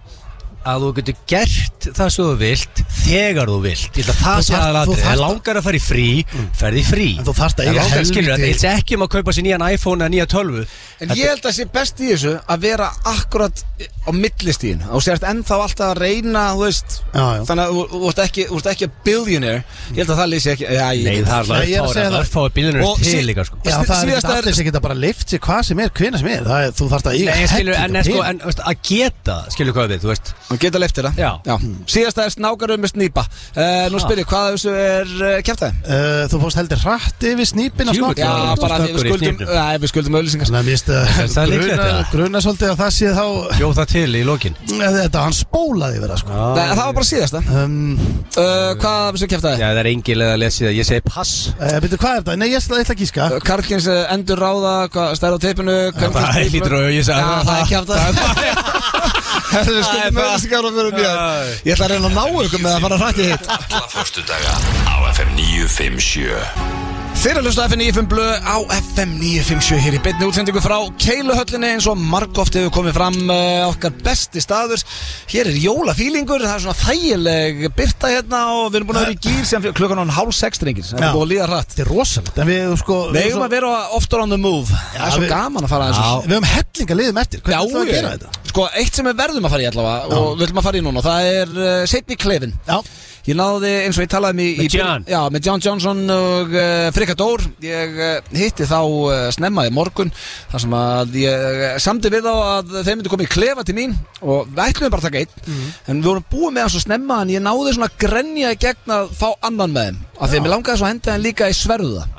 S3: að þú getur gert það sem þú vilt þegar þú vilt Ég ætla að það
S2: Þú þarft-
S3: sé
S2: þú
S3: aðalatrið,
S2: þarft- Hmm.
S3: það langar að fara í frí ferði í frí
S2: En þú þarft að eiga
S3: langar
S2: helviti-
S3: skilur, þetta er ekki um að kaupa sér nýjan iPhone eða nýja tölvu
S1: En ég held að sé best í þessu að vera akkurat á millistíðin og sért ennþá alltaf að reyna, þú veist
S2: Já, já.
S1: þannig að þú- þú ert ekki, þú ert ekki að billionaire ég held að það lýsi ekki já, ég,
S3: Nei,
S2: Nei, ég er
S3: það er
S2: að
S3: alveg
S2: segja það.
S3: að örfáði bílunum
S1: Og
S3: til
S1: sí-
S3: líka sko
S1: Sl-
S2: Já, það er
S1: síðasta
S2: ekki
S1: er-
S2: allir sem geta bara lift sér hvað sem er, hvena sem er það er, Þú þarft að eiga
S3: Nei, skilur, en, en,
S2: helling
S3: sko,
S2: af
S3: en veist, að geta, skilur hvað við, þú veist
S1: og geta leiftir það
S3: Já.
S1: Síðasta er snákarum með snýpa uh, Nú
S3: Ha.
S1: spyr ég, hvað af þessu er uh, kæftæði?
S2: pening. Eh, Þú fórst heldur hratt yfir snýpin að
S3: Djúvill,
S2: snokka
S1: Já,
S3: Já,
S1: bara að því
S3: snöggur
S1: við
S3: í
S1: skuldum,
S3: hnífnum.
S1: að, við skuldum sko. auðlýsingar
S2: Þannig að mér
S3: það er líklegt,
S2: gruna,
S3: eða?
S2: gruna svolítið að það sé þá
S3: Jóð það til í lokin
S2: Þetta, hann spólaði yfir það sko
S1: Nei, það var bara síðasta uh,
S2: Um,
S1: Hvað af þessu kæftæði?
S3: Já, það er engil eða lesið að ég segi pass
S2: uh, Býttu, hvað er þetta? Nei, ég ætla ég ætla
S1: (laughs)
S2: að gíska
S1: Karlkins eh, endur ráða, hvað stærð á teipinu
S3: Það er lítur og ég
S1: Já,
S3: sagði
S1: það er kæftæði (laughs) Það er
S3: Það er
S1: skuldum
S3: bara-
S1: auðlýsingar og fyrir nýja Ég ætla að reyna að ná ykkur með að fara hrætti hitt
S6: Alla förstudaga á FM 957
S1: Þeir að hlusta á FM 95 blö á FM 957 hér í beinni útsendingu frá Keiluhöllinni eins og margóft hefur komið fram uh, okkar besti staður Hér er jólafílingur, það er svona þægileg byrta hérna og við erum búin að vera í gýr sem fyrir klukkan án hálf sex drengir Það
S2: Já.
S1: er búin að líða hratt
S2: Þetta er rosalegt En við, sko
S1: Við eigum að vera oftar on the move Það er
S2: Já,
S1: svo
S2: við-
S1: gaman að fara aðeins og-
S2: Við höfum hellinga liðum eftir Hvernig ætlum við að
S1: ég-
S2: gera þetta?
S1: Sko, eitt sem við verðum að fara í allavega og við viljum að fara í núna, það er uh, setni klefin
S2: Já
S1: Ég náði eins og ég talaði um í, í
S3: Með John.
S1: Já, með John Johnson og uh, Frikka Dór Ég uh, hitti þá uh, snemma í morgun þar sem að ég uh, samdi við þá að þeir myndi komið í klefa til mín og við ætlum bara að taka einn
S3: Mhm.
S1: en við vorum búið með hann svo snemma en ég náði svona að grenja í gegn að fá annan með þeim af því að mér langaði svo að henda hann líka í sverða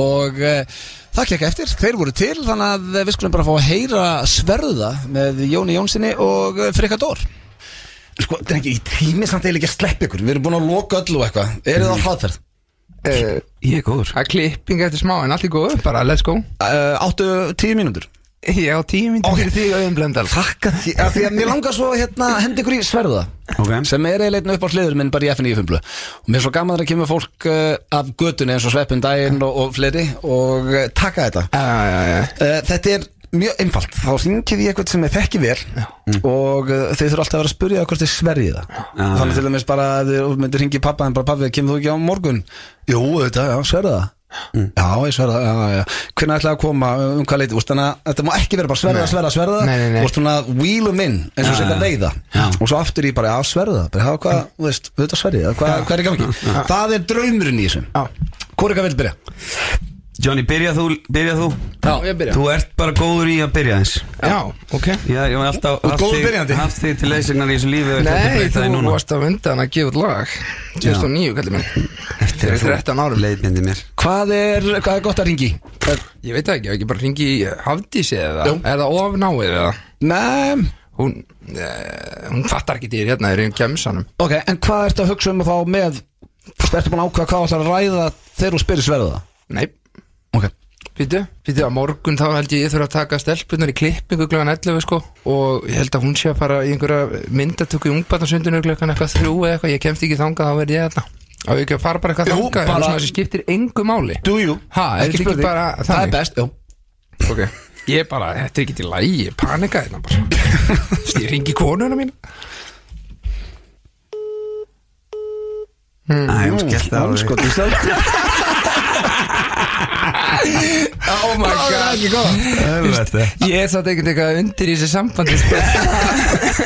S1: og uh, það kekka eftir, þeir voru til þannig að eh, við skulum bara fá að heyra sverða með Jóni Jónssoni og uh, Frikka Dór
S11: Sko, þetta er ekki í tími samt eiginlega ekki að sleppa ykkur Við erum búin að loka öllu og eitthvað Eru
S1: Mhm.
S11: það á hraðferð?
S4: Eh,
S5: Ég er góður
S4: Það er klipping eftir smá en allt í góðu, bara let's go
S11: Uh, áttu tíu mínútur
S4: Ég á tíu myndir fyrir því auðum blöndal
S11: Takk að því
S1: Af því að mér langar svo hérna að henda ykkur í sverða
S5: Ok.
S1: sem er eiginlega einn upp á hliður minn bara í FNI fumblu og mér er svo gaman þegar kemur fólk uh, af götunni eins og sveppin daginn og, og fleiri og uh, taka þetta
S11: uh, Þetta er mjög einfalt Þá syngið ég eitthvað sem ég þekki vel Og uh, þeir þurfa alltaf að vera að spyrja hvort þeir sverjið það Þannig til dæmis bara að þú myndir ringi pappa En bara pappi, kemur þú ekki á morgun? Jú, þetta, já, sverja það Já, ég sverja það, já, já, já Hvernig ætlaði að koma, um hvað leiti, úst, þannig að Þetta má ekki vera bara sverja, sverja, sverja
S4: Nei, nei, nei.
S11: Úst, svona wheel um in, eins og setja veiða Og svo aftur í bara, já, sverja það Bara, já, hvað,
S4: Mm.
S11: þú veist, þetta sverja það Hvað hvað er í gangi? Það er draumurinn í þessum Hvor er hvað vil byrja?
S5: Johnny, byrja þú, byrja þú
S4: Já, ég byrja
S5: Þú ert bara góður í að byrja eins
S4: Já, ok
S5: Já, ég var alltaf
S11: ert
S5: haft
S11: góður
S5: þig-
S11: byrjandi.
S5: Haft þig til leysignar í þessu lífi og ætla ekki að
S4: Nei,
S5: breyta því
S4: þú
S5: núna.
S4: varst að vunda hann að gefa út lag 2009, kallir minn Fyrir 13 árum
S5: Leiðbindi mér
S1: Hvað er, hvað er gott að ringi?
S4: Ég veit það ekki, ef ekki bara ringi í Hafdísi eða Er það of náið eða
S1: Nei,
S4: Hún, eh, hún fattar ekki dýr hérna, er í gemsanum
S1: ok, en hvað ertu að hugsa um að fá með Ertu búin að ákveða hvað ætlar að ræða þegar þú spyrir sverða?
S4: Nei,
S1: Ok,
S4: Býtu, býtu að morgun þá held ég ég þurfa að taka stelpunar í klippingu klukkan 11 sko og ég held að hún sé að fara í einhverja myndatöku í ungbarnarsundinu klukkan eitthvað þrjú eða eitthvað, ég kemst ekki þangað þá verð ég þarna
S12: Að við ekki að fara bara eitthvað
S7: Jú,
S12: þangað
S7: bara-
S12: bara,
S4: Það skiptir engu máli
S12: Do you?
S4: Ha, er
S12: Ekki
S4: þetta
S12: spurning
S4: ekki
S12: bara
S4: Það er
S12: þannig.
S4: best, já
S12: Ok, ég bara, þetta er ekki til lægi Ég panika þetta bara Ég ringi konuna mín
S5: Æ, hún skellti á
S1: Sko,
S5: því
S7: Skotið sjálf
S4: Oh my god Það er ekki góð
S5: Helvete.
S4: Ég er satt ekkert eitthvað undir í þessu sambandi sko.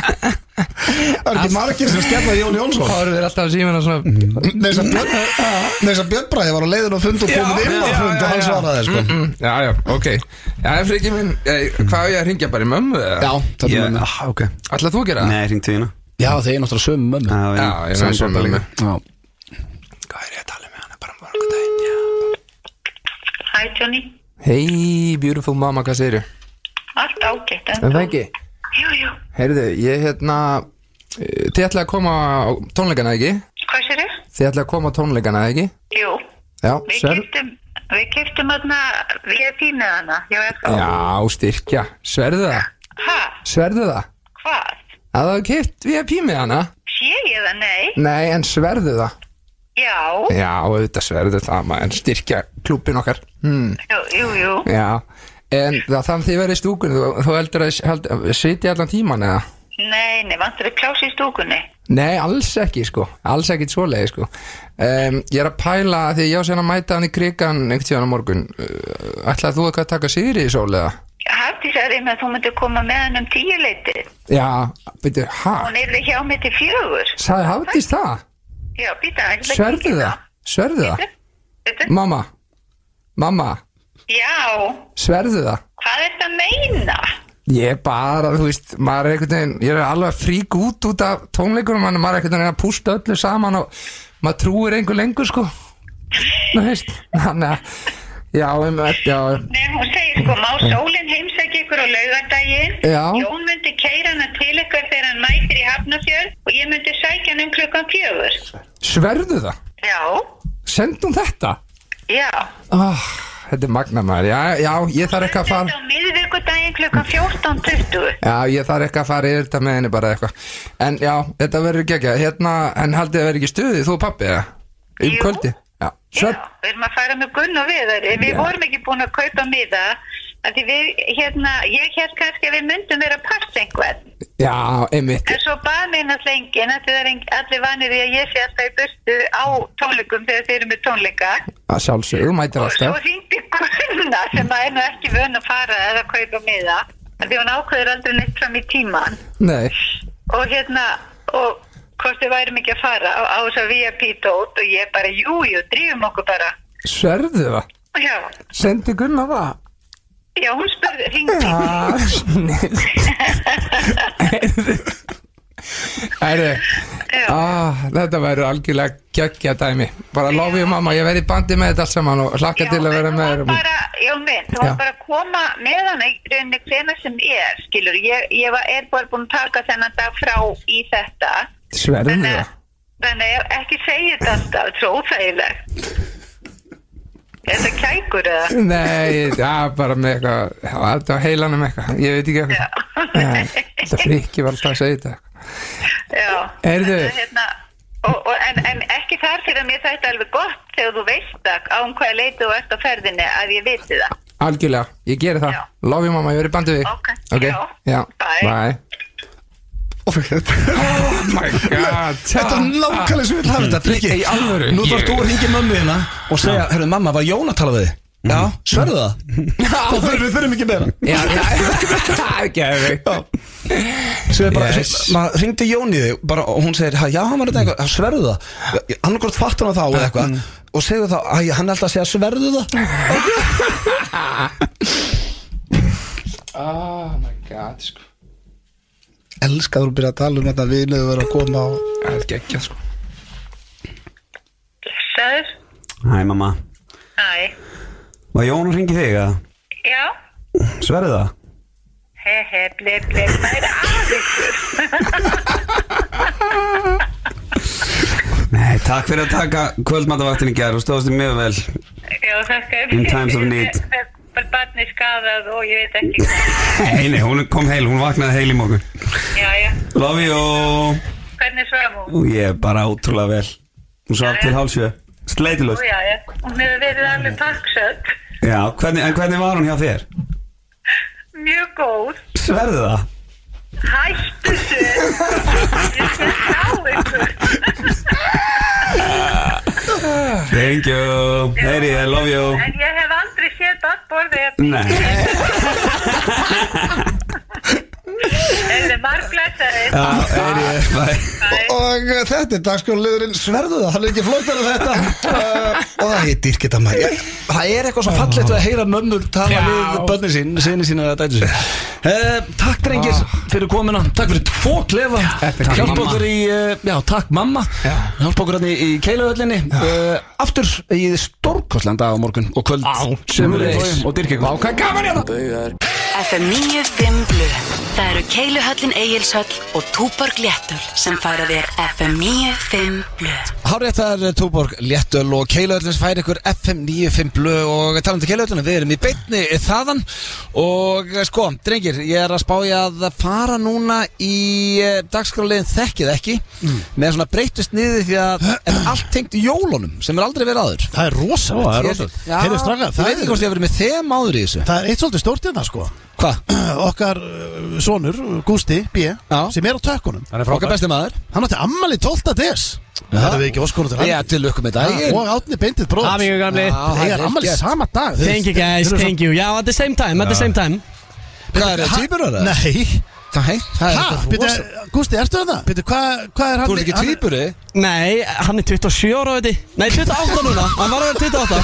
S12: Það er ekki margir sem skella Jón Jónsson
S4: Þá erum við alltaf að síma hana svona
S12: Neins að Björn Bræði var á leiðin á fund og komið inn á fund og hann svaraði sko.
S4: Mm, Já, já, ok Já, friki minn, eh, hvað á ég að ringja bara í mömmu? eða?
S7: Já, þetta
S5: Ég-
S7: er
S1: sko,
S7: mömmu
S5: ah, ok.
S4: Ætlar þú að gera það?
S5: Nei, hringt tíðina
S7: Já, þeir eru náttúrulega sömu mömmu
S4: sko, Já, ég er
S5: Samsvart
S4: sömu
S5: líka.
S4: mömmu.
S7: Já
S4: Hvað er ég að tala með hana bara um morgun daginn? Já.
S13: Hæ Johnny,
S4: Hey, beautiful mamma, hvað segirðu?
S13: allt ágætt en
S4: En það ekki?
S13: Jú, jú,
S4: Heyrðu, ég hérna eh, Þið ætlaði að koma á tónleikana, ekki?
S13: hvað sér þið?
S4: Þið ætlaði að koma á tónleikana, ekki?
S13: Jú,
S4: Já,
S13: við
S4: Sver-
S13: keftum við keftum aðna, við erum fínið hana já, ég sko,
S4: Já, styrkja, sverðu það
S13: ha,
S4: Sverðu það
S13: hvað?
S4: Að það er kipt VIP með hana
S13: Sé ég það, nei?
S4: Nei, en sverðu það
S13: Já,
S4: Já, auðvitað sverðu það maður, En styrkja klúbin okkar hmm.
S13: jú, jú, jú.
S4: Já, en það þannig þið verið í stúkun Þú, þú heldur að held, sitja allan tíman eða?
S13: nei, nei, vantur við plási í stúkunni
S4: Nei, alls ekki sko Alls ekki svoleiði sko um, Ég er að pæla að því ég á sér að mæta hann í krigan einhvern tíðan á morgun uh, Ætlaði þú eitthvað að taka sigri í sól eða?
S13: Hafdís að þeim að þú myndir koma með hann um tíuleiti
S4: Já, veitu, ha?
S13: hún er hjá mig til fjögur
S4: Sæði hafðist það?
S13: já, býta, hann ætla að
S4: Sverðu
S13: kíkja.
S4: það? Sverðu það?
S13: Bíddu.
S4: Mamma, mamma,
S13: já,
S4: sverðu það?
S13: hvað er það að meina?
S4: Ég er bara, þú veist, maður er einhvern veginn, ég er alveg að frík út út af tónleikunum, maður maður er einhvern veginn að pústa öllu saman og maður trúir einhver lengur, sko. Þú veist, þannig að, já, um, já,
S13: Nei, hún segir sko, má sólinn heimsækja ykkur á laugardaginn
S4: Já.
S13: Jón myndi keira hana til ykkur þegar hann mætir í Hafnafjörð og ég myndi sækja hann um klukkan fjögur
S4: sverðu það?
S13: Já,
S4: Sendum þetta?
S13: já
S4: Oh, þetta er magna maður, já, já, ég þarf ekki að fara.
S13: Þetta á miðvikudaginn klukkan 14.20
S4: Já, ég þarf ekki að fara yfir þetta með henni bara eitthvað En já, þetta verður geggjað Hérna, en haldið að verður ekki stuðið, þú og pappi, eða? Um
S13: Jú.
S4: kvöldi? Já,
S13: Já,
S4: Svefn-
S13: við erum að fara með Gunn og Viðari Við vorum ekki búin að kaupa miða af Því við, hérna, ég hér kannski að við myndum vera part einhvern
S4: já einmitt
S13: En svo bað mig innast lengin að það er eng- allir vanir því að ég sé alltaf í burtu á tónleikum þegar þeir eru með tónleika
S4: Að sjálfsögðu, þú mætir
S13: og svo
S4: alltaf
S13: hringdi Gunna sem að er nú ekki vön að fara eða kaupa miða af því hún ákveður aldrei neitt fram í tíman
S4: Nei,
S13: og hérna og hvort við værum ekki að fara á, á þess að VIP dót og ég bara jú, jú, drýfum okkur bara
S4: sverðu það
S13: og já,
S4: Sendi Gunnar það
S13: já, hún spurði hringdi
S4: Ah, snill Æri
S13: Já.
S4: ah, Þetta verður algjörlega geggja dæmi Bara lofið mamma, ég verði í bandi með þetta allt saman og hlakka til að
S13: en
S4: vera
S13: þú
S4: með
S13: var
S4: þér
S13: bara, já minn, þú
S4: Já.
S13: var bara að koma með hana í rauninni hvena sem er, skilur, ég, ég var, er bara búin að taka þennan dag frá í þetta.
S4: Sverðu
S13: Þannig,
S4: það
S13: þannig að ekki segja þetta alltaf, þetta er svo óþægilegt. Er það kækur eða?
S4: Nei, já, bara með eitthvað já, Þetta var heilanum eitthvað, ég veit ekki
S13: Já.
S4: eitthvað Já, Þetta friki var alltaf að segja þetta
S13: (laughs) Já.
S4: Heyrðu.
S13: Þetta er Hérna, og, og, en, en ekki þar fyrir að mér þetta er alveg gott þegar þú veist það á um hvaða leiti þú ert á ferðinni að ég viti það.
S4: Algjörlega, ég geri það
S13: Já.
S4: Love you mamma, ég verið bandið við
S13: Ok,
S4: okay.
S13: já.
S4: Já.
S13: Bye.
S4: Bye. Oh my god Ah.
S12: Þetta er nákvæmlega sem við vil hafa
S11: Mm.
S12: þetta Friki,
S3: Í alvöru
S12: nú þarfst þú að ringi mömmu þína og segja, herru mamma, var Jón að tala við þig?
S11: Mm.
S12: Já, sverðu
S11: (laughs)
S12: það Þá þurfum við þurfum ekki meira
S4: Já, (laughs) það er geðveikt.
S12: Svo er bara,
S4: Yes.
S12: maður ringdi Jón í þig bara, og hún segir, "Ha, já, hann var þetta eitthvað, sverðu það annarkort fatt hann þá eða eitthvað
S11: Mm.
S12: og segðu þá, "Æ, hann er alltaf að segja sverðu það
S4: Oh my god sko.
S7: Elskar þú að byrja að tala um þetta vinið og vera að koma á
S4: Það er geggjað sko.
S13: Sæður?
S5: Hæ mamma
S13: Æ.
S5: Var Jón að ringi þig að
S13: Já.
S5: sverðu það?
S13: He he, ble ble, hvað er að ykkur?
S5: Nei, takk fyrir að taka kvöldmatavaktin í gerð og stóðstu mjög vel
S13: (laughs) Já, það skal
S5: In times of need.
S13: Bara barni skadað og ég veit ekki hvað.
S5: Nei, nei, hún kom heil, hún vaknaði heil í morgun
S13: Já, já.
S5: Love you
S13: Hvernig svara hún?
S5: Og ég er bara ótrúlega vel Hún svaf til hálsjö Sleitilust
S13: Já, já, hún hefur verið alveg pakksöld
S5: Já, hvernig, en hvernig var hún hjá þér?
S13: Mjög góð
S5: Sverðu það?
S13: Hættu sér Ég skal sjá ykkur
S5: Thank you Heyri, I love you
S13: En ég hef aldrei séð badborði
S5: Nei.
S13: Eða marglæsari
S5: Já, heyri, bye
S1: Og uh, þetta er dagskólulegurinn Sverðu það, hann er ekki flóttar en
S7: (laughs)
S1: þetta
S12: Eh,
S1: uh, Og það heitir ekki þetta maður Ég-
S14: Það er eitthvað svo fallegt við að heyra mömmur tala við börnin sín, sinni sína eða dætu sín uh, Takk drengir fyrir komina Takk fyrir tvo klefa
S15: takk,
S14: Hjálp
S15: mamma.
S14: okkur í, uh, já takk mamma Hjálp okkur hérna í, í keilaðöllinni uh, Aftur í stórkostland dag á morgun og kvöld Sömulegis og dyrkja ykkur Ákvæm gaman hérna
S16: FM 95 Blu Það eru Keiluhöllin Egilshöll og Túborg Léttul sem færa þér FM 95 Blu
S14: Hárið það er Túborg Léttöl og Keilöðlins færi ykkur FM 95 blö og talandi Keilöðlina, við erum í beinni þaðan og eh, sko, drengir, ég er að spája að fara núna í eh, dagskráliðin Þekkið ekki með svona breytust niður því að er allt tengt jólunum sem er aldrei verið aður
S2: Það er rosalegt
S14: Það er rosalegt.
S2: Já, Heyrðu, strákar,
S14: Þú veit ekki hvort ég hef verið með þem áður í þessu
S2: Það er eitt svolítið stórt hérna sko (clears throat)
S14: Hva?
S2: Okkar uh, sonur, Gústi B Sem er á tökkunum
S14: Hann er frábær. Okkar besti maður.
S2: Hann átti ammali 12. des Það erum við ekki óskonum til
S14: Já, til lukku með daginn.
S2: Ah, Og átni beintið bróð
S14: Hamingju, gamli.
S2: Það er ammali sama dag þú
S17: Thank
S2: veist.
S17: you guys,
S2: Þeir eru
S17: thank you Já, at the same time, at the
S2: Já.
S17: same time
S14: Hvað er það, týpurar
S2: svo-
S14: það?
S2: Nei
S14: Nei, það er
S2: Ha,
S14: þetta
S2: byrju,
S14: rosa-
S2: Gústi, ertu það? Býtu, hvað hva er hann
S14: Þú ert ekki
S2: hann-
S14: tvíburi?
S17: Nei, hann er 27 ára, veit ég Nei, 28 núna, hann var að vera 28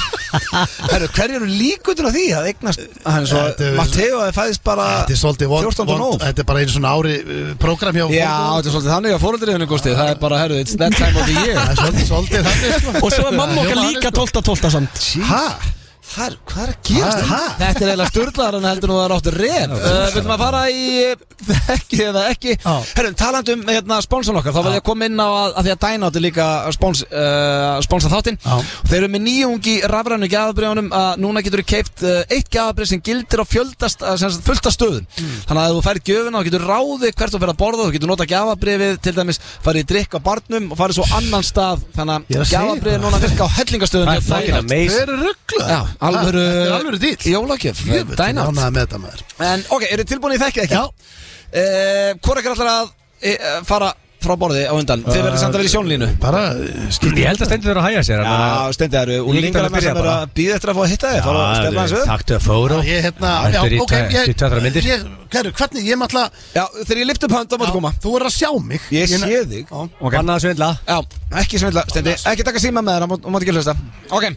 S14: (laughs) Herru, hverju eru líkundur á því að eignast hann
S2: Þetta
S14: er svo,
S2: er-
S14: Matteo að fæðist bara
S2: Þetta er svolítið vond,
S14: 14.
S2: vond,
S14: nóv
S2: Þetta er bara einu svona ári uh, program hjá
S14: Já, þetta er svolítið þannig að fóröldriðinu gústi Það er bara, herru, it's that time of the year
S2: Það er svolítið, svolítið þannig sko.
S17: (laughs) Og svo er mamma okkar
S2: Hljómar
S17: líka
S2: þannig,
S17: 12-12 samt
S2: Hæ?
S14: Það er, hvað er að
S2: Ha?
S14: gerast? Ha? Þetta er eiginlega sturglar en heldur nú að það er áttur reyð uh, Viltum að fara í eh, ekki eða ekki Herru, talandi um hérna, spónsan okkar Þá verði ég að koma inn á að, að því að Dynout er líka spóns, uh, spónsa þáttinn Þeir eru með nýjungi rafrænu gæðabrjónum að núna getur þú keift uh, eitt gæðabrjóð sem gildir á fjöldast, uh, sem sagt, fullta stöðum Þannig að ef þú færir gjöfuna þá getur ráði hvert þú fer að borða Þú getur nota gæðabrjóðið til dæmis farið í drikk á barnum og farið svo annan stað Þannig
S2: Ég er að
S14: að
S2: segja
S14: gæðabrjóðið núna virka á hellingastöðum
S3: Það er fucking amazing.
S2: Þau eru ruggla
S14: Já, alvöru
S2: Þetta er alvöru dýl
S14: Jólagjöf,
S2: Jöfull, ég er
S14: dænátt
S2: ánægður með þetta maður
S14: En ok, eru þið tilbúin í þekkið ekki? Já uh, Hvor ekkert ætlar að uh, fara frá borði á undan? Þið verður samt að vera í sjónlínu
S2: Bara uh, skýt
S3: Ég held að stendur þurfa að hæja sér en
S14: Já,
S3: að-
S14: stendi það eru
S3: Ég get alveg
S14: Úlingar
S3: byrjað
S14: sem eru
S3: bara.
S14: að býða eftir að fá að hitta þið Fara að stefna hans við
S3: Takk til að fóra
S2: Ég hérna
S3: Það
S2: já,
S3: er í
S2: ok,
S3: tvær-
S2: ég-
S3: í tvær- tvær myndir.
S2: ég- Hverju, hvernig, ég maður alltaf
S14: Já, þegar ég lyfti upp hönd, þá máttu koma
S2: Þú er að sjá mig
S14: Ég sé þig
S3: Bannað að svindla
S14: Já, ekki svindla, stendi Ekki taka síma með þeirra, þú mátt ekki hlusta Ok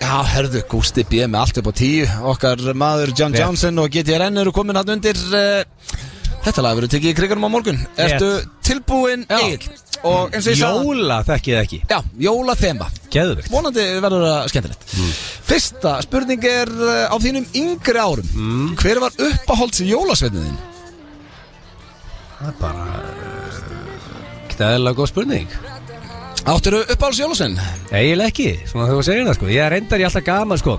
S14: Já, herðu, Gústi B með allt upp á tíu Okkar maður John
S3: Rétt.
S14: Johnson og GTRN eru komin hann undir eh, Þetta lag verður tekið í krigarum á morgun Ertu tilbúinn Egil? Og eins og ég sagði
S3: Jóla þekkið þið ekki
S14: Já, jóla þema
S3: Geðvikt
S14: Vonandi verður það skemmtilegt
S18: Mm.
S14: Fyrsta spurning er eh, á þínum yngri árum
S18: Mm.
S14: Hver var uppáhalds jólasveinuðin?
S3: Ekkert eðlilega góð spurning
S14: Áttirðu uppáhalds jólasvein?
S3: Eiginlega ekki Svona þú segir það sko Ég reyndar ég alltaf gaman sko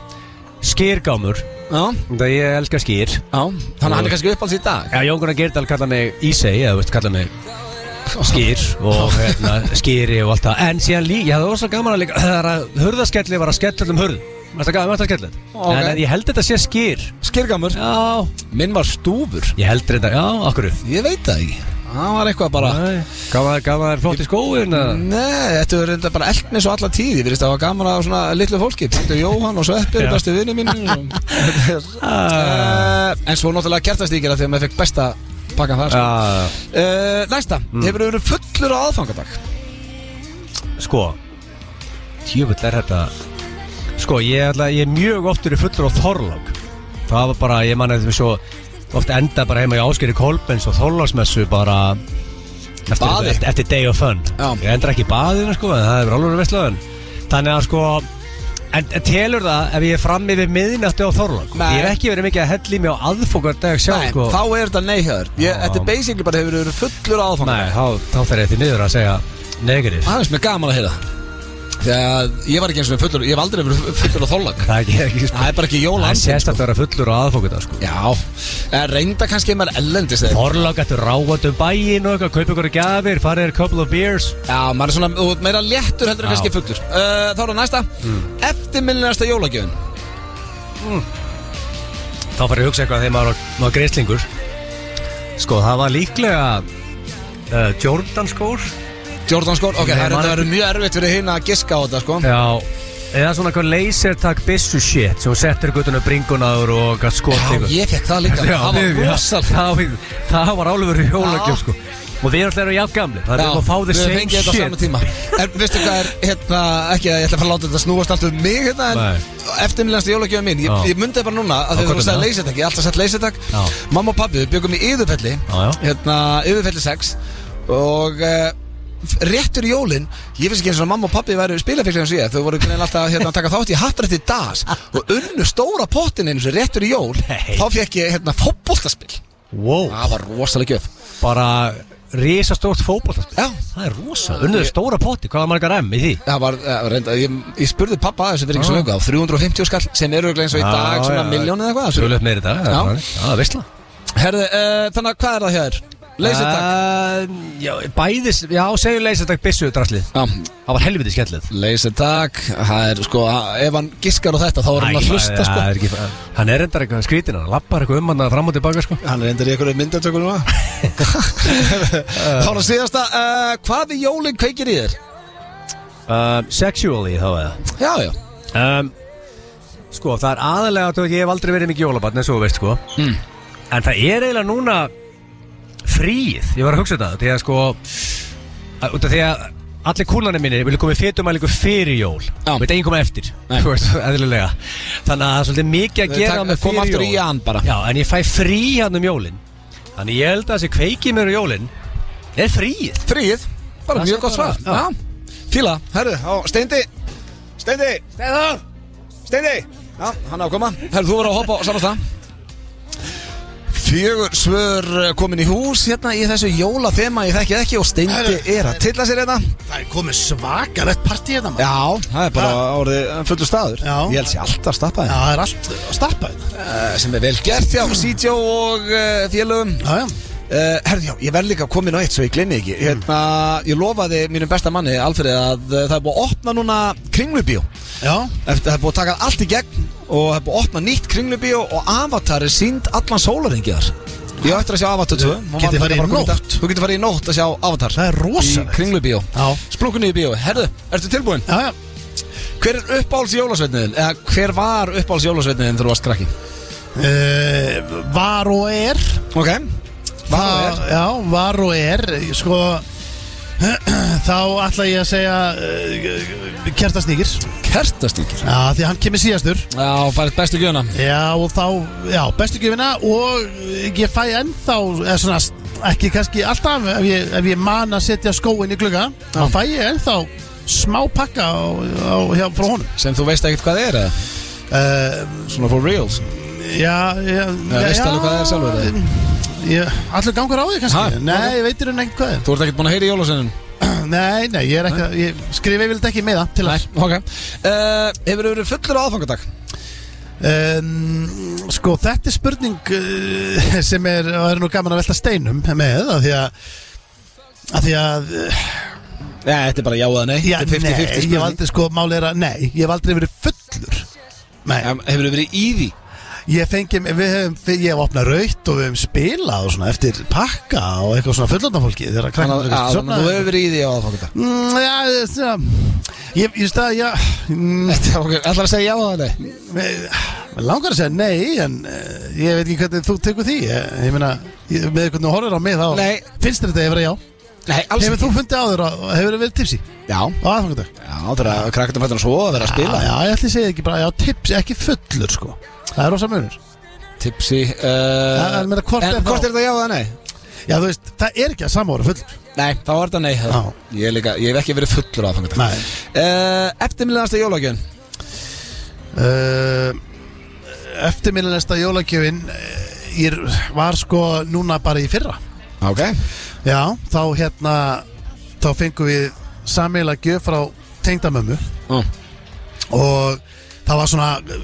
S3: Skýrgámur
S14: Já,
S3: Það ég elska skýr
S14: já Þannig að hann er kannski uppáhalds í dag
S3: Já, Jón Gunnar Geirdal kalla mig Ísei eða veist, kalla mig skýr og hérna, skýri og allt það en síðan líka, ég hafði ósað gaman að líka (clears throat) það er að hurðaskelli var að skella um hurð Mér finnst það gaman að skella
S14: Ok.
S3: en, en ég held þetta sé skýr
S14: Skirgamur
S3: Já,
S14: Minn var stúfur
S3: ég held þetta, já, okkur
S14: Ég veit það ekki Það var eitthvað bara
S3: Gaman gaman þær flott í skóin eða?
S14: Nei, þetta er reynda bara eld með svo alla tíð Ég verðist að það var gaman að svona litlu fólki Þetta er Jóhann og Sveppi,
S3: (laughs) Já.
S14: eru bestu vinnu mín
S3: Ah.
S14: Eh, En svo náttúrulega kertastíkir Þegar maður fekk besta pakkan
S2: Eh.
S14: þar sko.
S3: Já, Mm.
S14: uh, Næsta, hefur verið fullur á aðfangadag
S3: sko Tjöfull er þetta Sko, ég, ætla, ég er mjög oft verið fullur á Þorlák Það var bara, ég manna þetta svo Oft enda bara heima í Áskeri Kolbens og Þorláksmessu bara eftir,
S14: Baði.
S3: eftir, eftir day of fun
S14: Já.
S3: Ég endra ekki í baðinu sko, en það er alveg vestlöðun Þannig að sko En en telur það ef ég er fram yfir miðnætti á Þorlák
S14: Nei.
S3: Ég hef ekki verið mikið að hella í mig á aðfókar dag sjálf
S14: Nei,
S3: sko.
S14: þá er þetta neihjöður
S3: Já.
S14: Þetta er basically bara hefur verið fullur á aðfangadag
S3: Nei, þá, þá þarf ég því miður að segja negativ
S14: Það er sem er gaman að heyra
S18: Þegar ég var ekki eins og fullur Ég hef aldrei verið fullur á þólag Það
S3: er ekki sko.
S18: Það er bara ekki jóla
S3: Það er sérst að vera fullur á aðfókuta sko.
S18: Já En reynda kannski ef maður ellendist þeir
S3: Þorlák eftir ráat um bæin og eitthvað Kaupa ykkur gafir, farið er couple of beers
S18: Já, maður er svona þú ert meira léttur heldur en
S3: Já.
S18: kannski fullur uh, Þá er það næsta mm. Eftirminnilegasta jólagjöfin
S3: Þá fær ég að hugsa eitthvað þegar maður var- maður greislingur Sko, það var líklega uh, Jordan skór
S18: Jordan skór, ok, það er- þetta verður mjög erfitt fyrir hinn að giska á þetta sko
S3: Já, eða svona eitthvað lasertag bissu shit sem þú settir guttunum bringunaður og gætt skot
S18: Já, ég fekk það líka. Það var rosalegt.
S3: (laughs) það, það var álöfur í jólagjöf sko Og við erum alltaf jafn gamli Það er
S18: Já,
S3: um að fá þér
S18: við
S3: same
S18: fengið þetta á sama
S3: shit
S18: tíma En veistu hvað er, hérna, ekki að ég ætla að fara að láta þetta snúast allt um mig hérna
S3: Nei.
S18: En eftirminnlegasta jólagjöfum mín Ég,
S3: Já.
S18: ég myndi það bara núna
S3: Já,
S18: að þið
S3: hvað
S18: voru
S3: er
S18: að segja
S3: það?
S18: leysetak Ég er alltaf sett leysetak
S3: Já.
S18: Mamma og pabbi, við byggum í yðurfelli
S3: já.
S18: Hérna, yðurfelli 6 Og uh, réttur í jólin Ég finnst ekki eins og að mamma og pabbi væru spilafíklar eins og ég Þau voru greinilega alltaf hérna, að taka þátt í hattrætti das Og unnu stóra pottin eins og réttur í jól Þá fekk ég hérna fótboltaspil
S3: Wow
S18: Það var rosalega gjöf
S3: Bara risastórt fótboltaspil
S18: Já
S3: Það er rosa Unnuðu stóra potti, hvað var margar M í því?
S18: Það var, það var reynda, ég, ég spurði pappa að þessu fyrir ekki
S14: Ah.
S18: svo
S3: Já.
S18: löngu á 350 skall sem eru örugglega eins og í dag svona miljónið eða hvað
S3: Sjölu upp meiri dag
S18: Já.
S3: Já, veistla
S18: Herði,
S14: eh,
S18: uh, þannig að hvað er það hér? Leysertak
S3: Leysertak Eh, Já, bæðis Já, segjum leysertak bissu drastlið
S18: Já
S3: Það var helviti skellið
S18: Leysertak, það er sko, ef hann giskar á þetta þá er hann að hlusta sko
S3: er ekki, Hann er endar eitthvað skrítin Hann lappar eitthvað um hann að fram og tilbaka sko
S18: Hann er endar í einhverju myndatöku
S3: (laughs)
S18: núna Þá er það síðasta, uh, hvað er jólinn kveikir í þér? Eh,
S3: um, Sexually þá eða
S18: Já, já
S3: um, Sko það er aðalega að ég hef aldrei verið mikið jólabarn eins og þú veist sko
S18: Hmm.
S3: mm. En það er eiginlega núna fríð Ég var að hugsa þetta Því að sko að, út af Því að allir kúlanir mínir vilja komið fétumælingu fyrir jól Já. Veit engin koma eftir Þú veist, eðlilega Þannig að það er svolítið mikið
S18: Þau
S3: að gera
S18: taka-
S3: með
S18: koma
S3: fyrir
S18: aftur í jan bara.
S3: Já, en ég fæ frí hann um jólin Þannig ég held að þessi kveikið mér um jólin Er fríð
S18: Fríð, bara
S3: Það
S18: mjög
S3: sé
S18: gott
S3: bara-
S18: svar Já, fíla, herðu, á, steindi Steindi Steinar Steindi Já, hann á að koma Herðu, þú verður að hoppa á saman stað Fjögur svör eh, komin í hús hérna í þessu jólathema ég þekkið ekki og Steindi er að tilla sér hérna
S2: Það er komið svakalett partí hérna maður.
S18: Já, það er bara orðið eh, fullur staður
S2: Já.
S18: Ég held sér alltaf að stappa
S2: Já,
S18: þeim
S2: það er allt hérna. að stappa þetta
S18: Eh, sem er vel gert hjá Sítjó og uh, félögum
S2: Já, já
S18: Uh, herði, já, ég verð líka að koma inn á eitt svo ég glemni ekki hérna, Ég lofaði mínum besta manni, Alfreð að uh, það er búið að opna núna kringlubíó
S2: Já,
S18: Eftir, Það er búið að taka allt í gegn og það er búið að opna nýtt kringlubíó og Avatar er sínd allan sólaringiðar Ég á eftir að sjá Avatar 2 Má
S2: Getið
S18: mamma
S2: farið í
S18: bara koma
S2: nótt?
S18: dag. Þú getur farið í nótt að sjá Avatar
S2: það er
S18: Í
S2: rosalegt
S18: kringlubíó
S2: Já.
S18: Splunkunni í bíó Herðu, ertu tilbúin?
S2: Já, já
S18: Hver er uppáhalds jólasveitniðin? Eða hver var uppáhalds jólasveitniðin þegar þú varst krakki?
S2: uh, Var og er
S18: Ok Var og er?
S2: Þa- Já, var og er Sko (clears throat) Þá ætla ég að segja uh, Kertasnýkir Já,
S18: Kertastíkir
S2: því að hann kemur síðastur
S18: Já, farið bestu gjöna
S2: Já, og þá, já, bestu gjöfina Og ég fæ ennþá eða svona, Ekki kannski alltaf Ef ég, ef ég man að setja skóin í glugga Þá fæ ég ennþá smá pakka á, á, hjá, frá honum
S18: Sem þú veist ekkert hvað er eða?
S2: uh,
S18: Svona for reals
S2: Já, já,
S18: Já, veistu alveg hvað það er sjálfur, eða?
S2: Ég, allir gangur á því kannski
S18: Ha?
S2: Nei, ég veitir hún ekkert hvað er (clears throat)
S18: Þú ert ekkert búin að heyra í jólasennum
S2: Nei, nei, ég er ekki að- Ég skrifa yfirleitt ekki með það til þess
S18: Ok uh, Hefur þú verið fullur á aðfangadag?
S2: um, Sko, þetta er spurning uh, (laughs) sem er, og er nú gaman að velta steinum með, af því að af því að, uh,
S18: Nei, Eh, þetta er bara já eða nei
S2: já,
S18: Þetta er
S2: nei,
S18: 50-50
S2: ég hef aldrei, sko, máli er að, nei, ég hef aldrei verið fullur Nei,
S18: spurning. Hefur þú verið í því?
S2: ég fengi, við hefum, við, ég hef opnað raut og við hefum spilað og svona eftir pakka og eitthvað svona fullorðnafólki þegar að
S18: Þannig
S2: krakkarnir
S18: að- að
S2: eru kannski
S18: þannig að þú
S2: sofnaðir.
S18: hefur verið í því á aðfangadag
S2: Mm, Já, já, ég, ég stað, já mm,
S18: Ok, ætlar að segja já eða nei?
S2: Mér langar að segja nei en uh, ég veit ekki hvernig þú tekur því ég, ég meina, ég, með hvernig þú horfir á mig þá
S18: Nei.
S2: finnst þér þetta hefur að já
S18: Nei, alls
S2: Hefur þú fundið á þér og hefur þið verið tipsi
S18: Já,
S2: á aðfangadag?
S18: já það er að krakkatum fættan svo að vera að spila
S2: Já, já, ég ætli að segja ekki bara, já, tipsi, ekki fullur sko Það er rosa munur
S18: Tipsi uh,
S2: Já, en meina, hvort
S18: en
S2: er þá-
S18: hvort er þetta já eða nei?
S2: Já, þú veist, það er ekki að samvara fullur
S18: Nei, þá er þetta nei
S2: Já.
S18: ég, er líka, ég hef ekki verið fullur á aðfangadag
S2: Nei
S18: uh, Eftirmiljanasta jólagjön
S2: uh, Eftirminnilegsta jólagjöfin uh, ég var sko núna bara í fyrra
S18: Ok
S2: Já, þá hérna þá fengum við sammeila gjöf frá tengdamömmu og það var svona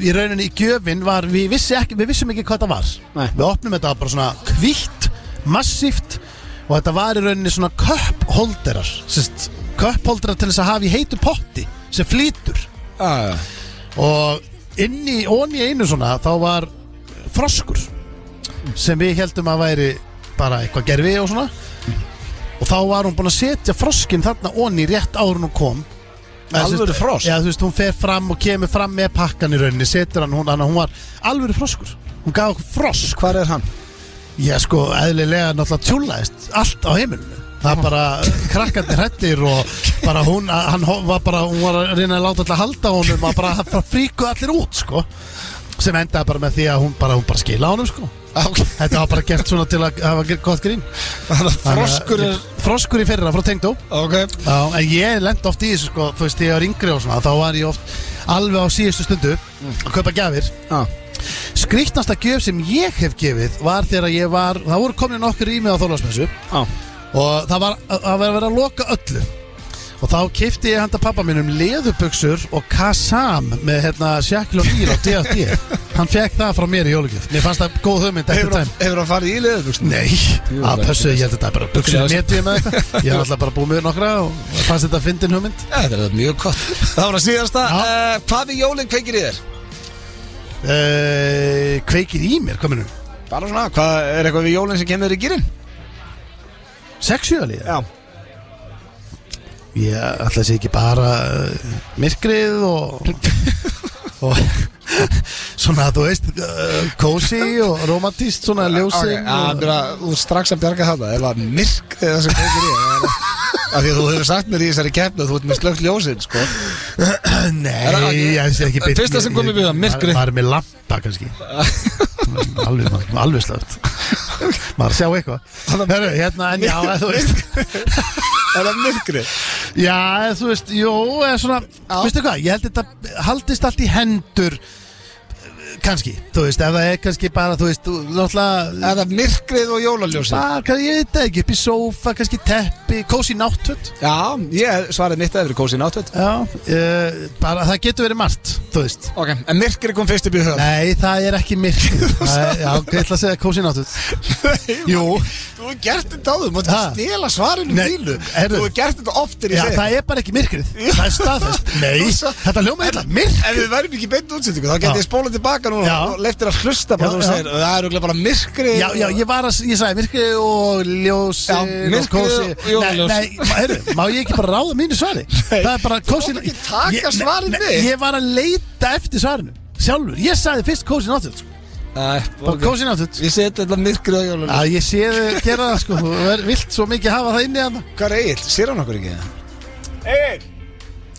S2: í rauninni í gjöfin var við, vissi ekki, við vissum ekki hvað það var Nei. við opnum þetta bara svona kvítt massíft og þetta var í rauninni svona köpholderar sérst, köpholderar til þess að hafa í heitu potti sem flýtur ah, og inn í ón í einu svona þá var froskur sem við heldum að væri bara eitthvað gerfi og svona og þá var hún búin að setja froskin þarna onni rétt árun hún kom Eða, þú veist,
S1: Alvöru frosk?
S2: Já, þú veist, hún fer fram og kemur fram með pakkan í rauninni setur hann, hún, hann, hún var alvöru froskur hún gaf okkur frosk Hvar er hann? Já, sko, eðlilega náttúrulega tjúlaðist allt á heimilinu það bara, krakkandi hrættir og bara hún, hann ho- var bara hún var að reyna að láta alltaf halda honum og bara, bara fríkuð allir út, sko sem endaði bara með því að hún bara, hún bara skila honum, sko
S1: Ah,
S2: Þetta var bara gert svona til að hafa gert gott grín Þannig að
S1: froskur er-
S2: Froskur í fyrra frá Tengdó okay. Já, En ég lend oft í þessu sko Þú veist, þegar ég var yngri og svona Þá var ég oft alveg á síðustu stundu Að kaupa gjafir ah. Skrýtnasta gjöf sem ég hef gefið Var þegar ég var Það voru komin nokkur í mig á þólasmessu ah. Og það var að, að vera að loka öllu Og þá kipti ég handa pappa mínum leðubuxur og kasam með hérna Sjakil og Nýr á D.A.D. (laughs) Hann fekk það frá mér í jólugjöf. Mér fannst það góð hugmynd eftir
S1: Hefur
S2: tæm.
S1: hann- hefur hann farið í leðurbuxum?
S2: Nei, að pössu, ég held að þetta er bara buksur í neti með þetta Ég (laughs) er alltaf bara búið með nokkra og fannst þetta fyndin hugmynd
S1: Þetta er mjög gott Það var að síðasta uh, Hvað við jólinn kveikir í þér?
S2: uh, Kveikir í mér, hvað minnum?
S1: Bara svona, hvað er eitthvað við jólinn sem kemur þér í gýrin?
S2: Sexuálið? Já Ég ætla að sé ekki bara uh, myrkrið
S1: (laughs)
S2: og, og svona, þú veist, uh, kósi og romantíst, svona ljósing
S1: Ok, að byrja, Þú ert strax að bjarga þetta Er það myrk eða sem kveikir
S18: (laughs)
S1: í þér? Af því að þú hefur sagt mér í þessari keppni að Þú ert með slögt ljósinn, sko Er það-
S2: Eh, Nei, ég sé ekki
S1: Það fyrsta sem kom í hugann, myrkrið.
S2: Maður er með lampa
S1: (laughs)
S2: kannski Alveg, maður- alveg slögt Maður sjá eitthvað Hörru, hérna, en já,
S1: (laughs)
S2: þú veist
S1: Er það myrkri?
S2: Já, eða þú veist, jú, eða svona Veistu hvað, ég held þetta haldist allt í hendur eh, Kannski, þú veist, ef það er kannski bara, þú veist, þú náttúrulega
S1: Er það myrkrið og jólaljósið?
S2: Bara, ég veit það ekki, upp í sófa, kannski teppi, kósi náttut
S1: Já, ég svaraði mitt að yfir kósi náttútt
S2: Já, uh, bara það getur verið margt, þú veist
S1: Ok, en myrkri kom fyrst upp í höfn
S2: Nei, það er ekki myrkrið (laughs) Það er- Já, ég ætla að segja kósi náttut Jú
S1: Þú hefur gert þetta áður, maður
S2: Ha?
S1: stela svarinu
S2: Ah. Nei,
S1: þínu Þú
S2: heyrðu.
S1: hefur gert þetta oftir í
S2: Já, það er bara ekki myrkrið Það er staðfest Nei, þetta hljóma eitthvað myrkrið
S1: Ef við verðum ekki beint útsendingu, þá
S2: Já.
S1: getur ég spólað tilbaka núna
S2: Ah. Já.
S1: og leiftir að hlusta bara
S2: Já,
S1: þú
S2: já.
S1: segir, það er örugglega bara myrkri
S2: Já, já, ég var að, ég sagði myrkrið og ljósi
S1: Já, myrkrið og jólaljós.
S2: Nei, nei, ma- heyrðu, má ég ekki bara ráða
S1: (laughs)
S2: mínu svari? Það er bara kósi
S1: mátt ekki taka svarið
S2: nei,
S1: mitt.
S2: Ég var að leita eftir svarinu Sjálfur, ég sagði fyrst kósi náttúrulega sko. Bara Ah. kósi náttúrulega
S1: Ég seti þetta myrkrið og jólaljósið.
S2: Já, ég sé þið gera það sko Þú er- vilt svo mikið hafa það inni hann
S1: Hvað er Egil? Sér hann okkur ekki það?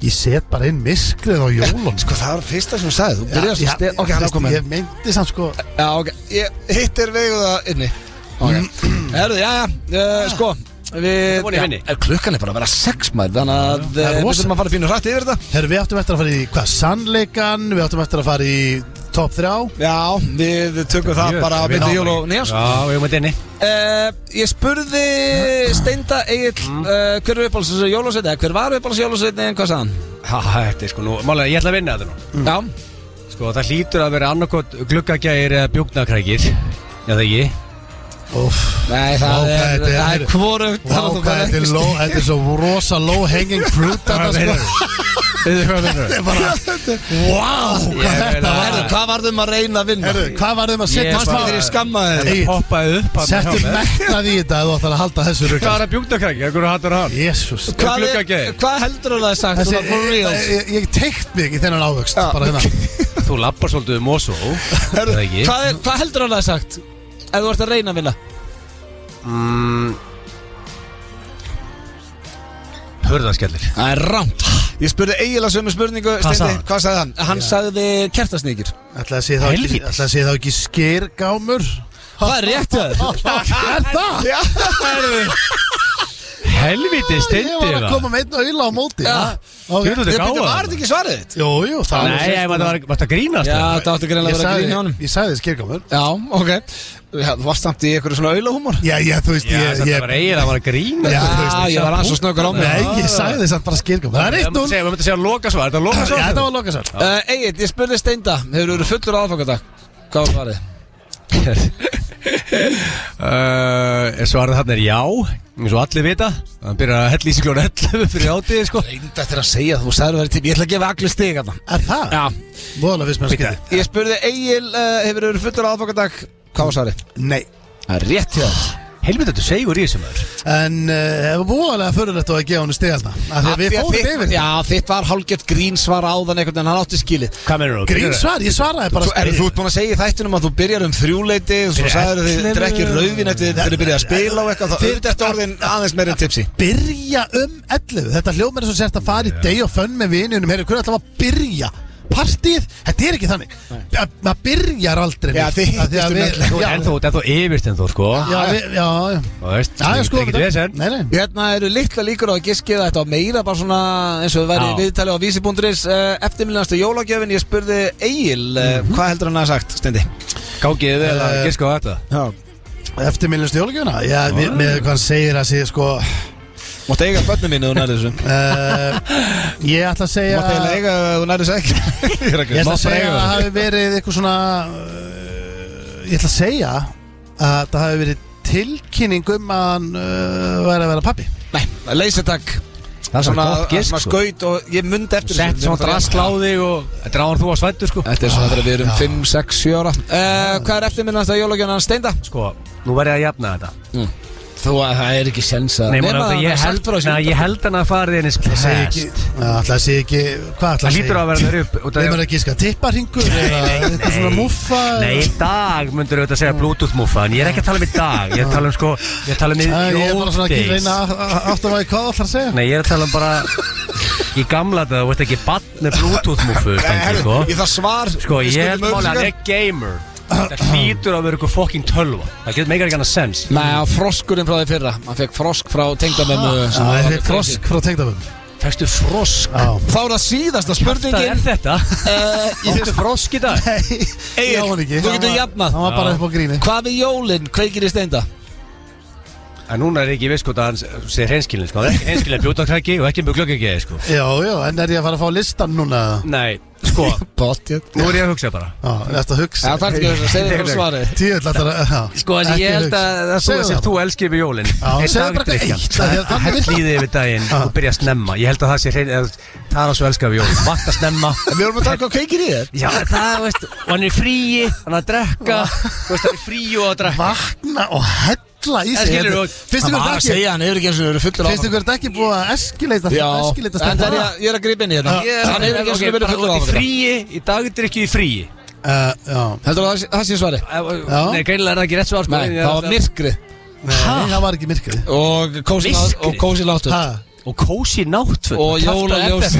S2: Ég set bara inn myrkrið á jólun
S1: Sko það var fyrsta sem þú sagði, þú byrjaði svo stela Ok, hann er komin
S2: Ég myndi samt sko
S1: Já, ok, ég, hitt er veguð það inni Ok, herðu, já, já, uh, sko Við,
S3: voru í henni.
S1: já, klukkan er bara að vera sex maður Þannig að
S2: Það er
S1: eh, við
S2: rosa.
S1: þurfum að fara fínu hrætt yfir þetta
S2: Herru, við áttum eftir að fara í hvað, sannleikan Við áttum eftir að fara í top 3
S1: Já, við tökum það bara að byrja jól og nýjast
S3: Já, við erum að denni
S1: Uh, ég spurði Steinda Egil uh, hver er uppáhalds jólasveitni eða hver var uppáhalds jólasveitni en hvað sagði hann?
S3: Ha, þetta er sko nú Málega, ég ætla að vinna þetta nú
S1: Já,
S3: Sko, það hlýtur að vera annarkot gluggagægir eða bjúknakrækir Já, það ekki
S2: Óf,
S1: nei það
S2: Vá,
S1: er
S2: hvað þetta
S1: það
S2: er-
S1: er hvorugt
S2: Vá, hvað þetta er low- þetta er svo rosa low hanging fruit Þetta sko
S3: Þetta er hvað það er
S1: (laughs)
S2: Vá, hvað þetta var
S1: Herðu, hvað varðum að reyna að vinna?
S2: Herru, hvað var þeim að setja
S1: Fannst það þegar ég skammaði þig?
S2: Egill,
S3: Poppaði upp hann hjá
S2: Settu
S3: mér.
S2: metnað í þetta ef Þú ætlar að halda þessu
S3: Hvað
S2: rugga
S3: er að bjúknakrækir? Hvernig hattur hann?
S2: Jésús
S1: Hvað er-
S3: Gluggagægir.
S1: Hvað heldur hann að það er sagt?
S2: Þessi,
S1: Þessi, for reals
S2: ég, ég teikt mig ekki þennan ávöxt Bara hérna
S3: Þú lappar svolítið um Oslo Er það ekki?
S1: Hvað er- hvað heldur hann að það er sagt? Ef þú ert að reyna að vinna
S3: Mm. Hörðarskellir
S1: Það er rámt Ég spurði eiginlega sömu spurningu
S3: sagði
S1: Steindi,
S3: hann?
S1: hvað sagði hann? Hann sagði kertasnýkir
S2: Ætla að sé þá ekki,
S3: Helvítis.
S2: ætla að sé þá ekki skyrgámur
S1: Það er rétt að (laughs)
S2: Er það?
S1: Já,
S3: Helviti
S2: Ég
S3: steindi
S2: var að
S3: það
S2: koma með einn og illa á móti
S1: Já.
S2: ha? Ok.
S3: Þú veit, þetta er gáða.
S1: var þetta ekki svarið þitt?
S2: Jú, jú, það
S1: um
S3: Nei, ég maður var varstu að grínast
S1: Já,
S3: eða?
S1: þetta átti greinlega að vera að grína honum
S2: Ég sagði þess kirkamur
S1: Já, ok Já, Þú varst samt í einhverju svona aulahúmor
S2: Já, já, þú veist,
S3: Já, þetta var eiginlega að var að grínast
S1: Já, ég var aðeins og snöggur á mig
S2: Nei, ég sagði þess að bara skilgum Það er eitt núl
S3: Við möttum að segja loka svar, þetta er loka
S2: Já,
S3: svar
S2: þetta var lokasvar
S1: uh, Egil, ég spurði Steinda Hefur þú verið fullur á aðfangadag? Hvað var svarið?
S3: uh, Svarið þarna er já eins og allir vita Hann byrjar að hella í sig klón 11 fyrir átíði sko
S1: Reynda eftir að segja þú sagði verið til Ég ætla að gefa allir stig að
S2: Er það?
S1: Já
S2: Móðalega fyrst með að skilja
S1: Ég spurði Egil, uh, hefur þú verið fullur á aðfangadag? Hvað var svarið?
S2: Nei
S1: Það er rétt hjá þér.
S3: Helvita, þetta segur í þessu maður
S2: En eh, það var búinlega fyrirlegt að gefa henni stigalna Af því að við
S1: Af því að
S2: fórum
S1: þitt-
S2: yfir
S1: Já, þitt var hálgjört grín svar áðan einhvern en hann átti skilið
S3: Hvað meður þú?
S2: Grínsvar, ég svaraði bara
S1: Svo er þú ert búin að segja í þættinum að þú byrjar um þrjúleiti og svo
S3: Fyrir
S1: sagður þið
S3: ellefu.
S1: drekkir rauðin eftir þegar þið byrjar að spila og eitthvað þá auðvitað eftir orðin aðeins meira en tipsi
S2: Byrja um 11 Þetta hljóð mér svo sért að fara í day og fönn með vinunum Herri, hvernig ætlaði að byrja Partíð, þetta er ekki þannig Að- Maður byrjar aldrei
S1: Já,
S2: neitt.
S1: þið
S2: Af því
S1: hittist
S2: að
S1: um
S2: við-
S1: 11.
S2: Já,
S3: En þú, þetta er þú yfirst en þú sko
S2: já, við- já, já
S3: Þú veist,
S2: Já, já,
S3: ekki-
S2: sko
S3: ekki
S2: þetta-
S3: vesen.
S2: Nei, nei
S1: Hérna eru litla líkur á að giskið að þetta á meira bara svona eins og við væri
S3: Já.
S1: viðtalið á vísibúndurins eftirmiljastu eh, jólagjöfin ég spurði Egil eh, hvað heldur hann að hafa sagt Eh, Stendi?
S3: Gágið vel að giska á þetta
S1: Já
S2: Eftir minnlustu jólugjöfuna Já, við- með hvað hann segir að sé sko
S1: Mátt eiga börnum mínu þú nærið þessu
S2: eh, Ég ætla að segja
S1: Mátt eiga eiga ef þú nærið þessu
S3: (laughs)
S1: ekki Ég er ekki- Mátt
S2: Ég ætla að
S1: bara
S2: segja
S1: eiga
S2: að það
S1: það.
S2: hafi verið eitthvað svona uh, Ég ætla að segja að það hafi verið tilkynning um að hann uh, væri að vera pappi
S1: Nei, leysetak
S3: Það er svona gott gisk
S1: Svona
S3: sko
S1: skaut og ég myndi eftir
S3: Sett
S1: þessu.
S3: svona drasl á þig og Þetta er áður þú að svættu sko
S1: Þetta er svona þegar við erum 5, 6, 7 ára uh, Hvað er eftirminnast að jólagjöfna hann Steinda?
S3: Sko, nú verð ég að jafna þetta
S1: Þú að það er ekki sens að
S3: Nei, maður, þetta- ég held- Nei, ég held hann að fara þinn Það
S2: Það ætla að segja ekki Hvað ætla að
S3: lítur
S2: segja?
S3: að vera þér upp út af-
S2: Við maður ekki skar tipparhingur eða eitthvað svona muffa
S3: Nei, í dag myndur auðvitað að segja bluetooth muffa En ég er ekki að tala um í dag Ég er að tala um sko Ég er að tala um í
S2: Æ, Ég er bara svona
S3: old
S2: að
S3: days.
S2: reyna að að- átta mig á því hvað það ætla að segja
S3: Nei, ég er að tala um bara Í gamla þetta, þú veist ekki Bann með bluetooth muffu
S1: Eh,
S3: stengi, sko.
S1: Ég þarf svar
S3: sko,
S1: við
S3: ég
S1: skuldum
S3: held máli að hann
S1: auglýsingar.
S3: er gamer Það hlýtur að vera eitthvað fokking tölva Það getur meikar ekki annað sens
S1: Nei, á froskurinn frá því fyrra Hann fekk frosk frá
S3: Ah,
S1: tengdamömmu sem var
S2: Það er
S1: alveg crazy.
S2: frosk frá tengdafum
S3: Fækstu frosk
S2: Já
S1: Þá er það síðasta
S3: Það er
S1: spurningin Eh,
S3: þetta Óttu frosk í dag
S2: Já, hann ekki
S1: þú
S2: Hann
S1: getur
S2: var-
S1: jafnað.
S2: Hann var bara
S3: Já.
S2: upp á gríni
S1: Hvað við jólinn kveikir í steinda?
S3: En núna er ekki viss hvort að hann sé hreinskilin sko. Það er ekki hreinskilin bjótakræki og ekki mjög glöggegi sko.
S2: Já, já, en er ég að fara að fá listan núna?
S3: Nei, sko,
S1: Bótt, já
S3: nú er ég að hugsa bara
S2: Já, þetta hugsa
S1: Það þarf ekki að segja þér svarið
S2: Tíðall að það
S3: Sko, þessi ég held að það þú
S2: Segðu
S3: sem
S2: það
S3: þú elskir við jólin
S2: segðu bara eitthvað eitt, af því að þannig
S3: Hætt líði yfir daginn og byrja að snemma Ég held að það sé hrein eða Það er að svo elskar við jólin Vakna snemma
S1: En við vorum að taka á kveikir í þér
S3: Já, það, veist Og hann er frí Hann er að drekka Þú veist, hann er frí og að drekka
S2: vakna og hella í
S3: En
S2: sig
S3: skilurðu,
S2: Þetta- Finnst ykkur þetta ekki
S1: hann hefur ekki eins og verið fullur
S2: Finnst ykkur þetta ekki búið að eskileita
S1: Já,
S2: Eskileita
S1: en það er ég að- ég er að gripa inn í hérna
S3: Ég-
S1: Hann hefur ekki eins
S3: ok,
S1: og verið
S3: bara
S1: fullur
S3: út í
S1: áfram
S3: fríi Í dag er ekki í fríi
S2: Eh, Já
S1: Heldur það það sé svarið?
S2: Já.
S3: Nei, greinilega er það ekki rétt svar sko,
S1: Nei,
S3: en ég-
S1: það var myrkri
S2: Nei, það var ekki myrkrið
S1: Og kósi
S3: Myrkrið?
S1: og kósi láttu
S2: Ha,
S3: Og kósi náttföt
S1: Og (laughs) jólaljós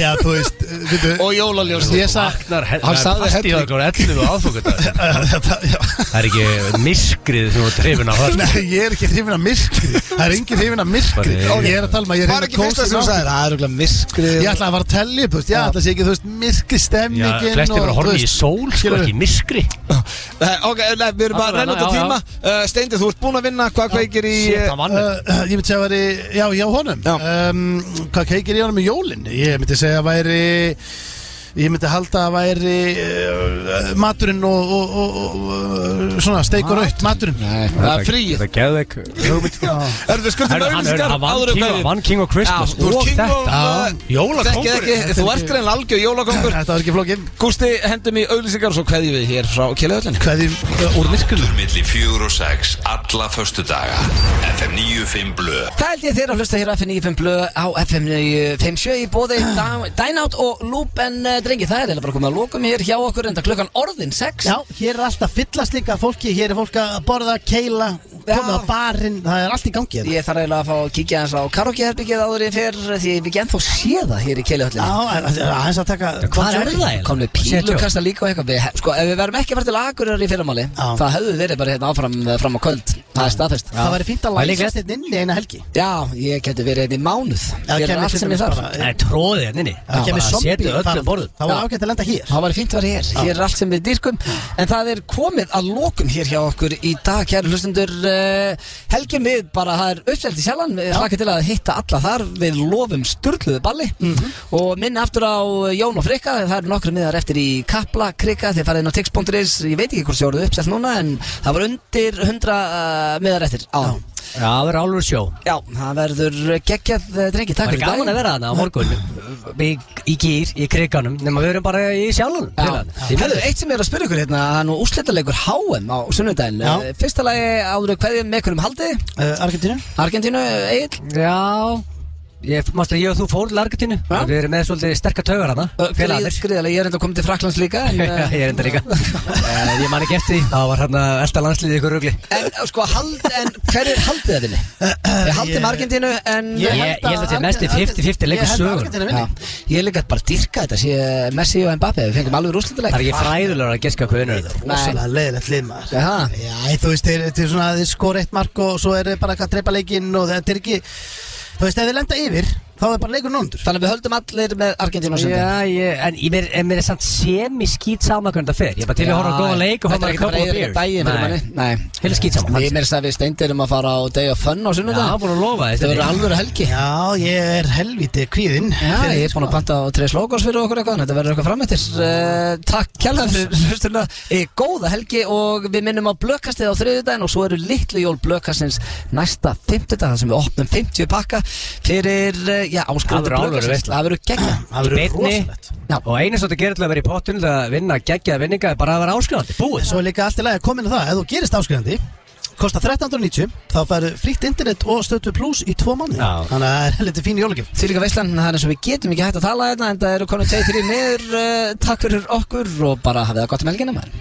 S2: Já, þú veist uh, veitu,
S1: Og jólaljós
S2: Ég sagði
S3: Vaknar,
S1: Hann sagði
S3: hellu
S1: hellu.
S3: Það er hellu aðfokkað
S1: (laughs)
S2: Þetta- já. (laughs)
S3: Það er ekki miskrið sem þú ert hrifin á það sko.
S2: Nei, ég er ekki hrifin að myrkrið Það er engin hrifin að myrkrið
S3: Bara-
S2: Ég er að tala um að ég er
S1: Var
S2: hrifin
S1: ekki fyrsta sem þú
S2: að kósi
S1: sagðir Það er auðvitað myrkri
S2: Ég ætlaði að fara að telja upp, þú veist, ég ætlaði að sé ekki, þú veist, myrkri
S3: Já,
S2: stemningin
S3: flesti
S2: og,
S3: bara
S2: þú
S3: horfið í
S2: veist,
S3: sól, sko,
S2: skilurðu.
S3: ekki í miskri
S1: Nei, Ok, nei, við erum bara að renna út á
S3: Já, já.
S1: tíma uh, Steindi, þú ert búinn að vinna Hvað kveikir í
S3: Shit,
S1: eh,
S3: hann vann
S2: Uh, uh, ég myndi segja að væri, já, já, honum
S1: Já.
S2: Um, Hvað keikir í honum í jólin? Ég myndi segja að væri Ég myndi halda að væri uh, Maturinn og, og, og, og uh, Svona, steik og raut, maturinn
S1: Það er frí
S3: Þetta gerði ekki hugmynd.
S1: Erum við skuldum
S3: Herru, hann-
S1: auðvitskar
S3: hann vann King- hann vann King of Christmas
S1: Þú
S3: og
S1: ert king uh,
S3: þetta.
S1: og
S3: Jólakóngurinn.
S1: Þekkið ekki, Þú ert greinlega algjör jólakongur
S2: Þetta var ekki flókin
S1: Gústi, hendum í auðlýsingar og svo kveðjum við hér frá Kjellegöllin
S2: Hvað er uh, úr myrkur?
S6: Aftur milli fjögur og sex alla förstu daga FM 95 Blö
S14: Það held ég þeirra að hlusta hér á FM 95 blöð á FM 57 í
S1: (clears throat)
S14: bóði Dynout og Loop en uh, drengi það er eða bara komið að lokum hér hjá okkur enda klukkan orðin 6
S19: Já, hér er alltaf fyllast líka af fólki, hér er fólk að borða, keila, koma á barinn, það er allt í gangi hérna.
S14: Ég þarf eiginlega að fá að kíkja eins á karaokeherbyggið áður en ég fer því ég hef ekki ennþá séð það hér í
S19: Já,
S14: keilihöllinni
S19: aðeins að taka...
S14: Hvað er það eiginlega? Komni
S19: Setja.
S14: pílukasta líka og eitthvað Við- Sko, ef við verðum ekki að fara til Akureyrar í fyrramáli
S19: Já.
S14: Það höfðu verið bara hérna áfram eh, fram á kvöld Það er staðfest
S20: Það væri fínt að læsast hérna inni eina helgi
S14: Já, ég geti verið hérna í mánuð
S20: það
S14: Fyrir
S20: kæmi
S14: allt
S20: til
S14: sem ég
S20: dæmis
S14: þarf
S20: bara-
S3: Það er tróðið hérna inni
S20: Það kemur zombie
S3: Setið
S20: farald.
S3: öllum borðum
S20: Það var
S14: Já.
S20: ágætt að lenda hér
S14: Það var fínt að vera hér, hér er allt sem við dýrkum En það er komið að lokum hér hjá okkur í dag Kæru hlustendur, uh, helgjum við bara, það er uppselt í sjálfan Við hlakka til að hitta alla þar, við lofum sturluðu balli
S3: Mhm.
S14: Og minna aftur á eh, Jón og Frikka, það eru nokkru miðar eftir í Kapla, Krikka Þið farið inn á tix.is, ég veit ekki hvort þið voruð uppselt núna En það var undir 100 uh, miðar eftir á
S3: Já, það verður álur sjó
S14: Já, það verður geggjað eh, drengi, takk
S3: Það er
S14: fyrir
S3: gaman
S14: daginn.
S3: að vera þarna á morgun Í, í gýr, í kriganum Nefnum við erum bara í sjálfum
S14: Herðu, eitt sem ég er að spyrja ykkur hérna Það er nú úrslitaleikur HM á sunnudaginn
S3: Já. Eh,
S14: Eh, Fyrsta lagi áður hverjum með hverjum haldi
S20: uh, Argentínu
S14: Argentínu, Egil
S3: Já Ég, mástu að ég og þú fór til Argentínu og Við erum með svolítið sterkar taugar hana Félagarnir
S14: Skriðalega, Eh, ég er enda að koma til Fraklands líka en, eh,
S3: (laughs) Ég er enda líka Eh, Ég man ekki eftir því Það var hérna elda landsliðið í ykkur rugli
S14: En eh, sko, hald,
S3: (laughs)
S14: en hver er haldið það þinni? Ég haldið með Argentínu en
S3: Ég- ég held að þetta er mesti 50-50 leikur sögunnar.
S14: Já. Ég er líka bara að dyrka þetta sé Messi og Mbappe, við fengum alveg úrslitaleik
S3: Það er ekki fræðulegur að geska hvað unnur
S20: Rósalega leiðilegt lið maður Já, þú veist, þeir, þeir, svona, þeir skor eitt mark og svo er þeir bara að treypa leikinn og þetta er ekki Þú veist, ef þeir lenda yfir, þá er bara leikur nóndur
S14: Þannig að við höldum allir með Argentínu á sunnudaginn
S3: Já, ég, en ég mér, en mér er samt semi-skýt saman hvernig það fer Ég er bara til að horfa á góða leik og
S14: Þetta
S3: horfa á
S14: er ekki
S3: couple of
S14: bara yfir
S3: beers
S14: daginn fyrir manni. Nei,
S3: Heil skýt saman
S14: Við mér að við steindirum að fara á Day of Fun á sunnudag
S3: Já, búin að lofa þér.
S14: Þetta verður alvöru helgi
S20: Já, ég er helviti kvíðinn
S14: Já, ég er búin að panta á Tres Logos fyrir okkur eitthvað Þetta verður eitthvað framöttir uh, Takk kjærlega fyrir hlustuna e, Góða helgi og við minnum á blökkastið á þriðjudaginn Og svo eru litlu jól blökkastins næsta fimmtudag þar sem við opnum 50 pakka Fyrir, eh, já,
S3: Það
S14: áskrifandi
S3: verður alvöru
S14: blökkastins
S3: veisla.
S14: Það verður geggja
S3: Í beinni. Og einu svolítið gerir til að vera í pottun til að vinna geggjaða vinninga er bara að vera áskrifandi Búið
S20: Svo er líka allt í lagi að koma inn á það, ef þú gerist áskrifandi Kosta 1390, þá færðu frítt internet og stötu pluss í tvo mánu
S14: Já.
S20: Þannig að það er helviti fín jólagjöf
S14: Því líka veistlan, það er eins og við getum eh, ekki hægt að tala hérna En það eru konum teitir í niður uh, Takk fyrir okkur og bara hafið það gott um helgina maður